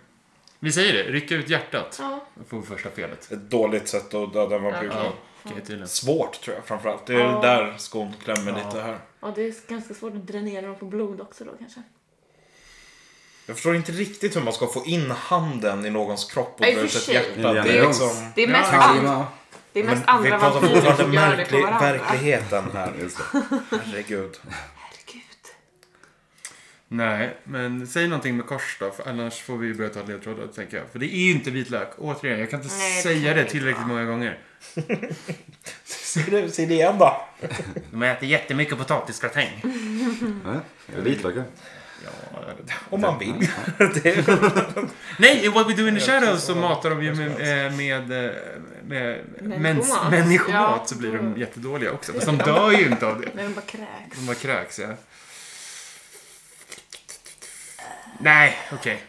[SPEAKER 3] Vi säger det, rycka ut hjärtat.
[SPEAKER 5] Ja.
[SPEAKER 3] Får första felet.
[SPEAKER 1] Ett dåligt sätt att döda en vampyr.
[SPEAKER 3] Ja, okej tydligen.
[SPEAKER 1] Svårt tror jag framförallt. Det är
[SPEAKER 5] Ja.
[SPEAKER 1] där skon klämmer lite här.
[SPEAKER 5] Och det är ganska svårt att dränera dem på blod också då kanske.
[SPEAKER 1] Jag förstår inte riktigt hur man ska få in handen i någons kropp och
[SPEAKER 5] Nej,
[SPEAKER 1] dra
[SPEAKER 5] för
[SPEAKER 1] ut ett
[SPEAKER 5] sig.
[SPEAKER 1] hjärta.
[SPEAKER 2] Indiana
[SPEAKER 1] Det är
[SPEAKER 2] Jones.
[SPEAKER 1] liksom...
[SPEAKER 5] Det är mest, an-
[SPEAKER 2] Kalmar.
[SPEAKER 5] det är mest
[SPEAKER 1] Men vi
[SPEAKER 5] andra
[SPEAKER 1] pratar
[SPEAKER 5] vampyrer
[SPEAKER 1] fortfarande
[SPEAKER 5] som gör det på
[SPEAKER 1] märklig,
[SPEAKER 5] varandra.
[SPEAKER 1] verkligheten här.
[SPEAKER 2] Just det.
[SPEAKER 1] Herregud.
[SPEAKER 5] Herregud.
[SPEAKER 3] Nej, men säg någonting med kors då, för annars får vi börja ta ledtrådar tänker jag. För det är ju inte vitlök. Återigen, jag kan inte
[SPEAKER 5] Nej, det
[SPEAKER 3] säga
[SPEAKER 5] kan
[SPEAKER 3] det
[SPEAKER 5] vi
[SPEAKER 3] tillräckligt
[SPEAKER 5] inte.
[SPEAKER 3] många gånger.
[SPEAKER 1] Säg det, säg det igen då.
[SPEAKER 3] De äter jättemycket potatisgratäng.
[SPEAKER 2] Ja, Är det vitlöken?
[SPEAKER 3] ja, jag vet.
[SPEAKER 1] Om man vill. Det är...
[SPEAKER 3] Nej, i What We Do In The Shadows så matar de ju med, eh, med, eh, med, med människomat.
[SPEAKER 5] Människomat.
[SPEAKER 3] människomat
[SPEAKER 5] Ja.
[SPEAKER 3] så blir de jättedåliga också. Fast de dör ju inte av det.
[SPEAKER 5] När de bara kräks.
[SPEAKER 3] De bara kräks, ja. Nej, okej.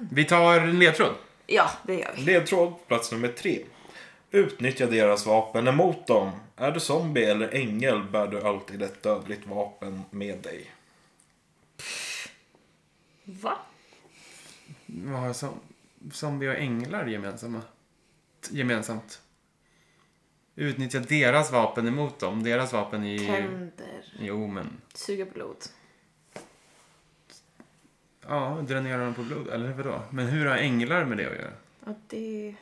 [SPEAKER 3] Vi tar en ledtråd.
[SPEAKER 5] Ja, det gör vi.
[SPEAKER 1] Ledtråd plats nummer tre. Utnyttja deras vapen emot dem. Är du zombie eller ängel bär du alltid ett dödligt vapen med dig.
[SPEAKER 5] Va?
[SPEAKER 3] Vad har som, zombie och änglar gemensamma? T- gemensamt? Utnyttja deras vapen emot dem. Deras vapen i...
[SPEAKER 5] Tänder.
[SPEAKER 3] Jo, men...
[SPEAKER 5] Suga blod.
[SPEAKER 3] Ja, dränera dem på blod. Eller vadå? Men hur har änglar med det att göra?
[SPEAKER 5] Ja, det...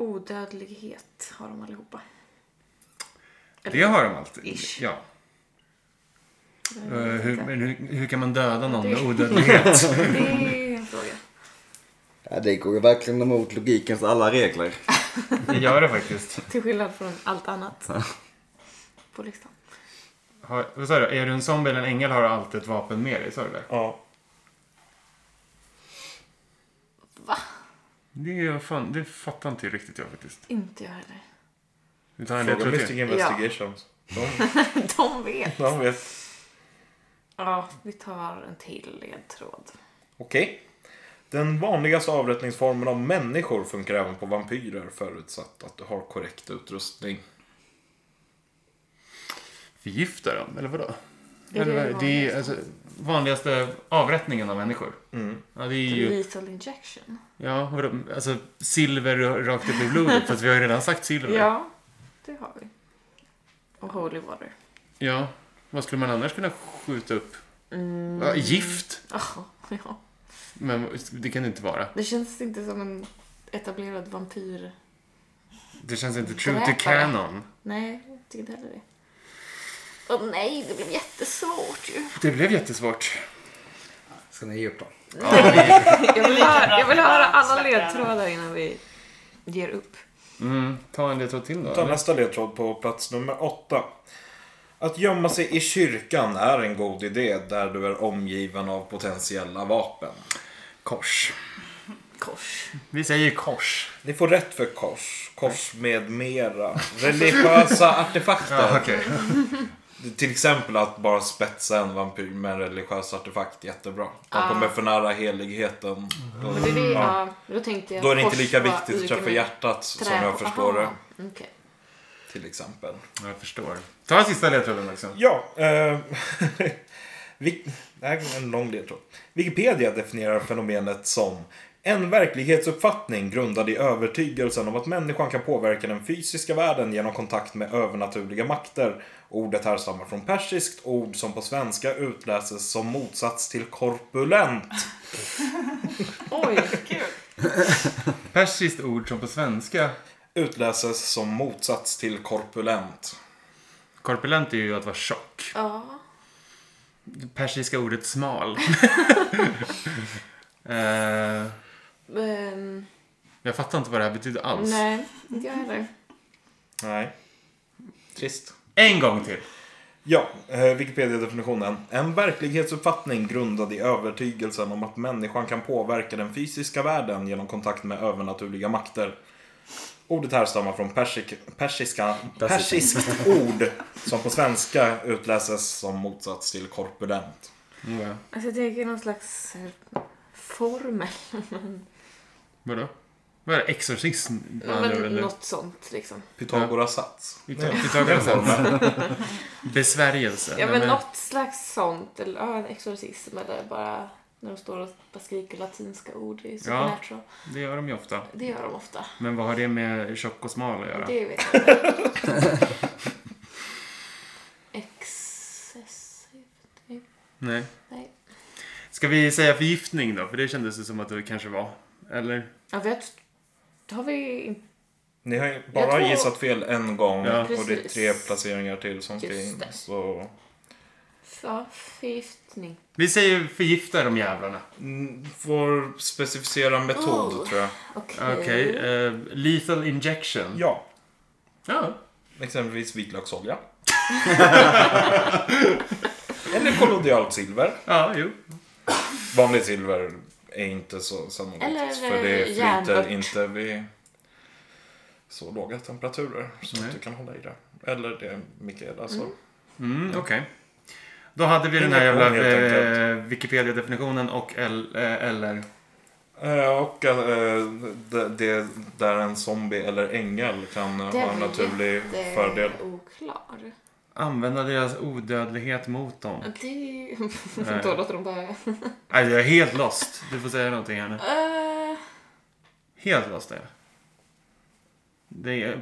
[SPEAKER 5] Odödlighet har de allihopa.
[SPEAKER 3] Det har de alltid.
[SPEAKER 5] Ish.
[SPEAKER 3] Ja.
[SPEAKER 5] Jag
[SPEAKER 3] Eh,
[SPEAKER 5] vet
[SPEAKER 3] hur,
[SPEAKER 5] inte.
[SPEAKER 3] men hur, hur kan man döda någon med
[SPEAKER 5] Det-
[SPEAKER 3] odödlighet?
[SPEAKER 5] Det är en fråga.
[SPEAKER 2] Ja, det går ju verkligen emot logikens alla regler.
[SPEAKER 3] Det gör det faktiskt.
[SPEAKER 5] Till skillnad från allt annat på listan.
[SPEAKER 3] Har, vad sa du? Är du en zombie eller en ängel har du alltid ett vapen med dig. Sa du det?
[SPEAKER 1] Ja.
[SPEAKER 3] Det, är fan, det fattar inte riktigt jag faktiskt.
[SPEAKER 5] Inte jag heller.
[SPEAKER 3] Vi tar en
[SPEAKER 1] Fråga
[SPEAKER 3] ledtråd
[SPEAKER 1] Mystic
[SPEAKER 3] till.
[SPEAKER 1] Investigations. De,
[SPEAKER 5] De vet.
[SPEAKER 1] de vet.
[SPEAKER 5] Ja, vi tar en till ledtråd.
[SPEAKER 1] Okej. Den vanligaste avrättningsformen av människor funkar även på vampyrer förutsatt att du har korrekt utrustning.
[SPEAKER 3] Förgifta dem, eller vadå?
[SPEAKER 5] det
[SPEAKER 3] eller, vad är det?
[SPEAKER 5] det
[SPEAKER 3] det är alltså, vanligaste avrättningen av människor. Ja, det är ju...
[SPEAKER 5] Lethal injection.
[SPEAKER 3] Ja, vadå? Alltså, silver rakt upp i blodet. fast vi har ju redan sagt silver.
[SPEAKER 5] Ja, det har vi. Och holy water.
[SPEAKER 3] Ja. Vad skulle man annars kunna skjuta upp?
[SPEAKER 5] Mm.
[SPEAKER 3] Ja, gift?
[SPEAKER 5] Oh, ja.
[SPEAKER 3] Men det kan det inte vara.
[SPEAKER 5] Det känns inte som en etablerad vampyr.
[SPEAKER 3] Det känns inte true to
[SPEAKER 5] Dräpare.
[SPEAKER 3] canon.
[SPEAKER 5] Nej, jag tycker inte heller det. Åh nej, det blev jättesvårt ju.
[SPEAKER 3] Det blev jättesvårt.
[SPEAKER 2] Ska ni ge upp dem?
[SPEAKER 5] Jag vill höra, jag vill höra alla ledtrådar innan vi ger upp.
[SPEAKER 3] Mm, ta en ledtråd till då.
[SPEAKER 1] Ta
[SPEAKER 3] eller?
[SPEAKER 1] nästa ledtråd på plats nummer åtta. Att gömma sig i kyrkan är en god idé där du är omgiven av potentiella vapen.
[SPEAKER 3] Kors.
[SPEAKER 4] Kors.
[SPEAKER 3] Vi säger kors.
[SPEAKER 1] Ni får rätt för kors, kors med mera. Religiösa artefakter.
[SPEAKER 3] Ja, okej.
[SPEAKER 1] Till exempel att bara spetsa en vampyr med en religiös artefakt jättebra. Man
[SPEAKER 5] Ah.
[SPEAKER 1] kommer för nära heligheten. Då,
[SPEAKER 5] Men det är det,
[SPEAKER 1] ja.
[SPEAKER 5] ja. då tänkte jag
[SPEAKER 1] då är det inte
[SPEAKER 5] kors
[SPEAKER 1] lika
[SPEAKER 5] var
[SPEAKER 1] viktigt att
[SPEAKER 5] lika
[SPEAKER 1] träffa
[SPEAKER 5] med
[SPEAKER 1] hjärtat som
[SPEAKER 5] trä-
[SPEAKER 1] jag förstår
[SPEAKER 5] Aha,
[SPEAKER 1] det.
[SPEAKER 5] okej.
[SPEAKER 1] Till exempel.
[SPEAKER 3] Jag förstår. Ta en sista ledtråden också.
[SPEAKER 1] Ja. Eh, Wik- det här är en lång ledtråd. Wikipedia definierar fenomenet som en verklighetsuppfattning grundad i övertygelsen om att människan kan påverka den fysiska världen genom kontakt med övernaturliga makter. Ordet härstammar från persiskt ord som på svenska utläses som motsats till korpulent.
[SPEAKER 5] Oj,
[SPEAKER 4] Kul.
[SPEAKER 3] Persiskt ord som på svenska.
[SPEAKER 1] Utläses som motsats till korpulent.
[SPEAKER 3] Korpulent är ju att vara tjock.
[SPEAKER 5] ja.
[SPEAKER 3] Det persiska ordet smal. Eh,
[SPEAKER 5] Ehm,
[SPEAKER 3] jag fattar inte vad det här betyder alls.
[SPEAKER 5] nej, inte jag heller.
[SPEAKER 1] Nej. Trist.
[SPEAKER 3] En gång till.
[SPEAKER 1] Ja, eh, Wikipedia-definitionen. En verklighetsuppfattning grundad i övertygelsen om att människan kan påverka den fysiska världen genom kontakt med övernaturliga makter. Ordet härstammar från persik, persiska, persiskt ord som på svenska utläses som motsats till korpulent.
[SPEAKER 3] Ja.
[SPEAKER 5] Alltså jag tänker någon slags eh, formel.
[SPEAKER 3] Vadå? Vad är det? Exorcism? med andra ord,
[SPEAKER 5] Men,
[SPEAKER 3] eller?
[SPEAKER 5] något sånt liksom.
[SPEAKER 1] Pythagoras sats.
[SPEAKER 3] Pythagoras Besvärjelse.
[SPEAKER 5] Ja
[SPEAKER 3] Nej,
[SPEAKER 5] men något slags sånt. Eller ja, en exorcism eller bara när de står och bara skriker latinska ord i Supernatural.
[SPEAKER 3] Det gör de ju ofta.
[SPEAKER 5] Det gör de ofta.
[SPEAKER 3] Men vad har det med tjock och smal att göra?
[SPEAKER 5] Det vet jag inte. Excessive.
[SPEAKER 3] Nej.
[SPEAKER 5] Nej.
[SPEAKER 3] Ska vi säga förgiftning då? För det kändes det som att det kanske var. Eller?
[SPEAKER 5] Ja, vi har, då har vi inte...
[SPEAKER 1] Ni har ju
[SPEAKER 5] Jag
[SPEAKER 1] bara
[SPEAKER 5] tror-
[SPEAKER 1] gissat fel en gång
[SPEAKER 3] Ja.
[SPEAKER 1] och det är
[SPEAKER 5] Precis.
[SPEAKER 1] tre placeringar till som ska
[SPEAKER 5] Just
[SPEAKER 1] in.
[SPEAKER 5] det.
[SPEAKER 1] Så...
[SPEAKER 5] Ja, förgiftning.
[SPEAKER 3] Vi säger förgifta de jävlarna.
[SPEAKER 1] Mm, Får specificera metod
[SPEAKER 5] Oh.
[SPEAKER 1] tror jag.
[SPEAKER 5] Okej.
[SPEAKER 3] Okej. eh, lethal injection.
[SPEAKER 1] Ja,
[SPEAKER 3] Ja.
[SPEAKER 1] Exempelvis vitlöksolja. Eller kollodialt silver.
[SPEAKER 3] Ja, jo.
[SPEAKER 1] Vanligt silver är inte så sannolikt.
[SPEAKER 5] Eller,
[SPEAKER 1] för det
[SPEAKER 5] eh,
[SPEAKER 1] flyter
[SPEAKER 5] järnört.
[SPEAKER 1] inte vid så låga temperaturer. Så
[SPEAKER 3] Nej.
[SPEAKER 1] att du kan hålla i det. Eller det Mikaela sa.
[SPEAKER 3] Mm, okej. Då hade vi den här
[SPEAKER 1] Inga
[SPEAKER 3] jävla
[SPEAKER 1] problem, helt
[SPEAKER 3] eh, Wikipedia-definitionen och el, eh, eller...
[SPEAKER 5] Mm.
[SPEAKER 1] Eh, Och eh, det, det där en zombie eller ängel kan eh,
[SPEAKER 5] Det
[SPEAKER 1] ha en
[SPEAKER 5] var
[SPEAKER 1] naturlig
[SPEAKER 5] jätte-
[SPEAKER 1] fördel.
[SPEAKER 5] oklar.
[SPEAKER 3] Använda deras odödlighet mot dem.
[SPEAKER 5] Ja, Det är ju...
[SPEAKER 3] Nej.
[SPEAKER 5] Då låter de bara...
[SPEAKER 3] Nej, jag är helt lost. Du får säga någonting här nu.
[SPEAKER 5] Eh,
[SPEAKER 3] Helt lost är jag. Det är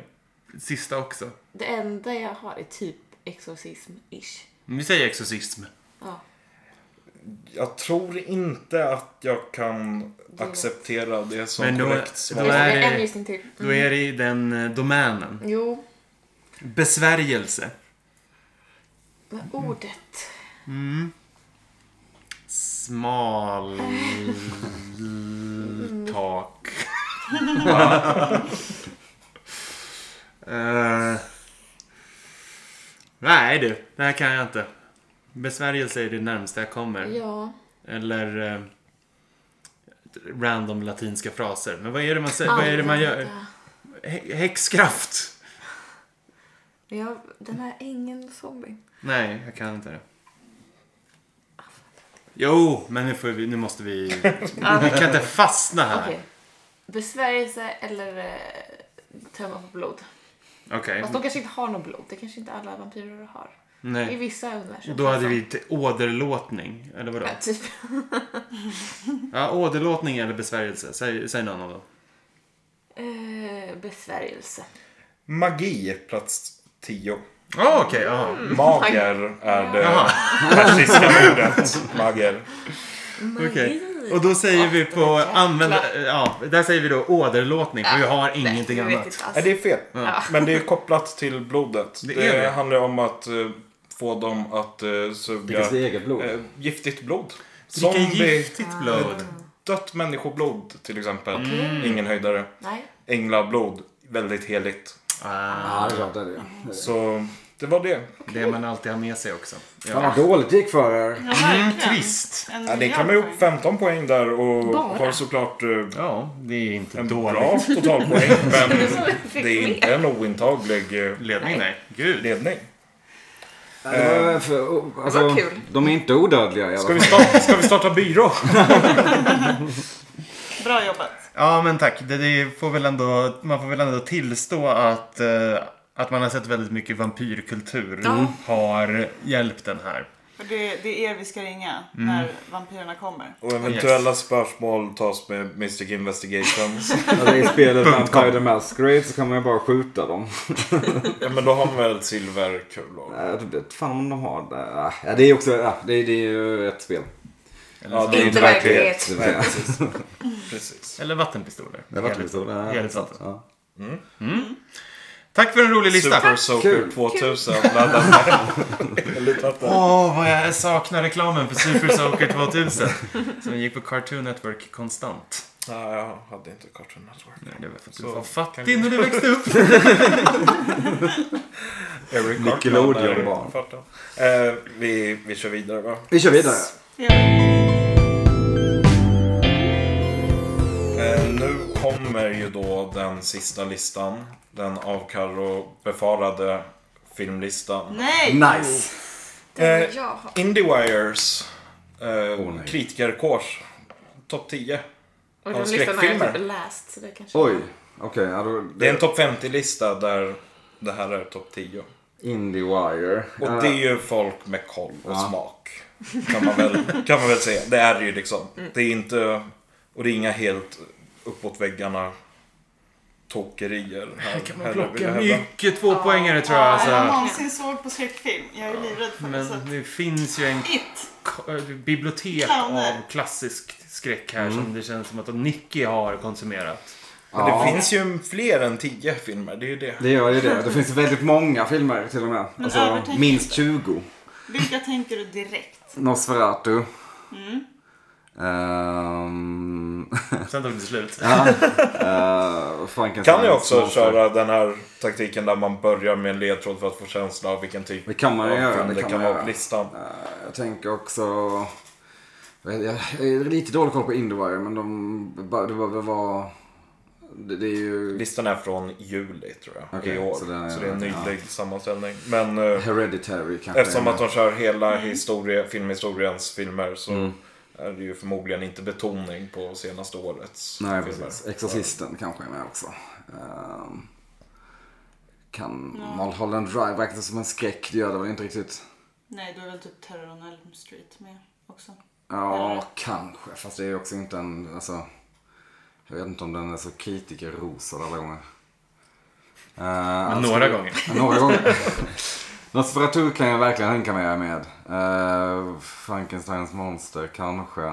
[SPEAKER 3] sista också.
[SPEAKER 5] det enda jag har är typ exorcism-ish.
[SPEAKER 3] Men Vi säger exorcism.
[SPEAKER 5] Ja.
[SPEAKER 1] Jag tror inte att jag kan
[SPEAKER 5] Det-
[SPEAKER 1] acceptera det som
[SPEAKER 3] Men då-
[SPEAKER 1] korrekt
[SPEAKER 3] då
[SPEAKER 1] svar.
[SPEAKER 5] Det
[SPEAKER 3] är
[SPEAKER 5] är
[SPEAKER 3] det-
[SPEAKER 5] en gissning till. Mm.
[SPEAKER 3] Då är det i den eh, domänen.
[SPEAKER 5] Jo,
[SPEAKER 3] Besvärjelse.
[SPEAKER 5] men ordet.
[SPEAKER 3] Mm. Smal... tak. Eh, nej du, det här kan jag inte. Besvärjelse är det närmsta jag kommer.
[SPEAKER 5] Ja.
[SPEAKER 3] Eller eh, random latinska fraser. Men vad är det man säger? Vad är det man gör?
[SPEAKER 5] Använda.
[SPEAKER 3] Hä- Häxkraft!
[SPEAKER 5] Ja, den här ängeln zombien.
[SPEAKER 3] Nej, jag kan inte det. Jo, men nu, får vi, nu måste vi... Vi kan inte fastna här.
[SPEAKER 5] Okej. Besvärjelse eller eh, tömma på blod.
[SPEAKER 3] Okej.
[SPEAKER 5] Fast de kanske inte har något blod. Det kanske inte alla vampyrer har. I
[SPEAKER 3] Nej.
[SPEAKER 5] vissa universum.
[SPEAKER 3] Då hade vi t- åderlåtning, eller vadå?
[SPEAKER 5] Ja, typ.
[SPEAKER 3] Ja, åderlåtning eller besvärjelse. Säg, säg någon av dem.
[SPEAKER 5] Eh, besvärjelse.
[SPEAKER 1] Magi, plats 10.
[SPEAKER 3] Ja, Ah, okej. ja.
[SPEAKER 1] Mm, Mager är det
[SPEAKER 3] Jaha.
[SPEAKER 1] persiska ordet. Mager.
[SPEAKER 5] Magi.
[SPEAKER 3] Okej. Och då säger vi på
[SPEAKER 5] Ja,
[SPEAKER 3] använda... Ja, där säger vi då åderlåtning, för vi har
[SPEAKER 5] Nej,
[SPEAKER 3] ingenting
[SPEAKER 5] jag vet
[SPEAKER 3] annat.
[SPEAKER 5] inte alls.
[SPEAKER 1] Nej, det är fel.
[SPEAKER 5] Ja.
[SPEAKER 1] Men det är kopplat till blodet.
[SPEAKER 3] Det
[SPEAKER 1] Det,
[SPEAKER 3] är det.
[SPEAKER 1] handlar om att eh, få dem att eh, suga
[SPEAKER 2] Dricka sitt eget blod.
[SPEAKER 1] eh, giftigt blod.
[SPEAKER 3] Dricka
[SPEAKER 1] Zombie,
[SPEAKER 3] giftigt blod.
[SPEAKER 1] dött människoblod till exempel.
[SPEAKER 3] Mm.
[SPEAKER 5] Okej.
[SPEAKER 1] Ingen höjdare.
[SPEAKER 5] Nej.
[SPEAKER 1] Änglablod, väldigt heligt.
[SPEAKER 3] Ah,
[SPEAKER 2] Ja, det är klart det är det.
[SPEAKER 1] Så det var det.
[SPEAKER 3] det man alltid har med sig också.
[SPEAKER 2] Fan vad dåligt det gick för er.
[SPEAKER 4] Ja,
[SPEAKER 3] Mm,
[SPEAKER 4] verkligen.
[SPEAKER 3] twist.
[SPEAKER 4] En
[SPEAKER 1] Ja, ni
[SPEAKER 4] miljard
[SPEAKER 1] kan med upp
[SPEAKER 4] poäng.
[SPEAKER 1] 15 poäng där och
[SPEAKER 5] Bara?
[SPEAKER 1] har såklart eh,
[SPEAKER 3] Ja, det är inte
[SPEAKER 1] en
[SPEAKER 3] dåligt.
[SPEAKER 1] bra totalpoäng. Men
[SPEAKER 5] Fick
[SPEAKER 1] det är
[SPEAKER 5] med.
[SPEAKER 1] inte en ointaglig eh,
[SPEAKER 3] Ledning, nej. Gud.
[SPEAKER 1] ledning.
[SPEAKER 2] Det var för- oh, alltså,
[SPEAKER 5] Det var kul.
[SPEAKER 2] De är inte odödliga i alla
[SPEAKER 1] Ska vi
[SPEAKER 2] fall.
[SPEAKER 1] starta, ska vi starta byrå?
[SPEAKER 4] Bra jobbat.
[SPEAKER 3] Ja, men tack. Det, det får väl ändå, man får väl ändå tillstå att, eh, att man har sett väldigt mycket vampyrkultur
[SPEAKER 5] Ja.
[SPEAKER 3] har hjälpt den här.
[SPEAKER 4] För det, det är er vi ska ringa
[SPEAKER 1] Mm.
[SPEAKER 4] när vampyrerna kommer.
[SPEAKER 1] Och eventuella spörsmål tas med Mystic Investigations.
[SPEAKER 2] Alltså, I spelet Vampire the Masquerade så kan man ju bara skjuta dem.
[SPEAKER 1] Ja, men då har man väl silverkulor?
[SPEAKER 2] Eh, Jag vet fan om de har det. Ah, Ja, det är också, ja, det, är, det är ju ett spel.
[SPEAKER 1] Ja, det är
[SPEAKER 5] Inte
[SPEAKER 1] inte verklighet.
[SPEAKER 5] verklighet.
[SPEAKER 2] Det var- ja.
[SPEAKER 1] Precis.
[SPEAKER 3] Eller vattenpistoler.
[SPEAKER 2] Det var lite så. ja.
[SPEAKER 3] Jävligt sant.
[SPEAKER 2] Ja.
[SPEAKER 3] Tack för en rolig lista.
[SPEAKER 1] Super Soaker
[SPEAKER 2] Kul.
[SPEAKER 1] 2000. Ladda ner. Eller tappa.
[SPEAKER 3] Åh, vad jag saknar reklamen för Super Soaker 2000. Som gick på Cartoon Network konstant.
[SPEAKER 1] Nej, jag hade inte Cartoon Network.
[SPEAKER 3] Det var för att du
[SPEAKER 1] Så-
[SPEAKER 3] var fattig när du växte upp.
[SPEAKER 1] Eric
[SPEAKER 2] Nickelodeon
[SPEAKER 1] Cartman är
[SPEAKER 2] var.
[SPEAKER 1] farten. Eh, vi, vi kör vidare va?
[SPEAKER 2] Vi kör vidare.
[SPEAKER 4] Ja.
[SPEAKER 1] Eh, nu kommer ju då den sista listan. Den av Carro befarade filmlistan.
[SPEAKER 4] Nej!
[SPEAKER 2] Nice.
[SPEAKER 5] Den
[SPEAKER 1] Eh,
[SPEAKER 5] jag har.
[SPEAKER 1] Indiewires eh,
[SPEAKER 2] nej.
[SPEAKER 1] kritikerkårs. Topp 10. av
[SPEAKER 5] Och den listan har
[SPEAKER 1] skräckfilmer.
[SPEAKER 5] jag typ läst. Så det kanske
[SPEAKER 2] Oj. Okej, ja, då-
[SPEAKER 1] Det är en topp 50-lista där det här är topp 10.
[SPEAKER 2] IndieWire.
[SPEAKER 1] Och
[SPEAKER 2] Ja.
[SPEAKER 1] det är ju folk med koll och
[SPEAKER 2] Ja.
[SPEAKER 1] smak. Kan man, väl, kan man väl säga. Det är det ju liksom.
[SPEAKER 3] Mm.
[SPEAKER 1] Det är inte... Och det är inga helt uppåt väggarna tokerier. Här
[SPEAKER 3] kan
[SPEAKER 1] heller,
[SPEAKER 3] man
[SPEAKER 1] vill jag
[SPEAKER 3] plocka
[SPEAKER 1] hävda.
[SPEAKER 3] mycket tvåpoängare tror jag.
[SPEAKER 4] Har jag
[SPEAKER 3] Alltså.
[SPEAKER 4] någonsin såg på skräckfilm? Jag är ju livrädd för det. Så
[SPEAKER 3] Men
[SPEAKER 4] att...
[SPEAKER 3] det finns ju en
[SPEAKER 4] It!
[SPEAKER 3] k- eh, bibliotek
[SPEAKER 4] Clowner.
[SPEAKER 3] av klassisk skräck här som det känns som att Nicky har konsumerat.
[SPEAKER 1] Men det
[SPEAKER 2] Ja.
[SPEAKER 1] finns ju fler än 10 filmer. Det är ju det.
[SPEAKER 2] Det gör ju det. Det finns väldigt många filmer till och med.
[SPEAKER 4] Men
[SPEAKER 2] Alltså,
[SPEAKER 4] övertänk
[SPEAKER 2] minst
[SPEAKER 4] inte.
[SPEAKER 2] 20.
[SPEAKER 4] Vilka tänker du direkt?
[SPEAKER 2] Nosferatu. Ehm,
[SPEAKER 3] Sen tog det slut.
[SPEAKER 2] eh, Frankenstein.
[SPEAKER 1] Kan ju också
[SPEAKER 2] Monster.
[SPEAKER 1] köra den här taktiken där man börjar med en ledtråd för att få känsla av vilken typ
[SPEAKER 2] Det kan man ju
[SPEAKER 1] av
[SPEAKER 2] göra,
[SPEAKER 1] film
[SPEAKER 2] det
[SPEAKER 1] det
[SPEAKER 2] kan
[SPEAKER 1] kan
[SPEAKER 2] man
[SPEAKER 1] vara på
[SPEAKER 2] göra.
[SPEAKER 1] listan.
[SPEAKER 2] Eh, Jag tänker också... Jag vet- jag- jag har lite dålig koll på Indiewire men de... Det var... Det, var, det, det är ju...
[SPEAKER 1] Listan är från juli tror jag.
[SPEAKER 2] Okej,
[SPEAKER 1] I år.
[SPEAKER 2] så
[SPEAKER 1] Så,
[SPEAKER 2] den är-
[SPEAKER 1] det är en
[SPEAKER 2] ja.
[SPEAKER 1] nylig sammanställning. Men... eh,
[SPEAKER 2] Hereditary kanske.
[SPEAKER 1] Eftersom att de kör hela historie, filmhistoriens filmer så
[SPEAKER 2] Mm.
[SPEAKER 1] är det ju förmodligen inte betoning på senaste årets
[SPEAKER 2] Nej,
[SPEAKER 1] filmer.
[SPEAKER 2] precis. Exorcisten kanske är med också. Ehm, kan Mulholland Drive verkar som en skräck. Det gör det väl inte riktigt.
[SPEAKER 4] Nej, du är väl typ Terror on Elm Street med också?
[SPEAKER 2] Ja,
[SPEAKER 4] Eller?
[SPEAKER 2] kanske. Fast det är ju också inte en... Alltså, jag vet inte om den är så kritikerrosad alla gånger. Eh,
[SPEAKER 3] Men
[SPEAKER 2] alltså-
[SPEAKER 3] några gånger.
[SPEAKER 2] Några gånger. Nosferatu kan jag verkligen hänga med. med. Eh, Frankensteins monster kanske.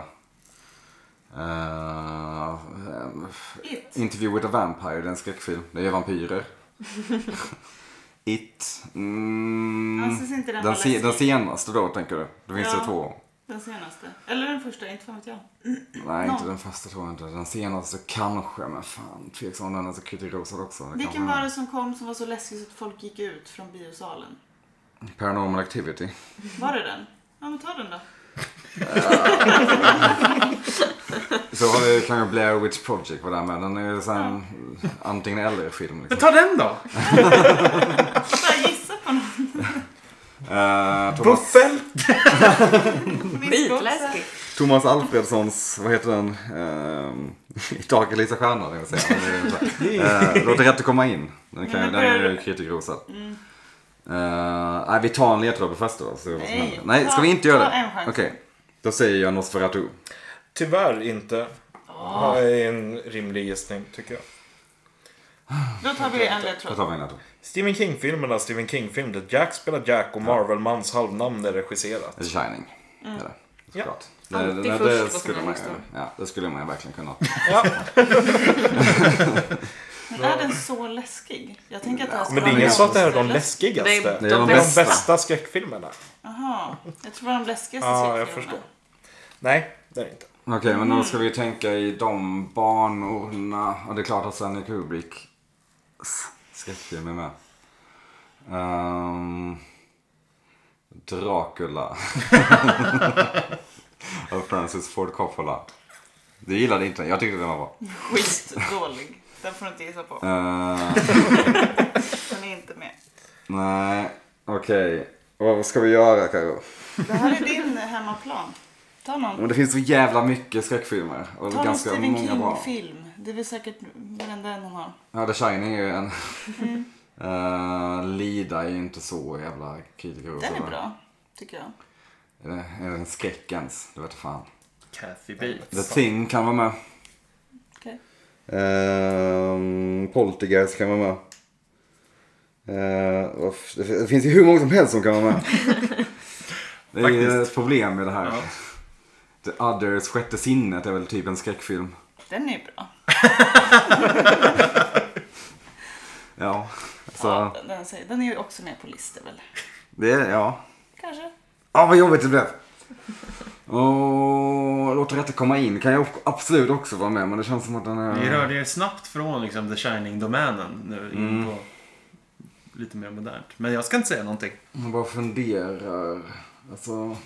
[SPEAKER 2] Eh, ehm,
[SPEAKER 4] It!
[SPEAKER 2] Interview with a Vampire, det är en skräckfilm. Det är ju vampyrer. It. Mm.
[SPEAKER 4] Anses inte den,
[SPEAKER 2] Den,
[SPEAKER 4] vara
[SPEAKER 2] se, den
[SPEAKER 4] läskig?
[SPEAKER 2] senaste då tänker du? Det finns ju
[SPEAKER 4] Ja.
[SPEAKER 2] två.
[SPEAKER 4] Den senaste. Eller den första, inte fan vet jag.
[SPEAKER 2] Nej, inte
[SPEAKER 4] Någon.
[SPEAKER 2] den första tror jag inte. Den senaste kanske, men fan. Tveksam om den är så kritikrosad också. Det kanske
[SPEAKER 4] Vilken
[SPEAKER 2] är.
[SPEAKER 4] var det som kom som var så läskig så att folk gick ut från biosalen?
[SPEAKER 2] Paranormal Activity.
[SPEAKER 4] Var det den? Ja, men ta den då.
[SPEAKER 2] Så har vi kanske Blair Witch Project var där med. Den är ju sen antingen eller film
[SPEAKER 3] Men
[SPEAKER 2] liksom.
[SPEAKER 3] ta den då!
[SPEAKER 4] Bara gissa på någon.
[SPEAKER 2] Eh, Thomas,
[SPEAKER 1] Buffel!
[SPEAKER 5] Skitläskigt.
[SPEAKER 2] Thomas Alfredssons, vad heter den? Eh, I tak är Lisa Stjärna, tänkte jag säga. Men det är ju så här. Eh, Låt det rätt att komma in. Den, kan,
[SPEAKER 4] Men
[SPEAKER 2] den
[SPEAKER 4] det
[SPEAKER 2] är ju
[SPEAKER 4] börjar-
[SPEAKER 2] kritikrosad. Eh, nej, vi tar en ledtråd på första då. Så vad som
[SPEAKER 4] Nej,
[SPEAKER 2] händer. nej, ska
[SPEAKER 4] ta-
[SPEAKER 2] vi inte göra
[SPEAKER 4] ta
[SPEAKER 2] det?
[SPEAKER 4] en chans.
[SPEAKER 2] Okej, då säger jag Nosferatu.
[SPEAKER 1] Tyvärr inte. Det är en rimlig gissning tycker jag.
[SPEAKER 4] Då tar vi en
[SPEAKER 2] Då
[SPEAKER 4] ledtråd.
[SPEAKER 2] tar vi en ledtråd.
[SPEAKER 1] Stephen King-filmerna, Stephen King-film där Jack spelar Jack och Marvel-mans halvnamn är regisserat.
[SPEAKER 2] The Shining. Mm. Eller, såklart.
[SPEAKER 5] Ja.
[SPEAKER 2] Det,
[SPEAKER 5] Alltid
[SPEAKER 2] det,
[SPEAKER 5] först
[SPEAKER 2] det,
[SPEAKER 5] vad som
[SPEAKER 2] skulle
[SPEAKER 5] är
[SPEAKER 2] man,
[SPEAKER 5] högst upp.
[SPEAKER 2] ja, det skulle man ju verkligen kunna.
[SPEAKER 1] Ja.
[SPEAKER 4] Men är den så läskig? Jag tänker att det här ska
[SPEAKER 1] Men det är
[SPEAKER 4] vara
[SPEAKER 1] ingen
[SPEAKER 4] bra.
[SPEAKER 1] så att det här är de
[SPEAKER 4] Eller-
[SPEAKER 1] läskigaste.
[SPEAKER 5] Det
[SPEAKER 1] Det
[SPEAKER 5] är de
[SPEAKER 1] är de
[SPEAKER 2] bästa.
[SPEAKER 1] bästa skräckfilmerna.
[SPEAKER 4] Jaha, jag tror det var de läskigaste
[SPEAKER 1] Ja, jag
[SPEAKER 4] skräckfilmerna.
[SPEAKER 1] förstår. Nej, det är det inte.
[SPEAKER 2] Okej,
[SPEAKER 4] Mm.
[SPEAKER 2] men då ska vi tänka i de banorna. Och det är klart att Stanley Kubrick Skräckfilmer med. Ehm, Dracula. Av Francis Ford Coppola. Du gillade inte den. Jag tyckte den var bra.
[SPEAKER 4] Skitdålig. Den får du inte gissa på.
[SPEAKER 2] Ehm,
[SPEAKER 4] Den är inte med.
[SPEAKER 2] nej, okej. Vad ska vi göra Karo?
[SPEAKER 4] Det här är din hemmaplan. Ta någon.
[SPEAKER 2] Men det finns så jävla mycket skräckfilmer. Och
[SPEAKER 4] Ta någon
[SPEAKER 2] ganska
[SPEAKER 4] Stephen
[SPEAKER 2] många bra.
[SPEAKER 4] King-film. Det är väl säkert varenda en han har.
[SPEAKER 2] Ja, The Shining är ju en.
[SPEAKER 4] Mm.
[SPEAKER 2] Eh, Lida är ju inte så jävla kritiker.
[SPEAKER 4] Den är bra, tycker jag.
[SPEAKER 2] Är det, är det en skräck ens? Det vete fan.
[SPEAKER 3] Kathy Bates.
[SPEAKER 2] The Thing kan vara med.
[SPEAKER 4] Okej.
[SPEAKER 2] Um, Poltergeist kan vara med. Eh, vad f- det, f- det finns ju hur många som helst som kan vara med. det är ju ett problem med det här. The Others, Sjätte sinnet är väl typ en skräckfilm.
[SPEAKER 4] Den är bra.
[SPEAKER 2] Ja, så
[SPEAKER 4] Ja, den, den, säger- den är ju också med på listor väl?
[SPEAKER 2] det är ja.
[SPEAKER 4] Kanske.
[SPEAKER 2] Ja, vad jobbigt det blev. Och låt rätta komma in kan jag absolut också vara med men det känns som att den
[SPEAKER 3] Vi
[SPEAKER 2] är...
[SPEAKER 3] rörde ju snabbt från liksom, The Shining-domänen nu in på lite mer modernt. Men jag ska inte säga någonting.
[SPEAKER 2] Man bara funderar. Alltså...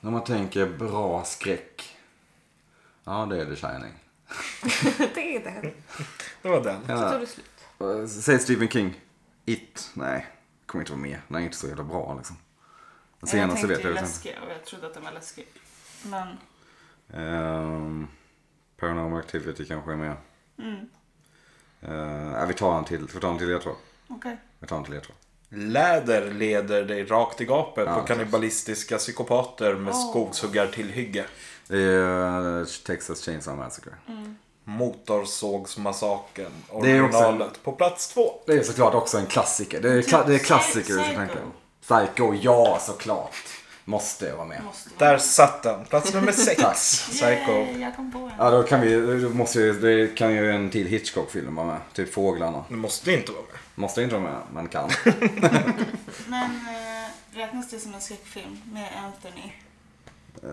[SPEAKER 2] När man tänker bra skräck. Ja, det är The Shining.
[SPEAKER 5] det är det.
[SPEAKER 1] Det var den.
[SPEAKER 5] Så
[SPEAKER 2] Ja.
[SPEAKER 5] tog det slut.
[SPEAKER 2] eh, Säg Stephen King. It. Nej. Kommer inte vara med. Den är inte så jävla bra liksom. Den senaste
[SPEAKER 4] jag
[SPEAKER 2] vet
[SPEAKER 4] tänkte
[SPEAKER 2] jag.
[SPEAKER 4] ju
[SPEAKER 2] liksom.
[SPEAKER 4] läskig och jag trodde att den var läskig. Men
[SPEAKER 2] Ehm, Paranormal Activity kanske är med. Mm. vi tar en till. Ska vi ta en till jag tror?
[SPEAKER 4] okej.
[SPEAKER 2] Vi tar en till jag tror.
[SPEAKER 1] Läder leder dig rakt i gapet
[SPEAKER 2] Ja,
[SPEAKER 1] på kannibalistiska psykopater med skogshuggartillhygge.
[SPEAKER 2] Det är eh, Texas Chainsaw Massacre.
[SPEAKER 1] Motorsågsmassakern.
[SPEAKER 2] Det är också-
[SPEAKER 1] Originalet på plats två.
[SPEAKER 2] Det är såklart också en klassiker. Det är, kla- det är klassiker vi ska tänka på. Psycho, ja såklart. Måste vara med.
[SPEAKER 4] Måste vara.
[SPEAKER 1] Där satt den. Plats nummer sex. Psycho.
[SPEAKER 4] Yay, jag kom på en.
[SPEAKER 2] Ja då kan vi, då måste ju, det kan ju en till Hitchcock-film vara med. Typ Fåglarna.
[SPEAKER 1] Du måste inte vara med.
[SPEAKER 2] Måste inte vara med, men kan.
[SPEAKER 4] Men eh, räknas det som en skräckfilm med Anthony?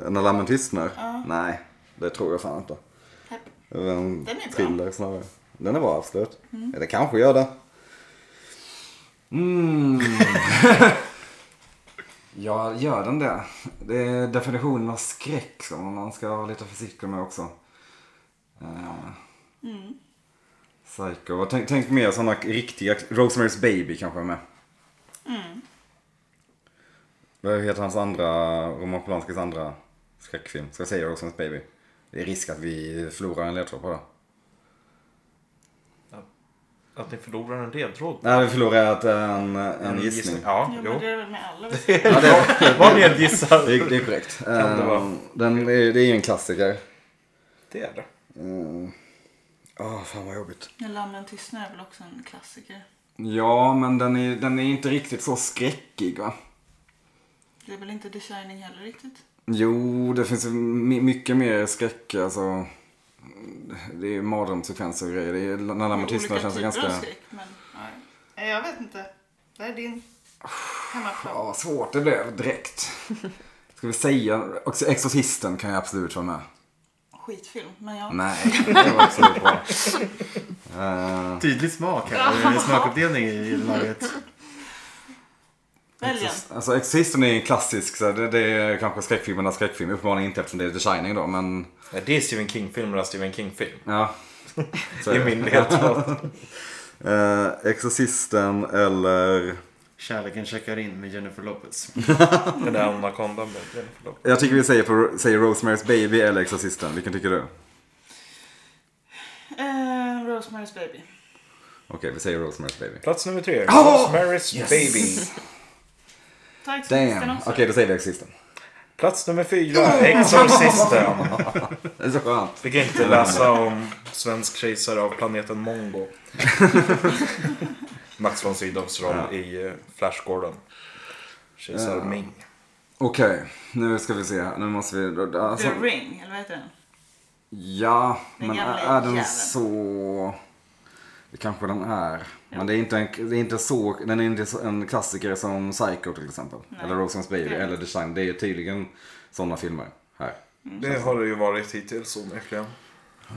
[SPEAKER 2] Eh, När lammen tystnar? Nej, det tror jag fan inte.
[SPEAKER 4] Pepp.
[SPEAKER 2] Det är En
[SPEAKER 4] Den är bra.
[SPEAKER 2] thriller snarare. Den är bra absolut. Eller kanske gör det. Mm. ja, gör den det? Det är definitionen av skräck som man ska vara lite försiktig med också.
[SPEAKER 4] Eh.
[SPEAKER 2] Uh.
[SPEAKER 4] Mm.
[SPEAKER 2] Psycho. Vad- Tänk, tänk mer sådana riktiga. Rosemary's Baby kanske är med. Vad heter hans andra, Roman Polanskis andra skräckfilm? Ska jag säga Rosemary's Baby? Det är risk att vi förlorar en ledtråd på det.
[SPEAKER 1] Att ni förlorar en ledtråd.
[SPEAKER 2] Nej, vi förlorar att en, en gissning.
[SPEAKER 1] Ja,
[SPEAKER 4] Jo, men
[SPEAKER 1] jo.
[SPEAKER 4] det är väl med alla.
[SPEAKER 2] Ja, det, är,
[SPEAKER 1] Vad ni än gissar.
[SPEAKER 2] det, är, det är korrekt.
[SPEAKER 1] det vara?
[SPEAKER 2] Ehm, Den, det är det är en klassiker.
[SPEAKER 1] Det är det.
[SPEAKER 2] Ehm, Åh, fan vad jobbigt.
[SPEAKER 4] När lammen tystnar är väl också en klassiker.
[SPEAKER 2] Ja, men den är, den är inte riktigt så skräckig va?
[SPEAKER 4] Det är väl inte The Shining heller riktigt?
[SPEAKER 2] Jo, det finns ju my- mycket mer skräck alltså. Det är ju mardrömssekvenser och grejer. Det är, när man tystnar känns det
[SPEAKER 4] Olika typer
[SPEAKER 2] ganska...
[SPEAKER 4] av skräck, men nej. Nej, Jag vet inte. Det här är din
[SPEAKER 2] Ja,
[SPEAKER 4] hemmaplan.
[SPEAKER 2] vad svårt det blev direkt. Ska vi säga... Också Exorcisten kan jag absolut vara med.
[SPEAKER 4] Skitfilm, men jag...
[SPEAKER 2] Nej, det var absolut bra. Ehm,
[SPEAKER 3] Tydlig smak här. Det är Smakuppdelning i laget.
[SPEAKER 4] Välj en.
[SPEAKER 2] Alltså Exorcisten är en klassisk, så det, det är kanske skräckfilmernas skräckfilm. Uppenbarligen inte eftersom det är The Shining då, men
[SPEAKER 1] Nej, Det är Stephen King-filmer av Stephen King-film.
[SPEAKER 2] ja. Så,
[SPEAKER 1] Det är min ledtråd.
[SPEAKER 2] Eh, Exorcisten eller...
[SPEAKER 3] Kärleken checkar in med Jennifer Lopez.
[SPEAKER 1] Den där anakondan med Jennifer Lopez.
[SPEAKER 2] Jag tycker vi säger, på, säger Rosemary's Baby eller Exorcisten. Vilken tycker du? Okej,
[SPEAKER 4] Eh, Rosemary's Baby.
[SPEAKER 2] vi säger Rosemary's Baby.
[SPEAKER 1] Plats nummer tre.
[SPEAKER 2] Ah!
[SPEAKER 1] Rosemary's Baby.
[SPEAKER 4] Ta Exorcisten
[SPEAKER 2] Damn!
[SPEAKER 4] också.
[SPEAKER 2] Okej, då säger vi Exorcisten.
[SPEAKER 1] Plats nummer fyra. Exorcisten.
[SPEAKER 2] Det är så skönt.
[SPEAKER 1] Fick inte läsa om svensk kejsare av planeten Mongo. Max von Sydows roll
[SPEAKER 2] Ja.
[SPEAKER 1] i eh, Flash Gordon. Kejsar Ming.
[SPEAKER 2] Okej, nu ska vi se här. Nu måste vi...
[SPEAKER 4] The
[SPEAKER 2] Alltså,
[SPEAKER 4] Ring, eller vad heter den?
[SPEAKER 2] ja,
[SPEAKER 4] Den
[SPEAKER 2] men
[SPEAKER 4] gamla
[SPEAKER 2] är, är den
[SPEAKER 4] jäveln.
[SPEAKER 2] så... Det kanske den är. Men det är inte, en, det är inte så, den är inte så, en klassiker som Psycho till exempel. Eller Rosemary's Baby
[SPEAKER 4] Det är det.
[SPEAKER 2] eller The Shining. Det är tydligen sådana filmer här.
[SPEAKER 6] Mm.
[SPEAKER 1] Det har det ju varit hittills onekligen.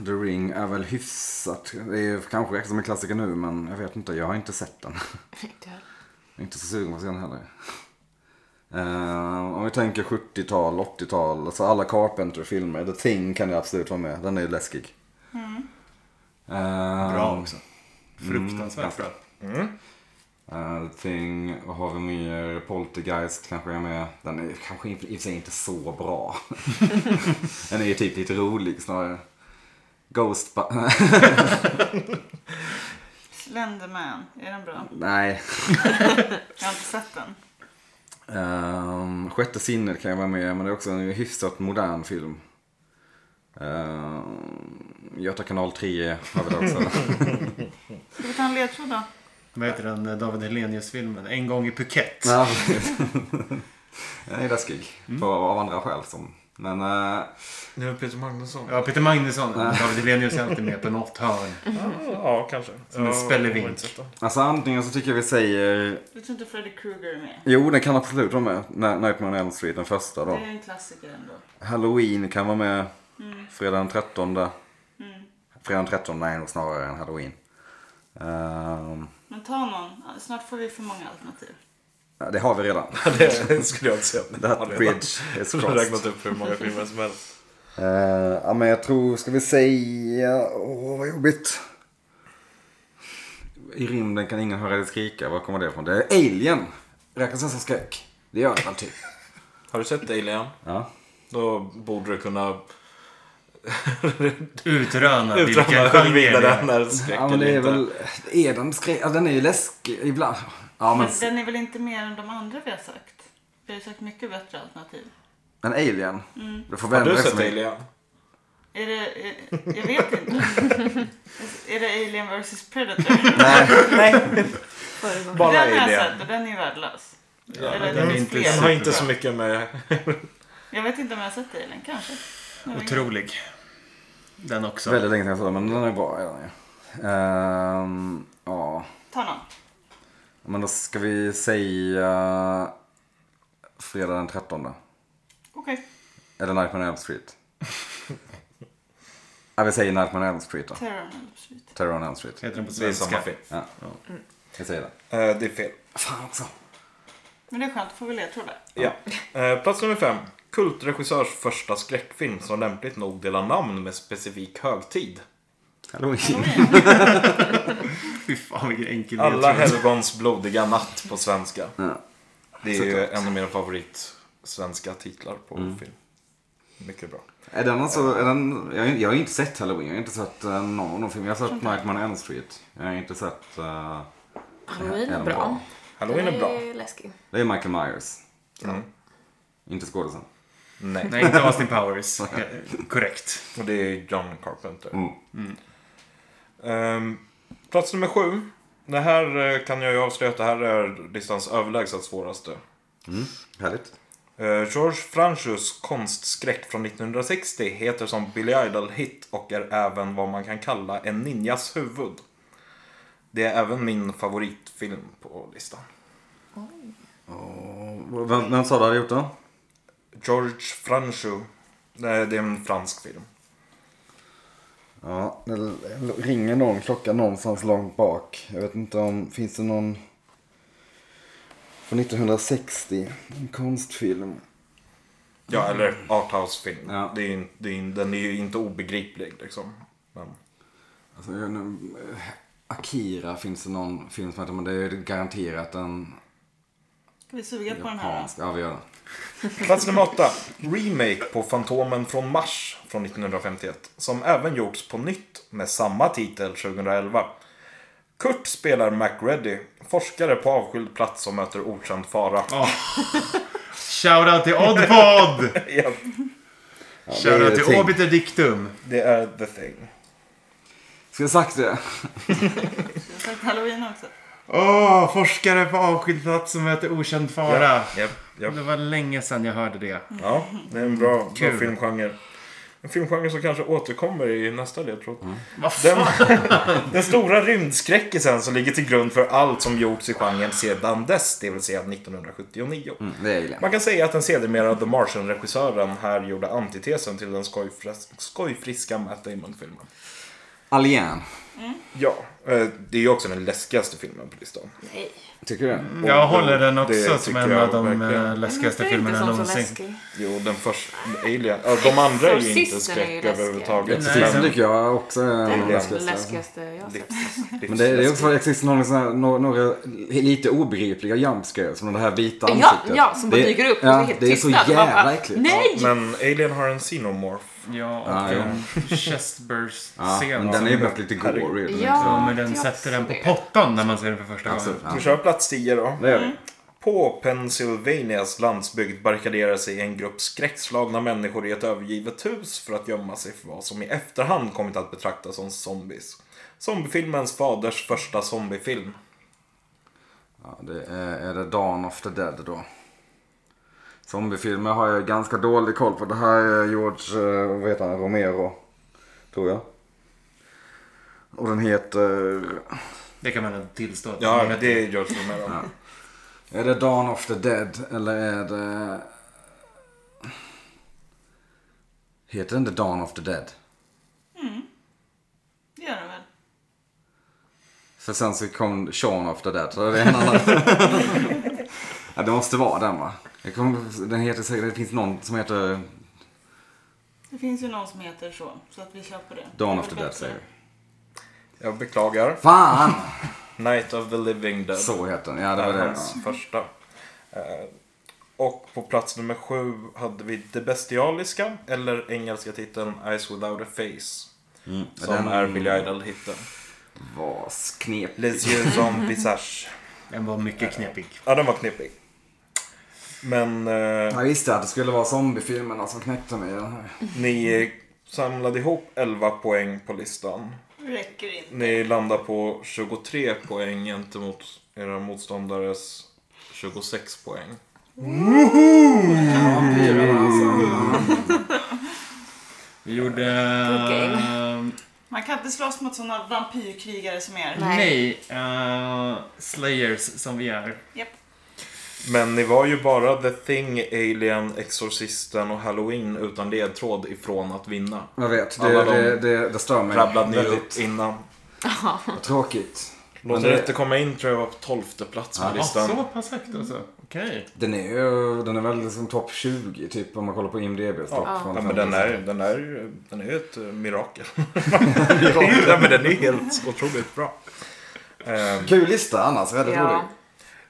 [SPEAKER 2] The Ring är väl hyfsat. Det är kanske som en klassiker nu men jag vet inte. Jag har inte sett den.
[SPEAKER 5] Inte heller.
[SPEAKER 2] Jag är inte så sugen på att se den heller. Eh, om vi tänker 70-tal, 80-tal, alltså alla Carpenter-filmer. The Thing kan ju absolut vara med. Den är ju läskig.
[SPEAKER 4] Mm.
[SPEAKER 2] Eh,
[SPEAKER 6] Bra också. Fruktansvärt bra.
[SPEAKER 2] eh, The Thing, vad har vi mer? Poltergeist kanske är med. Den är kanske i och för sig inte så bra. den är ju typ lite rolig snarare. Ghost...
[SPEAKER 4] Slenderman, är den bra?
[SPEAKER 2] Nej.
[SPEAKER 4] Jag har inte sett den.
[SPEAKER 2] Ehm, Sjätte sinnet kan jag vara med men det är också en hyfsat modern film. Um, Göta kanal 3 har vi det också.
[SPEAKER 4] Ska vi ta en ledtråd då?
[SPEAKER 3] Vad heter den eh, David Hellenius-filmen? En gång i Phuket.
[SPEAKER 2] Ja, precis. Mm. Den är läskig. På, av andra skäl. Som. Men eh,
[SPEAKER 6] Nu är Peter Magnusson.
[SPEAKER 3] Ja, Peter Magnusson. David Hellenius är alltid med på något hörn.
[SPEAKER 1] Ja, kanske.
[SPEAKER 3] Som en
[SPEAKER 1] Ja,
[SPEAKER 3] spellevink.
[SPEAKER 1] jag har inte sett den.
[SPEAKER 2] alltså antingen så tycker jag vi säger...
[SPEAKER 4] Du tror inte Freddy Krueger är med?
[SPEAKER 2] Jo, den kan absolut vara med. Na- Nightmare on Elm Street, den första
[SPEAKER 4] Det
[SPEAKER 2] då.
[SPEAKER 4] är en klassiker ändå.
[SPEAKER 2] Halloween kan vara med. Fredag den 13.
[SPEAKER 4] Mm.
[SPEAKER 2] Fredag den 13 är nog snarare än Halloween. Ehm,
[SPEAKER 4] Men ta någon. Snart får vi för många alternativ.
[SPEAKER 2] ja, det har vi redan.
[SPEAKER 1] Det skulle jag inte säga.
[SPEAKER 2] That bridge is
[SPEAKER 1] Jag har räknat
[SPEAKER 2] crossed.
[SPEAKER 1] upp hur många filmer som helst.
[SPEAKER 2] Eh, ja, men jag tror, ska vi säga, åh vad jobbigt. I rymden kan ingen höra dig skrika, var kommer det ifrån? Det är alien. Räknas det som skräck? Det gör det väl typ.
[SPEAKER 1] Har du sett Alien?
[SPEAKER 2] Ja.
[SPEAKER 1] Då borde du kunna
[SPEAKER 3] Utröna vilken
[SPEAKER 1] utröna huruvida
[SPEAKER 3] genre
[SPEAKER 1] den
[SPEAKER 3] det är.
[SPEAKER 1] är skräck
[SPEAKER 2] Ja men det
[SPEAKER 1] eller
[SPEAKER 2] är
[SPEAKER 1] inte.
[SPEAKER 2] väl, är den skräck? Ja, den är ju läskig ibland. Ja men,
[SPEAKER 4] Men den är väl inte mer än de andra vi har sagt? Vi har ju sagt mycket bättre alternativ.
[SPEAKER 2] men alien. Det får
[SPEAKER 1] Har
[SPEAKER 2] vända
[SPEAKER 1] du
[SPEAKER 2] det
[SPEAKER 1] sett
[SPEAKER 2] som en-
[SPEAKER 1] Alien?
[SPEAKER 4] Är det... eh, Jag vet inte. är det Alien vs Predator?
[SPEAKER 5] Föregående.
[SPEAKER 1] Bara
[SPEAKER 4] den har jag
[SPEAKER 1] Alien.
[SPEAKER 4] sett och den är ju värdelös.
[SPEAKER 3] den
[SPEAKER 4] Eller
[SPEAKER 3] är
[SPEAKER 4] det finns
[SPEAKER 3] inte
[SPEAKER 1] Den
[SPEAKER 4] fler.
[SPEAKER 1] har inte så mycket med...
[SPEAKER 4] Jag vet inte om jag har sett Alien, kanske. Jag vet inte.
[SPEAKER 3] Otrolig. Den också.
[SPEAKER 2] Väldigt länge sedan jag såg den, men den är bra. Är den, ju. Ehm, ja.
[SPEAKER 4] Ta någon.
[SPEAKER 2] Men då ska vi säga fredag den 13.
[SPEAKER 4] Okej.
[SPEAKER 2] Eller Nightmare on Elm Street. ja, vi säger Nightmare on Elm Street då.
[SPEAKER 4] Terror on Elm Street.
[SPEAKER 2] Terror on Elm Street.
[SPEAKER 3] Heter den på
[SPEAKER 1] Det är samma
[SPEAKER 3] svenska.
[SPEAKER 1] film.
[SPEAKER 2] Vi säger det.
[SPEAKER 1] Eh, Det är fel.
[SPEAKER 2] Fan också.
[SPEAKER 4] Men det är skönt, då får vi ledtrådar.
[SPEAKER 1] Ja. Eh, Plats nummer fem. Kultregissörs första skräckfilm som lämpligt nog delar namn med specifik högtid.
[SPEAKER 2] Halloween.
[SPEAKER 3] Fy fan vilken enkel
[SPEAKER 1] Alla
[SPEAKER 3] ledtråd.
[SPEAKER 1] helgons blodiga natt på svenska.
[SPEAKER 2] Ja.
[SPEAKER 1] Det är ju en av mina favorit svenska titlar på
[SPEAKER 2] Mm.
[SPEAKER 1] film. Mycket bra.
[SPEAKER 2] Är den alltså, är den, jag, har ju- jag har ju inte sett Halloween. Jag har inte sett eh, någon av de filmerna. Jag har sett Nightmare on Elm Street. Jag har inte sett... eh,
[SPEAKER 5] Halloween
[SPEAKER 2] är den
[SPEAKER 5] är bra.
[SPEAKER 1] Halloween är bra.
[SPEAKER 5] Den är läskig.
[SPEAKER 2] det är Michael Myers.
[SPEAKER 1] Mm.
[SPEAKER 2] Inte skådisen.
[SPEAKER 1] Nej.
[SPEAKER 3] Nej, inte Austin Powers. Eh, Korrekt.
[SPEAKER 1] Och det är John Carpenter.
[SPEAKER 2] Mm.
[SPEAKER 1] Ehm, plats nummer sju. Det här eh, kan jag ju avslöja att det här är listans överlägset svåraste.
[SPEAKER 2] Härligt.
[SPEAKER 1] Eh, George Franchus konstskräck från 1960 heter som Billy Idol-hit och är även vad man kan kalla en ninjas huvud. Det är även min favoritfilm på listan.
[SPEAKER 2] Och Vem, vem sa du hade gjort den?
[SPEAKER 1] George Franchu. Det är det är en fransk film.
[SPEAKER 2] Ja, det l- ringer någon klocka någonstans långt bak. Jag vet inte om, finns det någon från 1960? En konstfilm.
[SPEAKER 1] Ja, eller arthouse-film.
[SPEAKER 2] Ja.
[SPEAKER 1] Det är, ju- det är, ju- den är ju inte obegriplig liksom. Men,
[SPEAKER 2] Alltså, jag, nu, eh, Akira finns det någon film som heter, men det är garanterat en
[SPEAKER 4] Ska vi suga på den här?
[SPEAKER 2] japansk. Ja, vi gör det.
[SPEAKER 1] Plats nummer åtta. Remake på Fantomen från Mars från 1951. Som även gjorts på nytt med samma titel 2011. Kurt spelar MacReady, forskare på avskild plats som möter okänd fara.
[SPEAKER 3] Shoutout till Oddpod!
[SPEAKER 1] Ja,
[SPEAKER 2] Ja, det är
[SPEAKER 3] Shoutout
[SPEAKER 2] Thing.
[SPEAKER 3] till Obiter Dictum.
[SPEAKER 1] det är the thing.
[SPEAKER 2] Ska jag sagt det?
[SPEAKER 4] Jag har sagt Halloween också.
[SPEAKER 3] Åh, forskare på avskild plats som möter okänd fara.
[SPEAKER 1] Ja, Mm. ja, ja.
[SPEAKER 3] Det var länge sedan jag hörde det.
[SPEAKER 1] ja det är en bra, bra
[SPEAKER 3] Kul.
[SPEAKER 1] filmgenre. En filmgenre som kanske återkommer i nästa ledtråd.
[SPEAKER 3] Mm.
[SPEAKER 1] Den, den stora rymdskräckisen som ligger till grund för allt som gjorts i genren sedan dess, det vill säga 1979.
[SPEAKER 2] Mm, det gillar jag.
[SPEAKER 1] Man kan säga att den sedermera The Martian-regissören här gjorde antitesen till den skojfres- skojfriska Matt Damon-filmen.
[SPEAKER 2] Alien.
[SPEAKER 1] Ja, eh, det är ju också den läskigaste filmen på listan.
[SPEAKER 5] Nej.
[SPEAKER 2] Tycker du det?
[SPEAKER 1] Och
[SPEAKER 3] Jag håller den
[SPEAKER 1] det
[SPEAKER 3] också som
[SPEAKER 1] tycker
[SPEAKER 3] en
[SPEAKER 1] jag
[SPEAKER 3] av de
[SPEAKER 1] verkligen.
[SPEAKER 3] eh, läskigaste
[SPEAKER 5] Men det är inte
[SPEAKER 3] filmerna
[SPEAKER 5] sånt som
[SPEAKER 3] någonsin.
[SPEAKER 5] läskig.
[SPEAKER 1] Jo, den första, Alien, ja, de andra är ju inte
[SPEAKER 5] Exorcisten är ju
[SPEAKER 1] skräck
[SPEAKER 5] läskig.
[SPEAKER 1] överhuvudtaget.
[SPEAKER 2] Exorcisten
[SPEAKER 1] men
[SPEAKER 2] tycker jag också är
[SPEAKER 5] Det
[SPEAKER 2] en av de
[SPEAKER 5] är
[SPEAKER 1] läskigaste.
[SPEAKER 5] den
[SPEAKER 2] läskigaste.
[SPEAKER 5] läskigaste jag har sett.
[SPEAKER 1] livs-
[SPEAKER 2] Men det, det är också
[SPEAKER 1] livsläskigt.
[SPEAKER 2] för att Exorcisten har några såna här- några, några lite obegripliga jump scares, som det här vita
[SPEAKER 5] Ja,
[SPEAKER 2] ansiktet.
[SPEAKER 5] ja, som bara
[SPEAKER 2] Det-
[SPEAKER 5] dyker upp och så
[SPEAKER 2] Ja,
[SPEAKER 5] helt
[SPEAKER 2] det är så
[SPEAKER 5] tystnad. Man
[SPEAKER 2] jävla
[SPEAKER 5] bara,
[SPEAKER 2] äckligt.
[SPEAKER 5] Nej!
[SPEAKER 1] Men Alien har en xenomorph.
[SPEAKER 3] Ja, och
[SPEAKER 2] Ah, ja.
[SPEAKER 3] en
[SPEAKER 2] Ja,
[SPEAKER 3] chestburst-scen.
[SPEAKER 2] men den är ju bara lite gory. Den är
[SPEAKER 5] Ja.
[SPEAKER 3] Ja, men den
[SPEAKER 5] jag
[SPEAKER 3] sätter den på
[SPEAKER 5] ser.
[SPEAKER 3] pottan när man ser den för första
[SPEAKER 2] liksom- Absolut.
[SPEAKER 3] gången.
[SPEAKER 1] Ska
[SPEAKER 2] Ja.
[SPEAKER 1] vi köra plats 10 då?
[SPEAKER 2] Det gör
[SPEAKER 5] Mm.
[SPEAKER 2] vi.
[SPEAKER 1] På Pennsylvanias landsbygd barrikaderar sig en grupp skräckslagna människor i ett övergivet hus för att gömma sig för vad som i efterhand kommit att betraktas som zombies. Zombiefilmens faders första zombiefilm.
[SPEAKER 2] Ja, det är, är det Dawn of the Dead då. Zombiefilmer har jag ganska dålig koll på. Det här är George, eh, vad heter han, Romero. Tror jag. Och den heter...
[SPEAKER 3] Det kan man inte tillstå. att
[SPEAKER 1] Ja,
[SPEAKER 3] den heter.
[SPEAKER 1] det är George Romero.
[SPEAKER 2] Är det Dawn of the Dead eller är det... Heter den The Dawn of the Dead?
[SPEAKER 4] Det gör den väl?
[SPEAKER 2] För sen så kom Shaun of the Dead. Så det är en annan. ja, det måste vara den va? Jag kommer, den heter säkert, det finns någon som heter
[SPEAKER 4] Det finns ju någon som heter så, så att vi köper det.
[SPEAKER 2] Dawn
[SPEAKER 4] Det
[SPEAKER 2] of the
[SPEAKER 4] är väl
[SPEAKER 2] Dead
[SPEAKER 4] bättre.
[SPEAKER 2] säger vi.
[SPEAKER 1] Jag beklagar.
[SPEAKER 2] Fan!
[SPEAKER 1] Night of the Living Dead.
[SPEAKER 2] Så heter den, ja det
[SPEAKER 1] är
[SPEAKER 2] var det.
[SPEAKER 1] hans första. Eh, Och på plats nummer sju hade vi Det Bestialiska, eller engelska titeln Eyes Without A Face. Som
[SPEAKER 2] Mm. den-
[SPEAKER 1] är Billy Idol-hitten.
[SPEAKER 2] Vad knepigt.
[SPEAKER 1] Les yeux en visage.
[SPEAKER 3] Den var mycket knepig.
[SPEAKER 1] Ja, den var knepig. Men eh,
[SPEAKER 2] Jag visste att det skulle vara zombiefilmerna som knäckte mig i den här.
[SPEAKER 1] ni samlade ihop 11 poäng på listan.
[SPEAKER 4] Räcker inte.
[SPEAKER 1] Ni landar på 23 poäng gentemot era motståndares 26 poäng.
[SPEAKER 2] Vampyrerna alltså.
[SPEAKER 3] Vi gjorde...
[SPEAKER 5] Okej.
[SPEAKER 3] ehm,
[SPEAKER 4] Man kan inte slåss mot sådana vampyrkrigare som er.
[SPEAKER 5] Nej.
[SPEAKER 3] Nej, eh, Slayers som vi är.
[SPEAKER 4] Japp.
[SPEAKER 1] Men ni var ju bara The Thing, Alien, Exorcisten och Halloween utan ledtråd ifrån att vinna.
[SPEAKER 2] Jag vet, det,
[SPEAKER 1] Alla de-
[SPEAKER 2] det, det, det stör mig.
[SPEAKER 1] Rabblade ni upp
[SPEAKER 2] Väldigt
[SPEAKER 1] innan.
[SPEAKER 2] Tråkigt. Men
[SPEAKER 1] Låter
[SPEAKER 2] det-
[SPEAKER 1] rätt att komma in tror jag var på tolfte plats på
[SPEAKER 2] Ja,
[SPEAKER 3] Ja,
[SPEAKER 1] listan.
[SPEAKER 3] så pass högt alltså. Okej.
[SPEAKER 2] Den är ju, den är väl liksom topp 20 typ om man kollar på IMDB's topp.
[SPEAKER 1] Ja,
[SPEAKER 2] från
[SPEAKER 1] Ja, men den
[SPEAKER 2] 50.
[SPEAKER 1] är ju den är, ju- den är ju ett eh, mirakel. ja, men den är helt otroligt bra. Eh,
[SPEAKER 2] Kul lista annars, väldigt rolig.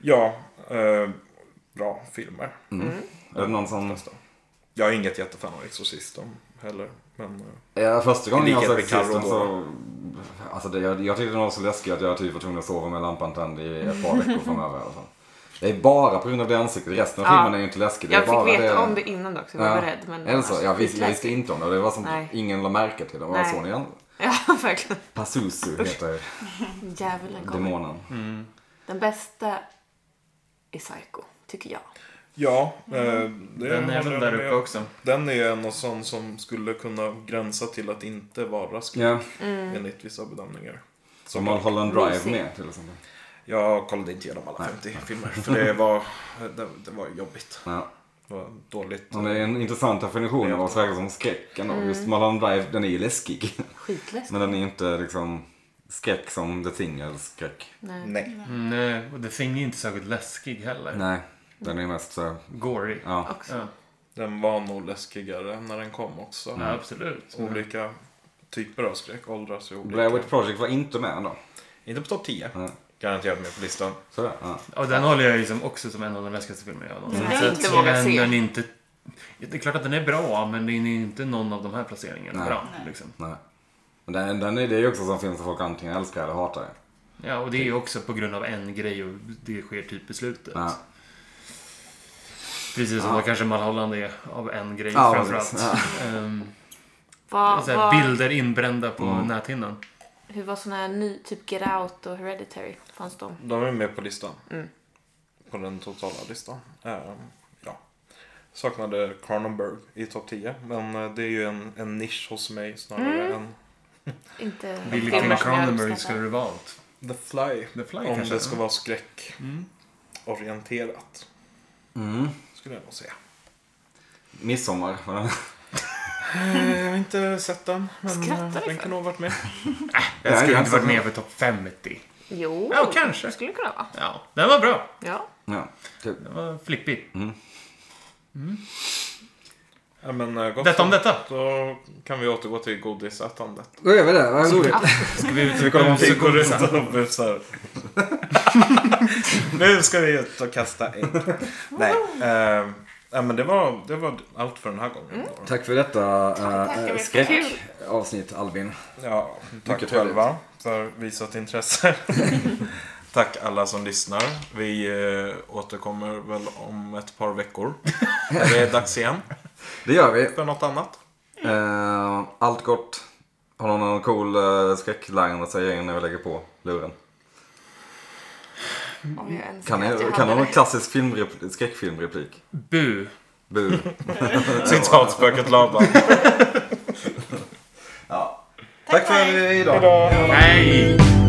[SPEAKER 5] Ja.
[SPEAKER 1] ja, eh, bra filmer.
[SPEAKER 2] Är det någon som...
[SPEAKER 1] Nästan. Jag är inget jättefan av Exorcisten heller. Men, eh,
[SPEAKER 2] Ja, första gången
[SPEAKER 1] I
[SPEAKER 2] jag
[SPEAKER 1] likhet
[SPEAKER 2] såg
[SPEAKER 1] med Carro
[SPEAKER 2] Exorcisten
[SPEAKER 1] då.
[SPEAKER 2] så... Alltså det, jag, jag tyckte den var så läskig att jag typ var tvungen att sova med lampan tänd i ett par veckor framöver i alla fall. Det är bara på grund av det ansiktet. Resten av
[SPEAKER 5] Ja.
[SPEAKER 2] filmen är ju inte läskig. Det är
[SPEAKER 5] Jag
[SPEAKER 2] bara
[SPEAKER 5] fick veta
[SPEAKER 2] det...
[SPEAKER 5] om det innan dock, så jag var beredd. Men alltså,
[SPEAKER 2] Eller så, jag, visste, jag visste
[SPEAKER 5] Skitläskigt.
[SPEAKER 2] inte om det. Det var som
[SPEAKER 5] Nej.
[SPEAKER 2] ingen la märke till det. Vad
[SPEAKER 5] Nej.
[SPEAKER 2] såg ni igen?
[SPEAKER 5] Ja, verkligen.
[SPEAKER 2] Pazuzu heter
[SPEAKER 5] Djävulen kommer. Mm.
[SPEAKER 2] demonen.
[SPEAKER 5] Den bästa är Psycho, tycker jag.
[SPEAKER 1] ja, eh, det
[SPEAKER 3] Mm. Den är
[SPEAKER 1] håller
[SPEAKER 3] väl
[SPEAKER 1] jag
[SPEAKER 3] där
[SPEAKER 1] med
[SPEAKER 3] uppe
[SPEAKER 1] om.
[SPEAKER 3] också.
[SPEAKER 1] Den är ju en av sån som skulle kunna gränsa till att inte vara skräck
[SPEAKER 2] Ja,
[SPEAKER 3] Mm.
[SPEAKER 1] enligt vissa bedömningar.
[SPEAKER 2] som
[SPEAKER 1] Som
[SPEAKER 2] Mulholland Drive
[SPEAKER 5] Mysig.
[SPEAKER 2] med till exempel.
[SPEAKER 1] jag kollade inte igenom alla 50 filmer för det var, det, det var jobbigt.
[SPEAKER 2] Ja.
[SPEAKER 1] Det var dåligt.
[SPEAKER 2] Och Det är en intressant definition av vad som räknas som skräck ändå. Just Mulholland Drive, den är ju läskig.
[SPEAKER 5] Skitläskig.
[SPEAKER 2] Men den är inte liksom skräck som The Thing eller skräck.
[SPEAKER 5] Nej.
[SPEAKER 1] Nej.
[SPEAKER 3] Mm, Nej, och The Thing är ju inte särskilt läskig heller.
[SPEAKER 2] Nej, den är mest så...
[SPEAKER 3] Gory.
[SPEAKER 2] Ja.
[SPEAKER 5] Också.
[SPEAKER 3] Ja,
[SPEAKER 1] Den var nog läskigare när den kom också.
[SPEAKER 3] ja absolut.
[SPEAKER 1] Olika typer av skräck åldras ju olika.
[SPEAKER 2] Blair Witch Project var inte med ändå.
[SPEAKER 1] Inte på topp 10.
[SPEAKER 2] Nej.
[SPEAKER 1] Garanterat med på listan.
[SPEAKER 2] Sådär. Ja.
[SPEAKER 3] Och den håller jag ju som också som en av de läskigaste filmerna jag någonsin
[SPEAKER 5] Den
[SPEAKER 4] har
[SPEAKER 3] sett.
[SPEAKER 4] jag
[SPEAKER 5] inte vågat
[SPEAKER 3] men
[SPEAKER 5] se.
[SPEAKER 3] Den är inte... Det är klart att den är bra, men den är inte någon av de här placeringarna
[SPEAKER 2] Nej.
[SPEAKER 3] bra. Liksom.
[SPEAKER 2] Nej. Men den, den är, det är ju också som film som folk antingen älskar eller hatar.
[SPEAKER 3] Ja, och det är ju också på grund av en grej och det sker typ i slutet.
[SPEAKER 2] Ja.
[SPEAKER 3] Precis som
[SPEAKER 2] Ja.
[SPEAKER 3] då kanske Mulholland är av en grej
[SPEAKER 2] Ja,
[SPEAKER 3] framförallt.
[SPEAKER 2] precis.
[SPEAKER 3] Ehm,
[SPEAKER 5] Vad,
[SPEAKER 3] så här,
[SPEAKER 5] vad,
[SPEAKER 3] bilder inbrända på näthinnan.
[SPEAKER 5] hur var såna här ny, typ Get Out och Hereditary? Fanns de? Mm.
[SPEAKER 1] De är med på listan. På den totala listan. Eh, Ehm, ja. saknade Cronenberg i topp 10. Men eh, det är ju en, en nisch hos mig snarare
[SPEAKER 5] Mm.
[SPEAKER 1] än
[SPEAKER 5] Inte
[SPEAKER 6] Vilken
[SPEAKER 5] filmer som jag
[SPEAKER 6] Cronenberg
[SPEAKER 5] uppskattar.
[SPEAKER 6] skulle du valt?
[SPEAKER 1] The Fly. Mm.
[SPEAKER 6] The Fly
[SPEAKER 1] Om
[SPEAKER 6] kanske?
[SPEAKER 1] det ska
[SPEAKER 6] Mm.
[SPEAKER 1] vara skräckorienterat.
[SPEAKER 2] Mm.
[SPEAKER 1] Skulle jag nog säga.
[SPEAKER 2] Midsommar. va?
[SPEAKER 1] Eh, Jag har inte sett den. Men
[SPEAKER 5] Skrattar
[SPEAKER 1] eh,
[SPEAKER 3] Mm,
[SPEAKER 5] du
[SPEAKER 1] den
[SPEAKER 5] för?
[SPEAKER 1] kan nog ha varit med.
[SPEAKER 2] Ja,
[SPEAKER 3] Jag skulle inte
[SPEAKER 2] alltså.
[SPEAKER 3] varit med för topp 50.
[SPEAKER 5] Jo,
[SPEAKER 3] Ja, kanske.
[SPEAKER 5] det skulle det kunna vara.
[SPEAKER 3] Ja, den var bra.
[SPEAKER 5] Ja.
[SPEAKER 2] Ja. Det-
[SPEAKER 3] Den var flippig.
[SPEAKER 1] Ja, men, eh, gott
[SPEAKER 3] Detta om
[SPEAKER 1] så.
[SPEAKER 3] detta.
[SPEAKER 1] Då kan vi återgå till godisätandet.
[SPEAKER 2] Då gör vi det. Vad roligt.
[SPEAKER 3] Ska vi ut
[SPEAKER 2] vi kollar om-
[SPEAKER 1] Vi går runt och busar. nu ska vi ut och kasta ägg. Nej, eh, ja, men det var, det var allt för den här gången. då.
[SPEAKER 2] Tack för detta
[SPEAKER 5] tackar
[SPEAKER 2] äh,
[SPEAKER 5] vi.
[SPEAKER 2] skräckavsnitt Albin.
[SPEAKER 1] Ja, tack
[SPEAKER 2] Mycket
[SPEAKER 1] själva för visat intresse. tack alla som lyssnar. Vi eh, återkommer väl om ett par veckor. När det är dags igen
[SPEAKER 2] Det gör vi.
[SPEAKER 1] för något annat.
[SPEAKER 2] Eh, allt gott. Har någon någon cool uh, skräckline att säga innan vi lägger på luren?
[SPEAKER 5] Om jag önskar
[SPEAKER 2] Kan,
[SPEAKER 5] att
[SPEAKER 2] ni,
[SPEAKER 5] jag
[SPEAKER 2] kan
[SPEAKER 5] hade
[SPEAKER 2] någon
[SPEAKER 5] det.
[SPEAKER 2] klassisk filmrepl- skräckfilmreplik?
[SPEAKER 3] Bu.
[SPEAKER 2] Bu.
[SPEAKER 1] Citatspöket Laban.
[SPEAKER 2] Tack för idag.
[SPEAKER 3] Nej!